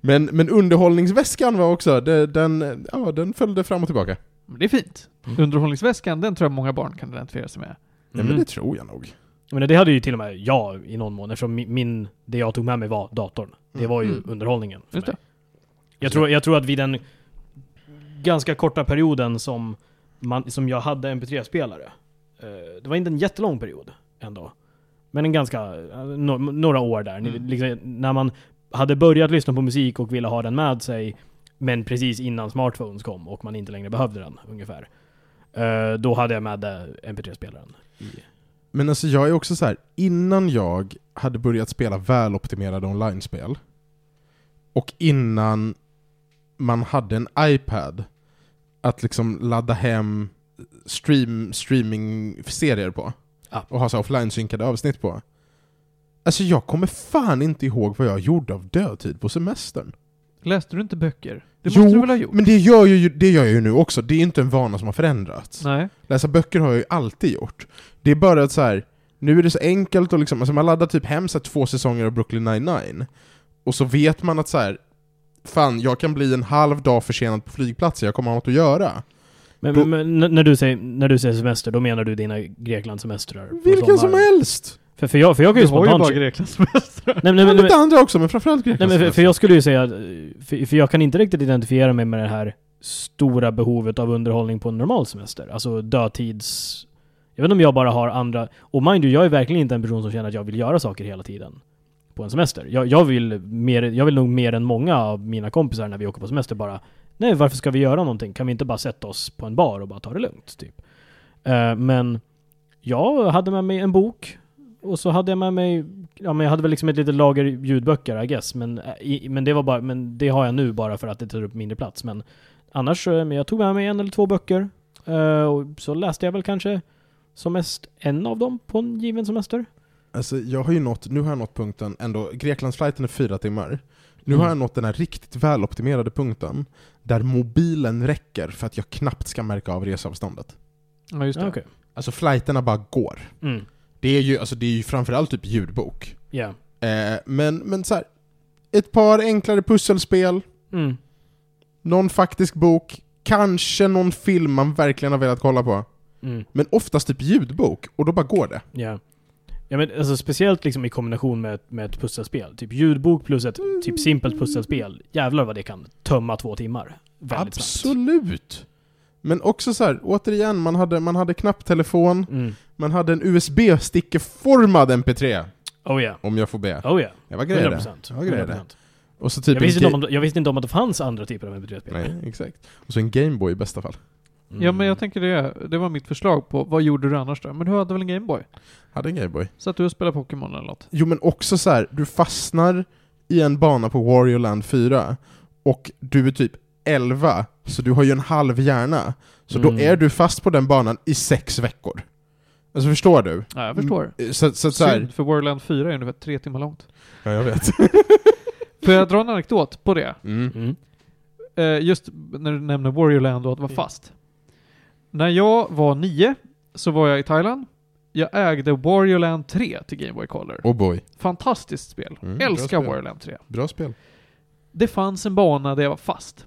Speaker 2: Men, men underhållningsväskan var också, det, den, ja, den följde fram och tillbaka.
Speaker 1: Men det är fint.
Speaker 3: Mm.
Speaker 1: Underhållningsväskan, den tror jag många barn kan identifiera sig med.
Speaker 2: Ja,
Speaker 3: Mhm.
Speaker 2: men det tror jag nog.
Speaker 3: Men det hade ju till och med jag i någon mån eftersom mi- min, det jag tog med mig var datorn. Det var ju
Speaker 1: Mm.
Speaker 3: underhållningen. För
Speaker 1: Just
Speaker 3: mig.
Speaker 1: det.
Speaker 3: Jag, tror, jag tror att vid den ganska korta perioden som, man, som jag hade MP3-spelare. eh, det var inte en jättelång period ändå. Men en ganska, eh, no, några år där. Ni-
Speaker 1: Mm.
Speaker 3: Liksom, när man hade börjat lyssna på musik och ville ha den med sig. Men precis innan smartphones kom och man inte längre behövde den ungefär. Eh, då hade jag med eh, MP3-spelaren.
Speaker 2: Men alltså jag är också så här, innan jag hade börjat spela väloptimerade online-spel och innan man hade en iPad att liksom ladda hem stream, streaming-serier på
Speaker 3: Ja.
Speaker 2: och ha så här offline-synkade avsnitt på. Alltså jag kommer fan inte ihåg vad jag gjorde av dödtid på semestern.
Speaker 1: Läste du inte böcker? Det
Speaker 2: Jo,
Speaker 1: måste du väl ha gjort?
Speaker 2: Men det gör, jag ju, det gör jag ju nu också, det är inte en vana som har förändrats.
Speaker 1: Nej.
Speaker 2: Läsa böcker har jag ju alltid gjort. Det är bara att så här. nu är det så enkelt och liksom, alltså man laddar typ hem så här, två säsonger av Brooklyn 99 och så vet man att så här. fan jag kan bli en halv dag försenad på flygplatsen, jag kommer ha något att göra.
Speaker 3: Men,
Speaker 2: Då-
Speaker 3: men n- när, du säger, när du säger semester, då menar du dina Greklandssemestrar? på
Speaker 2: Vilken som
Speaker 3: sommaren?
Speaker 2: helst!
Speaker 3: För, för, jag, för jag kan ju
Speaker 1: Du har ju
Speaker 3: spontant...
Speaker 1: bara Greklandssemestrar.
Speaker 3: nej, nej,
Speaker 2: Ja,
Speaker 3: men-
Speaker 2: men,
Speaker 3: nej,
Speaker 2: lite andra också, men framförallt
Speaker 3: men- nej, men för,
Speaker 2: Greklandssemestern.
Speaker 3: för jag skulle ju säga... att, eh, För, för jag kan inte riktigt identifiera mig med det här stora behovet av underhållning på en normal semester. Alltså dödtids... Jag vet inte om jag bara har andra... Och mind you, jag är verkligen inte en person som känner att jag vill göra saker hela tiden. På en semester. Jag, jag, vill mer, jag vill nog mer än många av mina kompisar när vi åker på semester bara... Nej, varför ska vi göra någonting? Kan vi inte bara sätta oss på en bar och bara ta det lugnt? Typ. Eh, men jag hade med mig en bok. Och så hade jag med mig, ja men jag hade väl liksom ett litet lager ljudböcker I guess, men, eh, i, men, det var bara, men det har jag nu bara för att det tar upp mindre plats. Men annars, eh, men jag tog med mig en eller två böcker. eh, och så läste jag väl kanske som mest en av dem på en given semester.
Speaker 2: Alltså jag har ju nått, nu har jag nått punkten ändå, Greklandsflighten är fyra timmar. Nu har
Speaker 3: Mm.
Speaker 2: jag nått den här riktigt väloptimerade punkten där mobilen räcker för att jag knappt ska märka av resavståndet.
Speaker 1: Ja, just det.
Speaker 3: Okej.
Speaker 2: Alltså flighterna bara går.
Speaker 3: Mm.
Speaker 2: Det är ju, alltså det är ju framförallt typ ljudbok.
Speaker 3: Yeah.
Speaker 2: Eh, men, men så här, ett par enklare pusselspel,
Speaker 3: Mm.
Speaker 2: någon faktisk bok, kanske någon film man verkligen har velat kolla på.
Speaker 3: Mm.
Speaker 2: Men oftast typ ljudbok, och då bara går det.
Speaker 3: Ja. Ja men alltså speciellt liksom i kombination med, med ett pusselspel. Typ ljudbok plus ett typ simpelt pusselspel. Jävlar vad det kan tömma två timmar. Väldigt snabbt.
Speaker 2: Absolut! Men också så här, återigen, man hade, man hade knapptelefon,
Speaker 3: Mm.
Speaker 2: man hade en USB-stickeformad MP3,
Speaker 3: Oh ja.
Speaker 2: om jag får be.
Speaker 3: Oh ja.
Speaker 2: Det var grejer det.
Speaker 3: 100%.
Speaker 2: Ja, grejer det.
Speaker 3: 100%.
Speaker 2: Och så typ
Speaker 3: jag, visste
Speaker 2: en
Speaker 3: inte
Speaker 2: ga-
Speaker 3: om, jag visste inte om att det fanns andra typer av MP3-spel.
Speaker 2: Nej, exakt. Och så en Gameboy i bästa fall.
Speaker 3: Mm.
Speaker 1: Ja, men jag tänker det. Det var mitt förslag på vad gjorde du annars då? Men du hade väl en Gameboy?
Speaker 2: Hade en Gameboy.
Speaker 1: Satt du och spelade Pokémon eller något?
Speaker 2: Jo men också så här, du fastnar i en bana på Wario Land 4 och du är typ 11, så du har ju en halv hjärna. Så då
Speaker 3: Mm.
Speaker 2: är du fast på den banan i sex veckor. Alltså förstår du?
Speaker 1: Ja, jag förstår.
Speaker 2: Så, så, så, så här.
Speaker 1: Mm. Synd, för Warland 4 är ungefär tre timmar långt.
Speaker 2: Ja, jag vet.
Speaker 1: Får jag dra en anekdot på det?
Speaker 2: Mm.
Speaker 3: Mm.
Speaker 1: Eh, just när du nämner Warriorland och att vara
Speaker 3: Mm.
Speaker 1: fast. När jag var nio så var jag i Thailand. Jag ägde Warriorland 3 till Game Boy Color.
Speaker 2: Oh boy.
Speaker 1: Fantastiskt spel.
Speaker 2: Mm, bra
Speaker 1: Älskar
Speaker 2: spel.
Speaker 1: Warriorland 3.
Speaker 2: Bra spel.
Speaker 1: Det fanns en bana där jag var fast.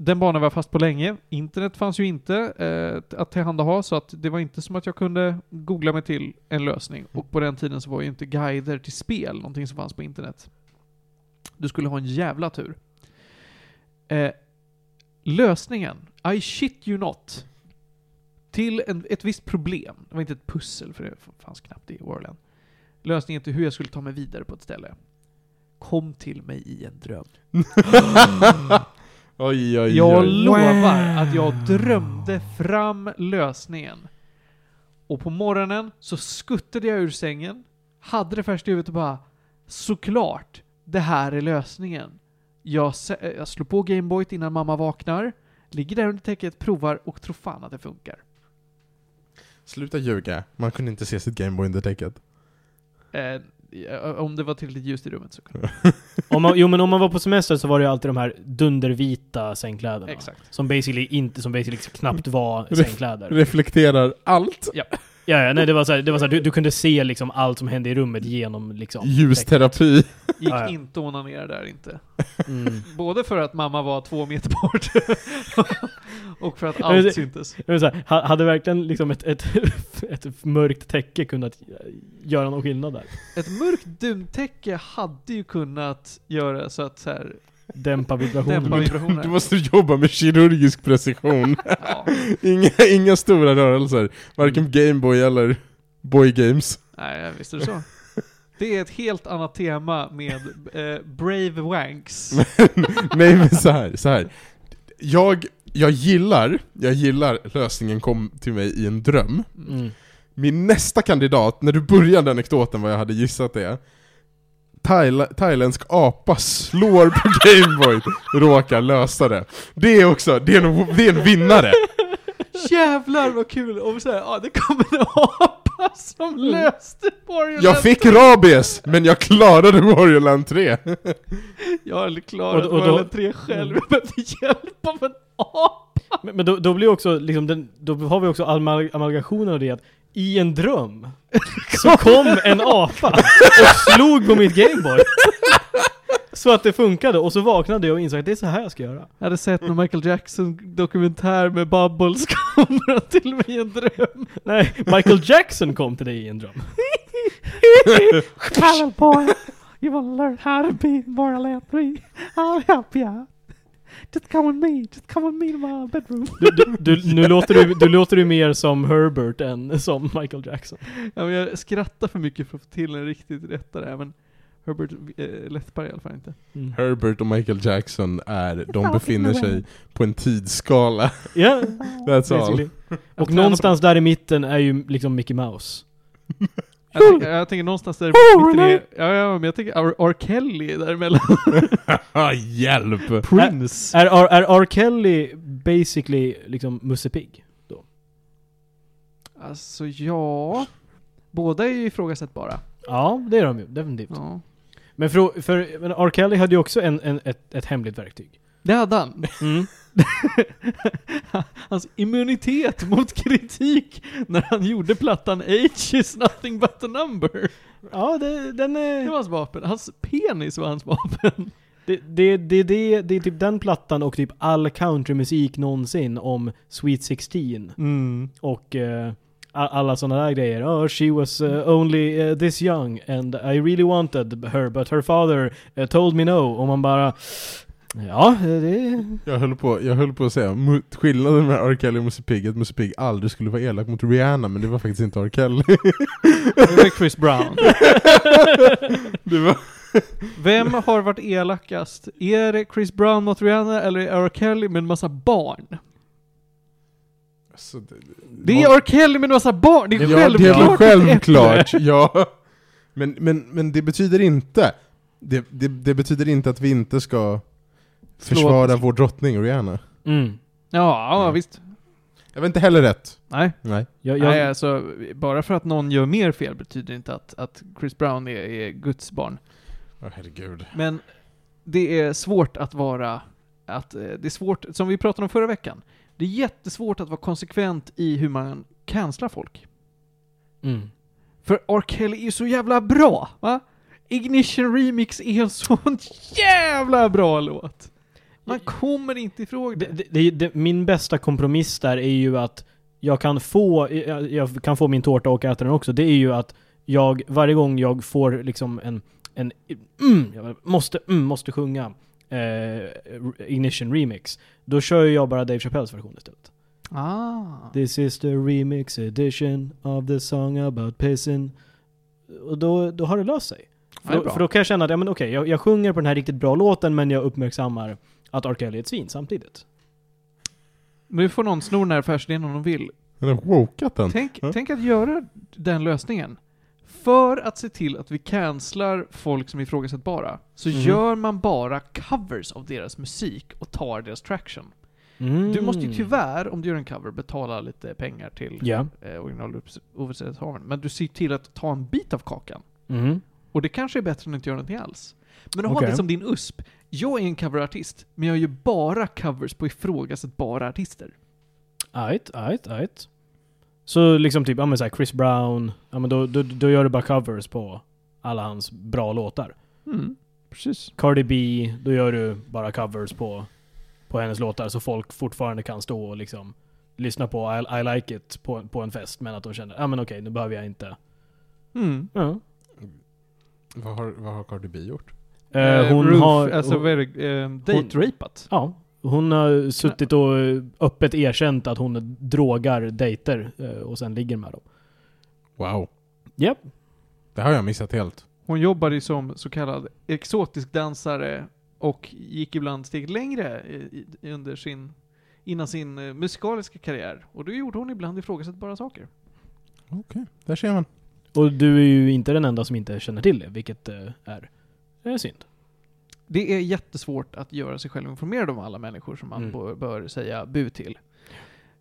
Speaker 1: Den banan var jag fast på länge. Internet fanns ju inte eh, att tillhandaha, så att det var inte som att jag kunde googla mig till en lösning. Och på den tiden så var ju inte guider till spel någonting som fanns på internet. Du skulle ha en jävla tur. Eh, lösningen, I shit you not, till en, ett visst problem. Det var inte ett pussel, för det fanns knappt det i Orland. Lösningen till hur jag skulle ta mig vidare på ett ställe. Kom till mig i en dröm.
Speaker 2: oj, oj, oj.
Speaker 1: Jag lovar att jag drömde fram lösningen. Och på morgonen så skuttade jag ur sängen, hade det färskt i huvudet och bara Såklart, det här är lösningen. Jag, sä- jag slår på Gameboyt innan mamma vaknar, ligger där under täcket, provar och tror fan att det funkar.
Speaker 2: Sluta ljuga. Man kunde inte se sitt Gameboy under täcket.
Speaker 1: Eh, ja, om det var tillräckligt ljust i rummet så kunde
Speaker 3: Om man, jo men om man var på semester så var det ju alltid de här dundervita sängkläderna.
Speaker 1: Exakt.
Speaker 3: Som basically inte, som basically knappt var
Speaker 2: Ref-
Speaker 3: sängkläder.
Speaker 2: Reflekterar allt.
Speaker 3: Ja, ja, nej det var såhär, det var så här, du, du kunde se liksom allt som hände i rummet genom liksom...
Speaker 2: Ljusterapi.
Speaker 1: Gick
Speaker 3: Ja, ja.
Speaker 1: inte att onanera där inte.
Speaker 3: Mm.
Speaker 1: Både för att mamma var två meter bort och för att allt syntes.
Speaker 3: Det var så här, ha- hade verkligen liksom ett, ett, ett mörkt täcke kunnat göra någon skillnad där?
Speaker 1: Ett mörkt duntäcke hade ju kunnat göra så att så här,
Speaker 3: Dämpa vibrationen.
Speaker 1: dämpa
Speaker 2: Du
Speaker 1: vibrationer.
Speaker 2: måste jobba med kirurgisk precision.
Speaker 1: Ja,
Speaker 2: Inga, inga stora rörelser. Varken Gameboy eller Boy Games.
Speaker 1: nej, visst är det så. Det är ett helt annat tema med eh, Brave Wanks.
Speaker 2: Nej men så här, så här. Jag, jag gillar, jag gillar lösningen kom till mig i en dröm.
Speaker 3: Mm.
Speaker 2: Min nästa kandidat, när du började anekdoten vad jag hade gissat det. Thaila- thailändsk apa slår på Gameboy, råkar lösa det. Det är också, det är en, det är en vinnare.
Speaker 1: Jävlar vad kul! Och så här, ja det kom en apa som
Speaker 3: Mm.
Speaker 1: löste Borgen.
Speaker 2: Jag fick rabies, men jag klarade Warriorland 3.
Speaker 1: Jag hade klarat
Speaker 3: Och- och då-
Speaker 1: Borgen 3 själv, jag behövde hjälp av en apa!
Speaker 3: Men, men då, då blir också liksom den, då har vi också amal- amalgationen av det att i en dröm så kom en apa och slog på mitt Gameboy. Så att det funkade och så vaknade jag och insåg att det är så här jag ska göra.
Speaker 1: Jag hade sett någon Michael Jackson dokumentär med Bubbles kamera till mig i en dröm.
Speaker 3: Nej, Michael Jackson kom till dig i en dröm.
Speaker 1: Hello boy, you will learn how to be more electric. I'll help you. Just come with me, just come with me to my bedroom.
Speaker 3: Du, du, du, nu låter du, du låter du mer som Herbert än som Michael Jackson.
Speaker 1: Ja, men jag skrattar för mycket för att få till en riktigt rättare, men Herbert eh, Lättberg i alla fall inte.
Speaker 3: Mm.
Speaker 2: Herbert och Michael Jackson är, de befinner sig på en tidsskala.
Speaker 3: Ja,
Speaker 2: That's all.
Speaker 3: basically. Och
Speaker 1: tränar
Speaker 3: någonstans där i mitten är ju liksom Mickey Mouse.
Speaker 1: Jag, tänker- jag tänker någonstans där
Speaker 3: Oh,
Speaker 1: mitten
Speaker 3: really?
Speaker 1: är, ja, ja, men jag tänker R. R. Kelly däremellan.
Speaker 2: Hjälp!
Speaker 3: Prince. Är, är, är R. Kelly basically liksom Musse Pigg?
Speaker 1: Alltså ja, båda är ju ifrågasättbara.
Speaker 3: Ja, det är de ju. Definitivt.
Speaker 1: Ja.
Speaker 3: Men för, för men R. Kelly hade ju också en, en, ett, ett hemligt verktyg.
Speaker 1: Det hade han. Hans immunitet mot kritik när han gjorde plattan Age is nothing but a number.
Speaker 3: Ja, det, den
Speaker 1: Det var
Speaker 3: är...
Speaker 1: hans vapen. Hans penis var hans vapen.
Speaker 3: Det, det, det, det, det är typ den plattan och typ all countrymusik någonsin om Sweet 16 och eh, a- alla sådana där grejer. Oh, she was eh,
Speaker 1: Mm.
Speaker 3: only eh, this young and I really wanted her but her father eh, told me no. Och man bara... Ja, eh, det...
Speaker 2: Jag höll på, jag höll på att säga, mot- skillnaden med R. Kelly och Musse Pigg är att Musse Pigg aldrig skulle vara elak mot Rihanna, men det var faktiskt inte R. Kelly.
Speaker 1: Det var Chris Brown.
Speaker 2: Det var,
Speaker 1: Vem har varit elakast? Är det Chris Brown mot Rihanna eller är R. Kelly med en massa barn?
Speaker 2: alltså, det,
Speaker 1: Det är R. Kelly med en massa barn! Det är
Speaker 2: Ja,
Speaker 1: självklart!
Speaker 2: det är
Speaker 1: ett
Speaker 2: självklart, ja. Men, men, men det betyder inte, det, det, det betyder inte att vi inte ska Försvara vår drottning Rihanna.
Speaker 3: Mm.
Speaker 1: Ja,
Speaker 2: Mm.
Speaker 1: visst.
Speaker 2: Jag var inte heller rätt.
Speaker 1: Nej.
Speaker 2: Nej.
Speaker 3: Jag, jag,
Speaker 1: Nej, alltså, bara för att någon gör mer fel betyder inte att, att Chris Brown är, är Guds barn.
Speaker 2: Åh herregud.
Speaker 1: Men det är svårt att vara, att, eh, det är svårt, som vi pratade om förra veckan, det är jättesvårt att vara konsekvent i hur man cancelar folk.
Speaker 3: mm.
Speaker 1: För R. Kelly är ju så jävla bra, va? Ignition Remix är en sån jävla bra låt! Man kommer inte ifrån
Speaker 3: Det,
Speaker 1: det.
Speaker 3: det, det, det, min bästa kompromiss där är ju att jag kan få, jag, jag kan få min tårta och äta den också. Det är ju att jag, varje gång jag får liksom en, en mm, jag måste, mm, måste sjunga eh, Ignition Remix, då kör ju jag bara Dave Chappelles version istället.
Speaker 1: Ah.
Speaker 3: This is the remix edition of the song about pissing. Och då, då har det löst sig.
Speaker 1: Ja, det är
Speaker 3: För,
Speaker 1: bra.
Speaker 3: då, för då kan jag känna att, ja men okej, jag, jag sjunger på den här riktigt bra låten men jag uppmärksammar att R. Kelly är ett svin samtidigt.
Speaker 1: Nu får någon sno den här affärsidén om de vill.
Speaker 2: Den har wokat
Speaker 3: Mm.
Speaker 2: den.
Speaker 1: Tänk,
Speaker 2: Ja.
Speaker 1: tänk att göra den lösningen. För att se till att vi cancelar folk som är ifrågasättbara, så
Speaker 3: Mhm.
Speaker 1: gör man bara covers av deras musik och tar deras traction.
Speaker 3: Mm.
Speaker 1: Du måste ju tyvärr, om du gör en cover, betala lite pengar till
Speaker 3: Ja.
Speaker 1: eh, originaloversättningshavaren. Men du ser till att ta en bit av kakan.
Speaker 3: Mhm.
Speaker 1: Och det kanske är bättre än att inte göra någonting alls. Men ha
Speaker 3: Okej.
Speaker 1: det som din USP. Jag är en coverartist, men jag gör bara covers på ifrågasättbara artister.
Speaker 3: Ajt, ajt, ajt. Så liksom typ, ja men såhär Chris Brown, ja men då, då, då gör du bara covers på alla hans bra låtar.
Speaker 1: Mm, precis.
Speaker 3: Cardi B, då gör du bara covers på, på hennes låtar så folk fortfarande kan stå och liksom lyssna på I, I like it på, på en fest men att de känner, ja men okej nu behöver jag inte. Eh,
Speaker 1: Mm.
Speaker 3: Ja.
Speaker 2: Vad har, vad har Cardi B gjort?
Speaker 3: Eh,
Speaker 1: Eh,
Speaker 3: hon
Speaker 1: roof,
Speaker 3: har...
Speaker 1: Alltså,
Speaker 3: hon,
Speaker 1: eh, date-rapat.
Speaker 3: ja. Hon har suttit och öppet erkänt att hon drogar dejter eh, och sen ligger med dem.
Speaker 2: Wow.
Speaker 3: Japp.
Speaker 2: Det har jag missat helt.
Speaker 1: Hon jobbade ju som så kallad exotisk dansare och gick ibland steg längre i, i, under sin, innan sin eh, musikaliska karriär. Och då gjorde hon ibland ifrågasättbara saker.
Speaker 2: Där ser man.
Speaker 3: Och du är ju inte den enda som inte känner till det, vilket eh, är, är synd.
Speaker 1: Det är jättesvårt att göra sig själv informerad om alla människor som man
Speaker 3: Mm.
Speaker 1: bör, bör säga bu till.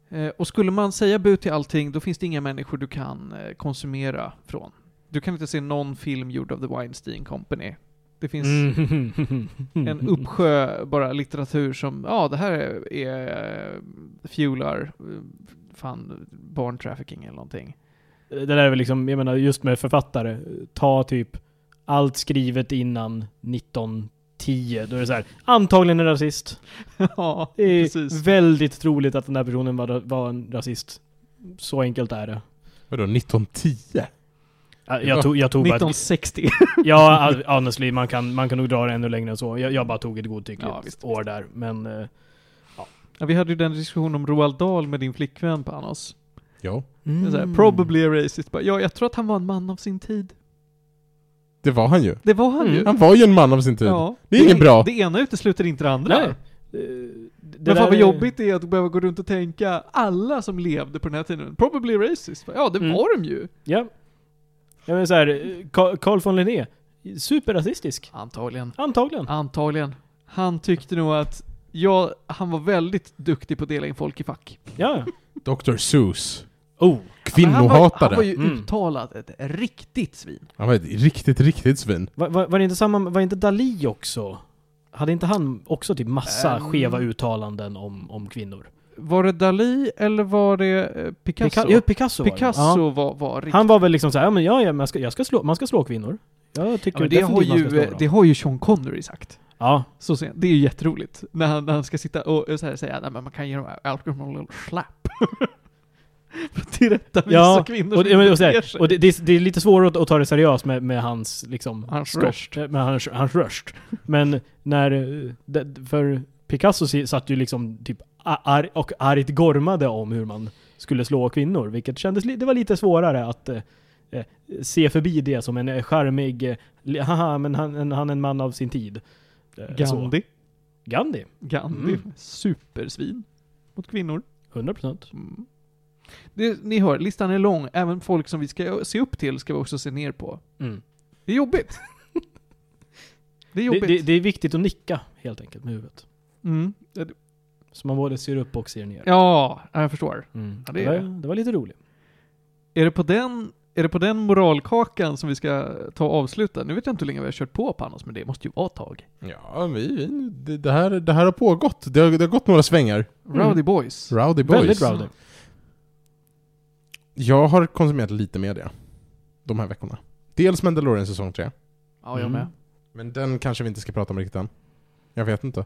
Speaker 1: Eh, och skulle man säga bu till allting, då finns det inga människor du kan eh, konsumera från. Du kan inte se någon film gjord av The Weinstein Company. Det finns en
Speaker 3: Mm-hmm.
Speaker 1: uppsjö bara litteratur som, ja det här är, är fuelar, eh, fan, barntrafficking eller någonting.
Speaker 3: Det där är väl liksom, jag menar just med författare, ta typ allt skrivet innan 1910, då är det så här, antagligen en rasist.
Speaker 1: ja,
Speaker 3: Det är
Speaker 1: precis.
Speaker 3: väldigt troligt att den där personen var, var en rasist. Så enkelt är det.
Speaker 2: Vadå, 1910?
Speaker 3: Ja, Jag tog, jag tog bara...
Speaker 1: 1960.
Speaker 3: Ja, honestly, man kan, man kan nog dra det ännu längre än så. Jag, jag bara tog ett godtyckligt
Speaker 1: Ja, visst,
Speaker 3: år där, men... eh,
Speaker 1: ja, vi hade ju den diskussionen om Roald Dahl med din flickvän Panos.
Speaker 2: Ja.
Speaker 1: Mm. Såhär, probably a racist. Bara, Ja, jag tror att han var en man av sin tid.
Speaker 2: Det var han ju.
Speaker 1: Det var han
Speaker 3: Mm.
Speaker 1: ju.
Speaker 2: Han var ju en man av sin tid.
Speaker 1: Ja.
Speaker 2: Det är inget bra.
Speaker 1: Det ena utesluter inte det andra.
Speaker 3: Nej. Eh, Det
Speaker 1: Men
Speaker 3: där
Speaker 1: fan vad
Speaker 3: är-
Speaker 1: jobbigt det är att behöva gå runt och tänka, alla som levde på den här tiden, probably racist. Bara, Ja, det
Speaker 3: Mm.
Speaker 1: var de ju.
Speaker 3: Ja. Jag menar såhär, Carl von Linné. Superrasistisk.
Speaker 1: Antagligen. Ah.
Speaker 3: Antagligen.
Speaker 1: Antagligen. Han tyckte nog att jag, han var väldigt duktig på att dela in folk i fack.
Speaker 3: Ja.
Speaker 2: Dr. Seuss.
Speaker 3: Oh.
Speaker 1: Men han var,
Speaker 2: Kvinnohatare.
Speaker 1: han var ju
Speaker 3: Mm.
Speaker 1: uttalat ett riktigt svin.
Speaker 2: Han var ett riktigt, riktigt svin.
Speaker 3: Var, var, var det inte samma, var inte Dali också? Hade inte han också typ massa
Speaker 1: Ehm.
Speaker 3: skeva uttalanden om, om kvinnor?
Speaker 1: Var det Dalí eller var det eh, Picasso?
Speaker 3: Pica- ja, Picasso var det.
Speaker 1: Picasso var, var
Speaker 3: Ja.
Speaker 1: riktigt...
Speaker 3: Han var väl liksom såhär, ja men ja, ja man, ska, jag ska slå, man ska slå kvinnor. Jag
Speaker 1: ja,
Speaker 3: tycker
Speaker 1: men det, har
Speaker 3: definitivt man ska
Speaker 1: ju,
Speaker 3: slå
Speaker 1: eh, det
Speaker 3: dem.
Speaker 1: har ju Sean Connery sagt.
Speaker 3: Ja.
Speaker 1: Så sent. Det är ju jätteroligt. När han, när han ska sitta och eh, så här, säga att man kan ge dem alkohol och slapp. För att Tillrättavisa
Speaker 3: Ja,
Speaker 1: kvinnor
Speaker 3: Och,
Speaker 1: som
Speaker 3: det- men, och,
Speaker 1: inte
Speaker 3: så
Speaker 1: beter
Speaker 3: här,
Speaker 1: sig.
Speaker 3: och det, det, är, det är lite svårare att, att ta det seriöst med, med hans liksom...
Speaker 1: Hans
Speaker 3: stopp.
Speaker 1: röst.
Speaker 3: Eh, Men hans, hans röst. Men när... eh, det- För Picasso si- satt ju liksom typ a- ar, och argt gormade om hur man skulle slå kvinnor, vilket kändes... li- Det var lite svårare att eh, eh, se förbi det som en eh, charmig... eh, li- Haha, men han, en- han är en man av sin tid. Eh, Så.
Speaker 1: Gandhi.
Speaker 3: Gandhi.
Speaker 1: Gandhi.
Speaker 3: Mm.
Speaker 1: Supersvin. Mot kvinnor.
Speaker 3: 100%.
Speaker 1: Mm. Det, ni hör, listan är lång. Även folk som vi ska se upp till ska vi också se ner på.
Speaker 3: Mm.
Speaker 1: Det är jobbigt. Det är
Speaker 3: Det,
Speaker 1: jobbigt.
Speaker 3: det, det är viktigt att nicka, helt enkelt, med huvudet.
Speaker 1: Mm.
Speaker 3: Så man både ser upp och ser ner.
Speaker 1: Ja, jag förstår.
Speaker 3: Mm.
Speaker 1: Ja, det
Speaker 3: det,
Speaker 1: är
Speaker 3: var,
Speaker 1: det.
Speaker 3: det var lite roligt.
Speaker 1: Är det på den, är det på den moralkakan som vi ska ta och avsluta? Nu vet jag inte hur länge vi har kört på Panos, men det måste ju vara ett tag.
Speaker 2: Ja, vi, vi- det, det, här, det här har pågått. Det har, det har gått några svängar.
Speaker 1: Rowdy
Speaker 3: Mm.
Speaker 1: Boys.
Speaker 2: Rowdy boys.
Speaker 3: Väldigt rowdy.
Speaker 2: Jag har konsumerat lite media de här veckorna. Dels Mandalorian säsong 3,
Speaker 1: Ja, jag
Speaker 3: Mm.
Speaker 1: med.
Speaker 2: men den kanske vi inte ska prata om riktigt än. Jag vet inte.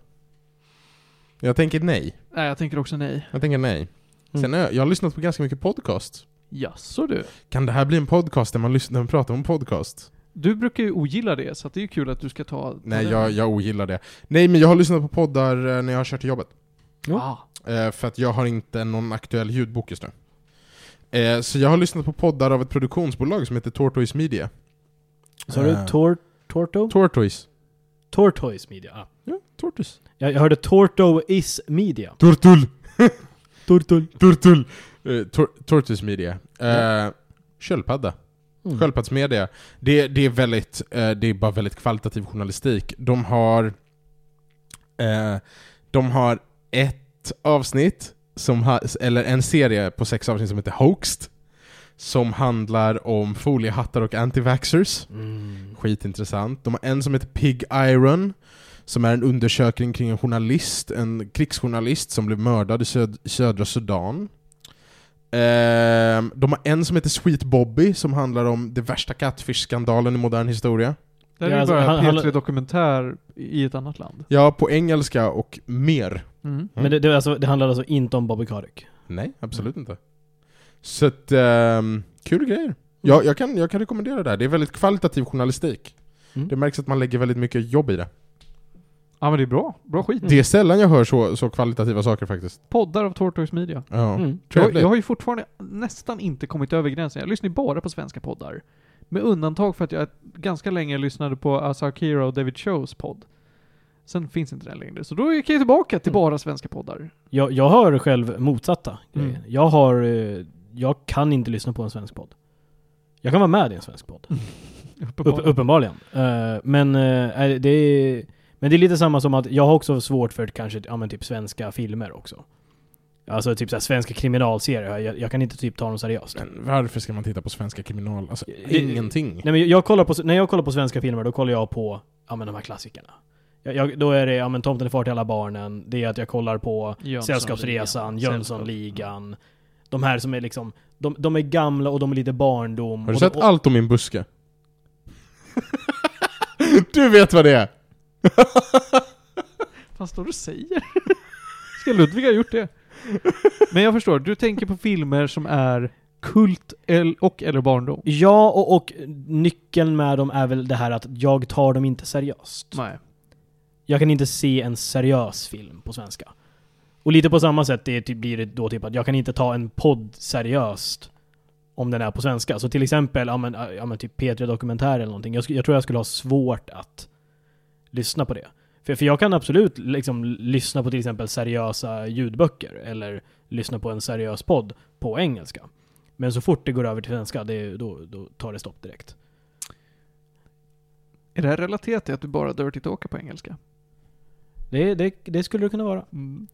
Speaker 2: Jag tänker nej.
Speaker 1: Nej, jag tänker också nej.
Speaker 2: Jag tänker nej.
Speaker 3: Mm.
Speaker 2: Sen har jag, jag har lyssnat på ganska mycket podcast.
Speaker 1: Jaså du?
Speaker 2: Kan det här bli en podcast där man, lyssnar, där man pratar om podcast?
Speaker 1: Du brukar ju ogilla det, så att det är ju kul att du ska ta... ta
Speaker 2: Nej,
Speaker 1: den.
Speaker 2: jag, jag ogillar det. Nej, men jag har lyssnat på poddar eh, när jag har kört till jobbet.
Speaker 3: Jo.
Speaker 1: Ah,
Speaker 2: Eh, För att jag har inte någon aktuell ljudbok just nu. Eh, Så jag har lyssnat på poddar av ett produktionsbolag som heter Tortoise Media.
Speaker 3: Så har du
Speaker 2: Eh,
Speaker 3: tor Torto?
Speaker 2: Tortoise.
Speaker 3: Tortoise Media. Ah.
Speaker 2: Ja, Tortoise.
Speaker 3: Jag, jag hörde Torto is Media.
Speaker 2: Tortul!
Speaker 3: Tortul.
Speaker 2: Turtul! Eh, tor- tortoise media. Eh, köldpadda.
Speaker 3: Mm.
Speaker 2: Sköldpaddsmedia. Det, det är väldigt, eh, det är bara väldigt kvalitativ journalistik. De har, eh, de har ett avsnitt, som ha, eller en serie på sex avsnitt som heter Hoaxed. Som handlar om foliehattar och antivaxxers.
Speaker 3: Mm.
Speaker 2: Skitintressant. De har en som heter Pig Iron, som är en undersökning kring en journalist, en krigsjournalist som blev mördad i söd södra Sudan. Ehm, de har en som heter Sweet Bobby, som handlar om det värsta catfish-skandalen i modern historia.
Speaker 1: det här
Speaker 3: Ja,
Speaker 1: är ju
Speaker 3: alltså,
Speaker 1: bara
Speaker 3: han- han-
Speaker 1: P3 Dokumentär i ett annat land.
Speaker 2: Ja, på engelska och mer.
Speaker 1: Mm.
Speaker 3: Men det, det, var alltså, det handlade alltså inte om Bobby Karek.
Speaker 2: Nej, absolut inte. Så att, ehm, kul grejer. Jag, jag, kan, jag kan rekommendera det här. Det är väldigt kvalitativ journalistik.
Speaker 3: Mm.
Speaker 2: Det märks att man lägger väldigt mycket jobb i det.
Speaker 1: Ja men det är bra. Bra skit.
Speaker 2: Det är sällan jag hör så, så kvalitativa saker faktiskt.
Speaker 1: Poddar av Tortoise Media.
Speaker 2: Ja.
Speaker 3: Mm.
Speaker 1: Jag,
Speaker 2: Trevligt.
Speaker 1: jag har ju fortfarande nästan inte kommit över gränsen. Jag lyssnar ju bara på svenska poddar. Med undantag för att jag ganska länge lyssnade på Asakira och David Shows podd. Sen finns inte den längre. Så då gick jag tillbaka till
Speaker 3: Mm.
Speaker 1: bara svenska poddar.
Speaker 3: Jag, jag har själv motsatta
Speaker 1: Mm.
Speaker 3: grejer. Jag har... eh, Jag kan inte lyssna på en svensk podd. Jag kan vara med i en svensk podd. Upp,
Speaker 1: Uppenbarligen.
Speaker 3: uppenbarligen. Eh, men, eh, är det är, men det är lite samma som att jag har också svårt för kanske, ja men typ svenska filmer också. Alltså typ såhär svenska kriminalserier, jag, jag kan inte typ ta dem seriöst.
Speaker 2: Men varför ska man titta på svenska kriminal... Alltså,
Speaker 3: Det-
Speaker 2: ingenting.
Speaker 3: Nej men jag kollar på, när jag kollar på svenska filmer då kollar jag på, ja men de här klassikerna. Jag, jag, då är det, ja men Tomten är far till alla barnen, det är att jag kollar på Sällskapsresan, Jönssonligan. De här som är liksom, de, de är gamla och de är lite barndom.
Speaker 2: Har du
Speaker 3: och
Speaker 2: sett
Speaker 3: de, och,
Speaker 2: allt om min buske? du vet vad det är!
Speaker 1: Vad står du säger? Ska Ludvig ha gjort det? Men jag förstår, du tänker på filmer som är kult el- och eller barndom?
Speaker 3: Ja, och, och nyckeln med dem är väl det här att jag tar dem inte seriöst.
Speaker 1: Nej.
Speaker 3: Jag kan inte se en seriös film på svenska. Och lite på samma sätt det är typ, blir det då typ att jag kan inte ta en podd seriöst om den är på svenska. Så till exempel, ja men, ja, men typ P3 Dokumentär eller någonting. Jag, sk- jag tror jag skulle ha svårt att lyssna på det. För, för jag kan absolut liksom lyssna på till exempel seriösa ljudböcker eller lyssna på en seriös podd på engelska. Men så fort det går över till svenska, det, då, då tar det stopp direkt.
Speaker 1: Är det här relaterat till att du bara dirty talkar på engelska?
Speaker 3: Det, det, det skulle det kunna vara.
Speaker 1: Mm.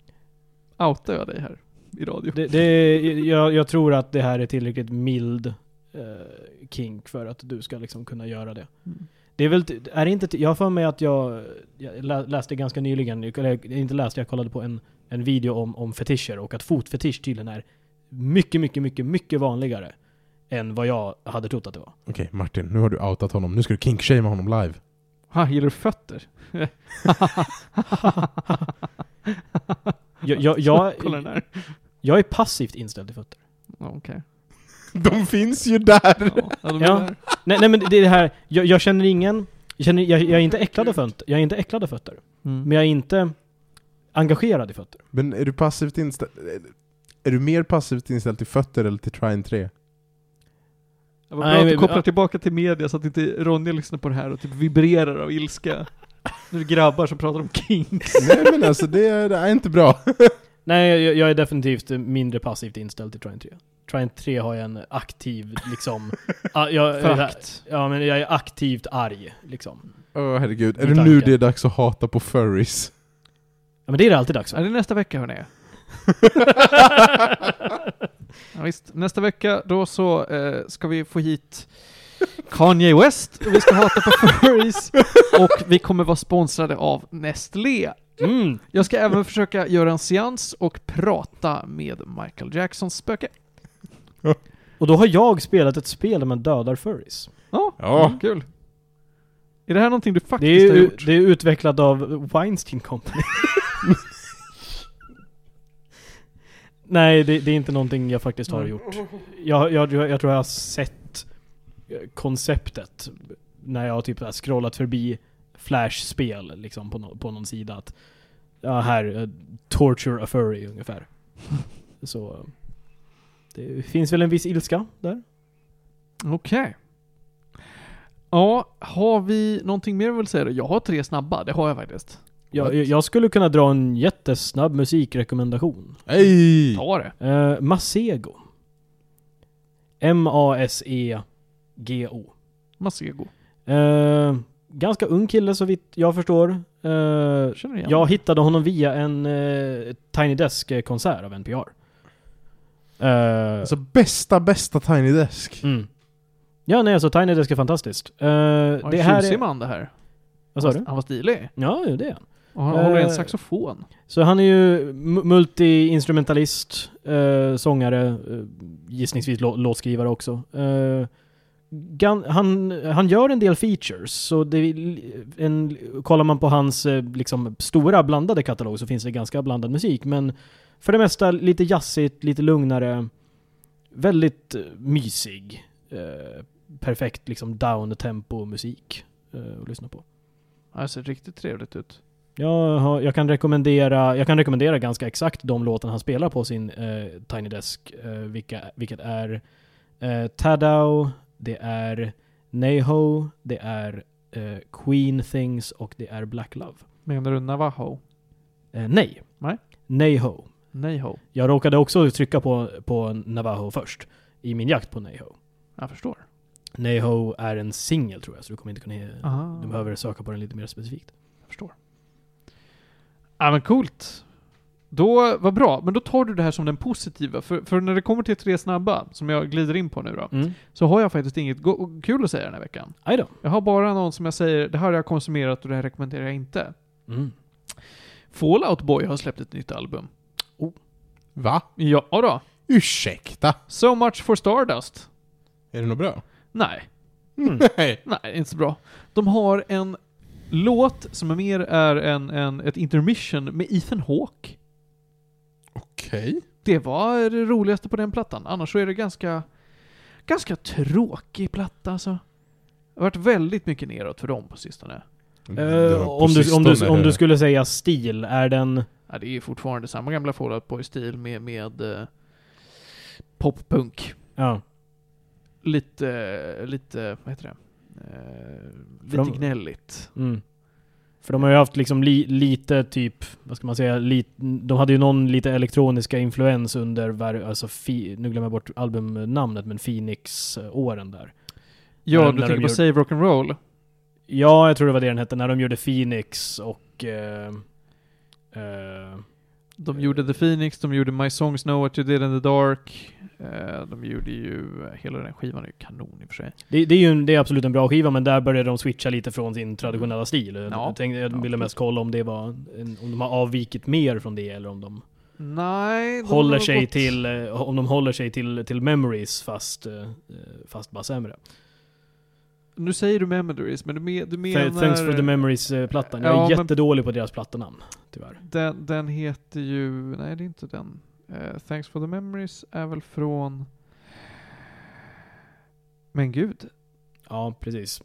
Speaker 1: Outar jag dig här i radio?
Speaker 3: Det, det, jag, jag tror att det här är tillräckligt mild eh, kink för att du ska liksom kunna göra det.
Speaker 1: Mm.
Speaker 3: Det är väl, t- är det inte, t- jag har för mig att jag, jag lä- läste ganska nyligen, eller inte läste, jag kollade på en, en video om, om fetischer och att fotfetisch tydligen är mycket, mycket, mycket, mycket vanligare än vad jag hade trott att det var.
Speaker 2: Okej Martin, nu har du outat honom. Nu ska du kinkshamea honom live.
Speaker 1: Han gillar fötter.
Speaker 3: Jag, jag, jag,
Speaker 1: Kolla den där.
Speaker 3: jag är passivt inställd till fötter.
Speaker 1: Ja, Okej.
Speaker 2: De finns ju där!
Speaker 1: Ja, ja, de är
Speaker 3: Ja.
Speaker 1: där.
Speaker 3: Nej, nej men det är det här, jag, jag känner ingen, jag, känner, jag, jag är inte äcklad av fötter, jag är inte äcklad av fötter.
Speaker 1: Mm.
Speaker 3: Men jag är inte engagerad i fötter.
Speaker 2: Men är du passivt inställd... Är du mer passivt inställd till fötter eller till Trine 3?
Speaker 1: Det var bra
Speaker 3: Nej,
Speaker 1: att du
Speaker 3: men-
Speaker 1: kopplar
Speaker 3: ja.
Speaker 1: tillbaka till media så att inte Ronja lyssnar på det här och typ vibrerar av ilska. Nu är det grabbar som pratar om kinks.
Speaker 2: Nej men alltså det är, det är inte bra.
Speaker 3: Nej, jag, jag är definitivt mindre passivt inställd till Trine 3. Trine 3 har jag en aktiv, liksom... a- jag,
Speaker 1: Förakt.
Speaker 3: Ja, men jag är aktivt arg, liksom.
Speaker 2: Åh herregud, är
Speaker 3: Med
Speaker 2: det nu
Speaker 3: tanken.
Speaker 2: det är dags att hata på furries?
Speaker 3: Ja, men det är det alltid dags
Speaker 1: Ja,
Speaker 3: för.
Speaker 1: det är nästa vecka hörni. Ja, visst. Nästa vecka då så eh, ska vi få hit Kanye West, och vi ska hata på Furries och vi kommer vara sponsrade av Nestlé.
Speaker 3: Mm.
Speaker 1: Jag ska även försöka göra en seans och prata med Michael Jacksons spöke.
Speaker 3: Och då har jag spelat ett spel där man dödar furries.
Speaker 1: Ja,
Speaker 2: Ja.
Speaker 1: mm, kul. Är det här någonting du
Speaker 3: Det
Speaker 1: faktiskt
Speaker 3: är,
Speaker 1: har
Speaker 3: ju,
Speaker 1: gjort?
Speaker 3: det är utvecklat av Weinstein Company. Nej, det, det är inte någonting jag faktiskt har gjort. Jag, jag, jag tror jag har sett eh, konceptet när jag har typ har scrollat förbi Flash-spel liksom på, nå- på någon sida. Att, ja, här, eh, Torture a Furry ungefär. Så eh, det finns väl en viss ilska där.
Speaker 1: Okej. Ja, har vi någonting mer vi vill säga då? Jag har tre snabba, det har jag faktiskt.
Speaker 3: Jag,
Speaker 2: What?
Speaker 3: jag skulle kunna dra en jättesnabb musikrekommendation.
Speaker 2: Ej!
Speaker 1: Ta det.
Speaker 3: Eh, Masego. M-A-S-E-G-O.
Speaker 1: Masego.
Speaker 3: Eh, ganska ung kille så vitt jag förstår. Eh,
Speaker 1: Känner igen
Speaker 3: jag
Speaker 1: det.
Speaker 3: hittade honom via en eh, Tiny Desk-konsert av NPR. Eh,
Speaker 2: Alltså bästa, bästa Tiny Desk.
Speaker 3: mm. Ja, nej alltså Tiny Desk är fantastiskt. Eh,
Speaker 1: Var
Speaker 3: det
Speaker 1: en
Speaker 3: här
Speaker 1: tjusig
Speaker 3: är...
Speaker 1: man det här.
Speaker 3: Vad sa du?
Speaker 1: Han var stilig.
Speaker 3: Ja, jo, det är han.
Speaker 1: Och han håller i en
Speaker 3: Eh,
Speaker 1: saxofon.
Speaker 3: Så han är ju mu- multi-instrumentalist, eh, sångare, eh, gissningsvis lå- låtskrivare också. Eh, gan- han, han gör en del features, så det, är l- en, kollar man på hans eh, liksom, stora blandade katalog så finns det ganska blandad musik, men för det mesta lite jazzigt, lite lugnare, väldigt eh, mysig, eh, perfekt liksom down-tempo-musik eh, att lyssna på.
Speaker 1: Ja, Det ser riktigt trevligt ut.
Speaker 3: Jag, har, jag, kan rekommendera, jag kan rekommendera ganska exakt de låtarna han spelar på sin eh, Tiny Desk, eh, vilka, vilket är eh, Tadao, det är Neho, det är eh, Queen Things och det är Black Love.
Speaker 1: Menar du Navajo?
Speaker 3: Eh, nej.
Speaker 1: Nej.
Speaker 3: Neho.
Speaker 1: Neho?
Speaker 3: Jag råkade också trycka på, på Navajo först, i min jakt på Neho.
Speaker 1: Jag förstår.
Speaker 3: Neho är en singel tror jag, så du kommer inte kunna...
Speaker 1: Aha.
Speaker 3: Du behöver söka på den lite mer specifikt.
Speaker 1: Jag förstår. Ja men coolt. Då, vad bra. Men då tar du det här som den positiva. För, för när det kommer till tre snabba, som jag glider in på nu då,
Speaker 3: Mm.
Speaker 1: så har jag faktiskt inget go- kul att säga den här veckan.
Speaker 3: Aj då.
Speaker 1: Jag har bara någon som jag säger, det här har jag konsumerat och det här rekommenderar jag inte.
Speaker 3: Mm.
Speaker 1: Fallout Boy har släppt ett nytt album.
Speaker 2: Va?
Speaker 1: Ja då.
Speaker 2: Ursäkta?
Speaker 1: So much for Stardust.
Speaker 2: Är det något bra?
Speaker 1: Nej.
Speaker 3: Mm.
Speaker 2: Nej.
Speaker 1: Nej, inte så bra. De har en låt som är mer är en, en, ett intermission med Ethan Hawke.
Speaker 2: Okej.
Speaker 1: Det var det roligaste på den plattan. Annars så är det ganska, ganska tråkig platta alltså. Det har varit väldigt mycket neråt för dem på sistone.
Speaker 2: Mm. Det
Speaker 3: Eh,
Speaker 2: var på
Speaker 3: om, du, om, du,
Speaker 2: sistone
Speaker 3: om
Speaker 2: det.
Speaker 3: du skulle säga stil, är den...
Speaker 1: Ja, det är fortfarande samma gamla Fallout Boy-stil med, med eh, poppunk.
Speaker 3: Ja.
Speaker 1: Lite, lite, vad heter det? Eh, lite
Speaker 3: de-
Speaker 1: gnälligt.
Speaker 3: Mm. För de har ju haft liksom li, lite typ, vad ska man säga, li, de hade ju någon lite elektroniska influens under, var, alltså fi, nu glömmer jag bort albumnamnet, men Phoenix-åren där.
Speaker 1: Ja,
Speaker 3: När-
Speaker 1: du
Speaker 3: när de
Speaker 1: tänker på
Speaker 3: gjorde-
Speaker 1: Save Rock'n'Roll?
Speaker 3: Ja, jag tror det var det den hette, när de gjorde Phoenix och... Eh, eh,
Speaker 1: De
Speaker 3: Eh.
Speaker 1: gjorde The Phoenix, de gjorde My Songs Know What You Did In The Dark. Eh, De gjorde ju, eh, hela den skivan är ju kanon i och för sig.
Speaker 3: det, det är ju en, det är absolut en bra skiva, men där började de switcha lite från sin traditionella stil. Jag,
Speaker 1: Mm. Ja.
Speaker 3: tänkte, jag
Speaker 1: Ja,
Speaker 3: ville mest kolla om det var, en, om de har avvikit mer från det eller om de...
Speaker 1: Nej, de
Speaker 3: håller
Speaker 1: har
Speaker 3: sig
Speaker 1: gått-
Speaker 3: till, eh, om de håller sig till, till memories fast, eh, eh, fast bara sämre.
Speaker 1: Nu säger du Memories, men du, men, du menar...
Speaker 3: Th- Thanks for the memories-plattan. Jag är
Speaker 1: Ja, men-
Speaker 3: jättedålig på deras plattanamn, tyvärr.
Speaker 1: den, den heter ju... Nej, det är inte den. Eh, Thanks for the Memories är väl från... Men gud.
Speaker 3: Ja, precis.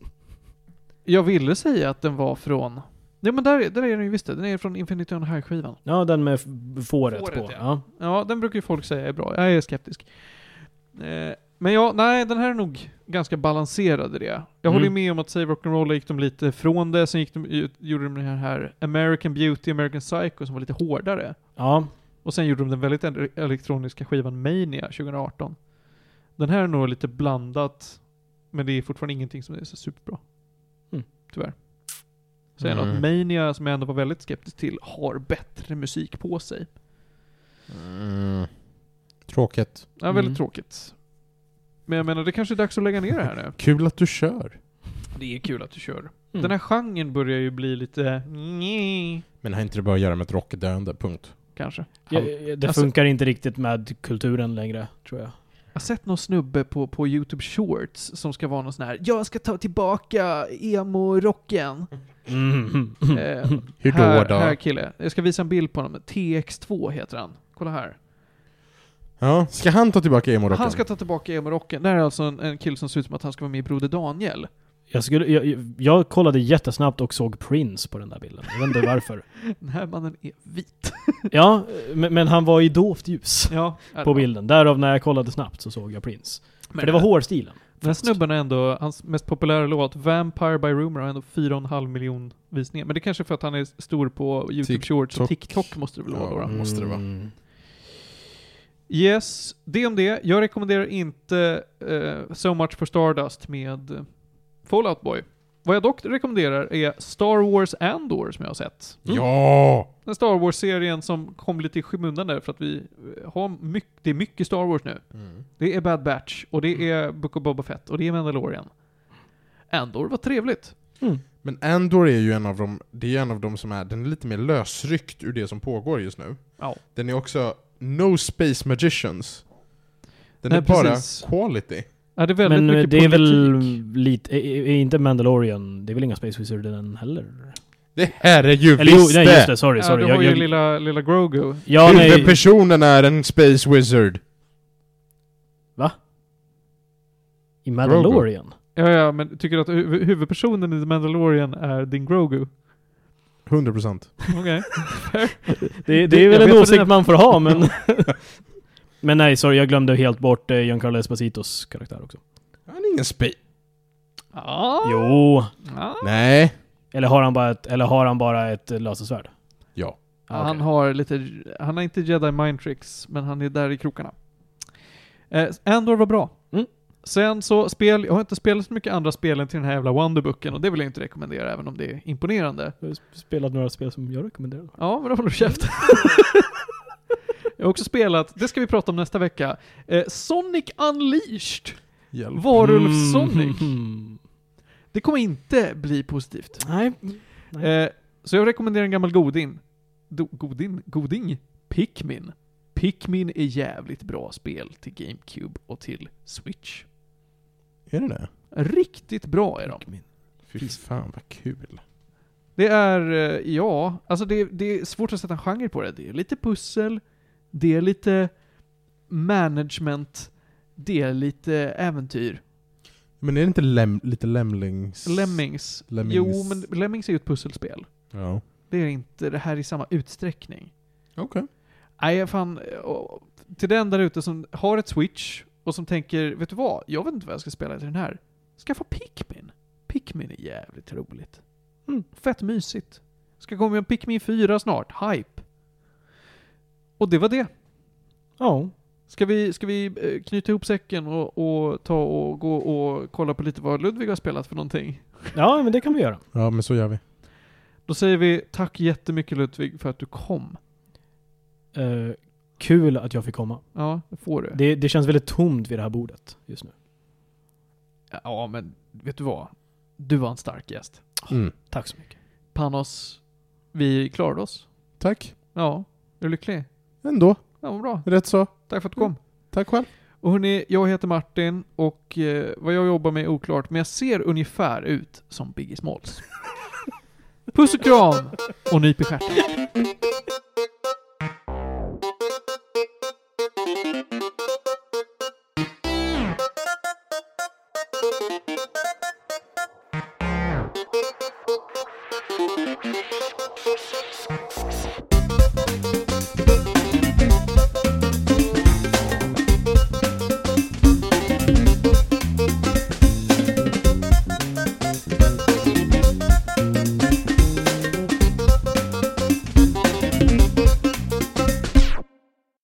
Speaker 1: Jag ville säga att den var från... Nej men där, där är den ju visst det. Den är från Infinity on High-skivan.
Speaker 3: Ja, den med f- fåret,
Speaker 1: Fåret,
Speaker 3: på.
Speaker 1: ja.
Speaker 3: Ja.
Speaker 1: Ja, den brukar ju folk säga är bra. Jag är skeptisk. Eh, men ja, nej, den här är nog ganska balanserad i det. Jag håller ju
Speaker 3: Mm.
Speaker 1: med om att Save Rock'n'Roll gick de lite från det, sen gick de, ut- gjorde de den här, här American Beauty, American Psycho som var lite hårdare.
Speaker 3: Ja.
Speaker 1: Och sen gjorde de den väldigt ele- elektroniska skivan Mania 2018. Den här är nog lite blandat, men det är fortfarande ingenting som är så superbra.
Speaker 3: Mm.
Speaker 1: Tyvärr. Säger han
Speaker 2: Mm.
Speaker 1: att Mania, som jag ändå var väldigt skeptisk till, har bättre musik på sig.
Speaker 2: Mm. Tråkigt.
Speaker 1: Ja, väldigt
Speaker 3: Mm.
Speaker 1: tråkigt. Men jag menar, det kanske är dags att lägga ner det här nu.
Speaker 2: Kul att du kör.
Speaker 1: Det är kul att du kör.
Speaker 3: Mm.
Speaker 1: Den här genren börjar ju bli lite... Nj,
Speaker 2: Men har inte det bara att göra med ett rockdöende, punkt.
Speaker 1: kanske.
Speaker 3: Ja, ja, det
Speaker 1: Alltså-
Speaker 3: funkar inte riktigt med kulturen längre, tror jag.
Speaker 1: Jag har sett någon snubbe på, på YouTube Shorts som ska vara någon sån här Jag ska ta tillbaka emo-rocken. Eh,
Speaker 2: Hur då
Speaker 1: här,
Speaker 2: då?
Speaker 1: Här kille. Jag ska visa en bild på honom. TX2 heter han. Kolla här.
Speaker 2: Ja, ska han ta tillbaka emo
Speaker 1: Han ska ta tillbaka emo-rocken. Det här är alltså en, en kille som ser ut som att han ska vara med i Broder Daniel.
Speaker 3: Jag, skulle, jag, jag kollade jättesnabbt och såg Prince på den där bilden. Jag vet inte varför.
Speaker 1: Den här mannen är vit.
Speaker 3: Ja, men, men han var i dovt ljus
Speaker 1: Ja,
Speaker 3: på bilden. Därav när jag kollade snabbt så såg jag Prince. För det var hårstilen.
Speaker 1: Den här snubben är ändå, hans mest populära låt, Vampire by Rumor, har ändå 4,5 miljon visningar. Men det är kanske är för att han är stor på YouTube
Speaker 2: TikTok.
Speaker 1: Shorts och TikTok måste det väl vara då,
Speaker 2: Ja.
Speaker 1: då?
Speaker 2: måste det vara.
Speaker 3: Mm.
Speaker 1: Yes, det om det. Jag rekommenderar inte eh, So Much for Stardust med eh, Fallout Boy. Vad jag dock rekommenderar är Star Wars Andor som jag har sett.
Speaker 2: Mm.
Speaker 3: Mm.
Speaker 2: Ja!
Speaker 1: Den Star Wars-serien som kom lite i skymundan där för att vi eh, har mycket, det är mycket Star Wars nu. Det är Bad Batch och
Speaker 2: Mm.
Speaker 1: det är Book of Boba Fett och det är Mandalorian. Andor var trevligt.
Speaker 3: Mm.
Speaker 2: Men Andor är ju en av de, det är en av de som är, den är lite mer lösryckt ur det som pågår just nu.
Speaker 1: Ja.
Speaker 2: Den är också No Space Magicians. Den
Speaker 1: Nej,
Speaker 2: är bara
Speaker 1: precis.
Speaker 2: quality.
Speaker 1: Ja, det är väldigt
Speaker 3: Men eh,
Speaker 1: mycket
Speaker 3: det är väl
Speaker 1: politik.
Speaker 3: lite, är, är inte Mandalorian, det är väl inga Space Wizard i den heller?
Speaker 2: Det här är ju
Speaker 3: Eller jo, nej just det, sorry, sorry.
Speaker 1: ja, du har
Speaker 3: jag,
Speaker 1: ju
Speaker 3: jag,
Speaker 1: lilla, lilla Grogu.
Speaker 3: ja, nej,
Speaker 2: Huvudpersonen är en Space Wizard.
Speaker 3: I Mandalorian?
Speaker 1: Ja, ja, men tycker du att hu- huvudpersonen i The Mandalorian är din Grogu?
Speaker 2: 100%.
Speaker 1: Okej.
Speaker 3: Det,
Speaker 1: Det-
Speaker 3: det är
Speaker 1: jag
Speaker 3: väl
Speaker 1: vet
Speaker 3: en
Speaker 1: vad
Speaker 3: åsikt
Speaker 1: dina-
Speaker 3: man får ha, men... men nej, sorry, jag glömde helt bort eh, Giancarlo Espacitos karaktär också.
Speaker 2: Han är ingen space...
Speaker 1: Ah.
Speaker 3: Jo.
Speaker 1: Ah.
Speaker 2: Nej.
Speaker 3: Eller har han bara ett, eller har han bara ett eh, lasersvärd?
Speaker 2: Ja.
Speaker 3: Ah, okej.
Speaker 1: Han har lite, han har inte jedi mind tricks, men han är där i krokarna. Eh, Andor var bra.
Speaker 3: Mm.
Speaker 1: Sen så spel, jag har inte spelat så mycket andra spel än till den här jävla Wonderbooken och det vill jag inte rekommendera även om det är imponerande.
Speaker 3: Jag har spelat några spel som jag rekommenderar.
Speaker 1: Ja, men då håller du käften. jag har också spelat, det ska vi prata om nästa vecka, eh, Sonic Unleashed!
Speaker 2: Hjälp.
Speaker 1: Varulv Sonic.
Speaker 3: Mm.
Speaker 1: Det kommer inte bli positivt.
Speaker 3: Nej.
Speaker 1: Eh, så jag rekommenderar en gammal godin. Do, godin? Goding? Pikmin. Pikmin är jävligt bra spel till GameCube och till Switch.
Speaker 2: Är det det?
Speaker 1: Riktigt bra är de.
Speaker 2: Fy fan vad kul.
Speaker 1: Det är, eh, ja, alltså det, det är svårt att sätta en genre på det. Det är lite pussel, det är lite management, det är lite äventyr.
Speaker 2: Men är det inte lem, lite lämlings...
Speaker 1: Lemmings.
Speaker 2: Lemmings.
Speaker 1: Jo, men Lemmings är ju ett pusselspel.
Speaker 2: Ja.
Speaker 1: Det är inte det här i samma utsträckning.
Speaker 2: Okej.
Speaker 1: Nej, fan. eh, och- Till den där ute som har ett Switch och som tänker, vet du vad? Jag vet inte vad jag ska spela till den här. Skaffa Pikmin. Pikmin är jävligt roligt.
Speaker 3: Mm.
Speaker 1: Fett mysigt. Ska komma med Pikmin 4 snart. Hype. Och det var det.
Speaker 3: Ja.
Speaker 1: Ska vi, ska vi eh, knyta ihop säcken och, och ta och gå och kolla på lite vad Ludvig har spelat för någonting?
Speaker 3: Ja, men det kan vi göra.
Speaker 2: Ja, men så gör vi.
Speaker 1: Då säger vi tack jättemycket Ludvig för att du kom.
Speaker 3: Eh, kul att jag fick komma.
Speaker 1: Ja, det får du.
Speaker 3: Det, det känns väldigt tomt vid det här bordet just nu.
Speaker 1: Ja, men vet du vad? Du var en stark gäst.
Speaker 2: Mm.
Speaker 3: Tack så mycket.
Speaker 1: Panos, vi klarade oss.
Speaker 2: Tack.
Speaker 1: Ja, är du lycklig?
Speaker 2: Ändå.
Speaker 1: Ja, vad bra.
Speaker 2: Rätt så.
Speaker 1: Tack för att du kom.
Speaker 2: Tack själv.
Speaker 1: Och hörni, jag heter Martin och eh, vad jag jobbar med är oklart, men jag ser ungefär ut som Biggie Smalls. Puss och kram! Och nyp i stjärten.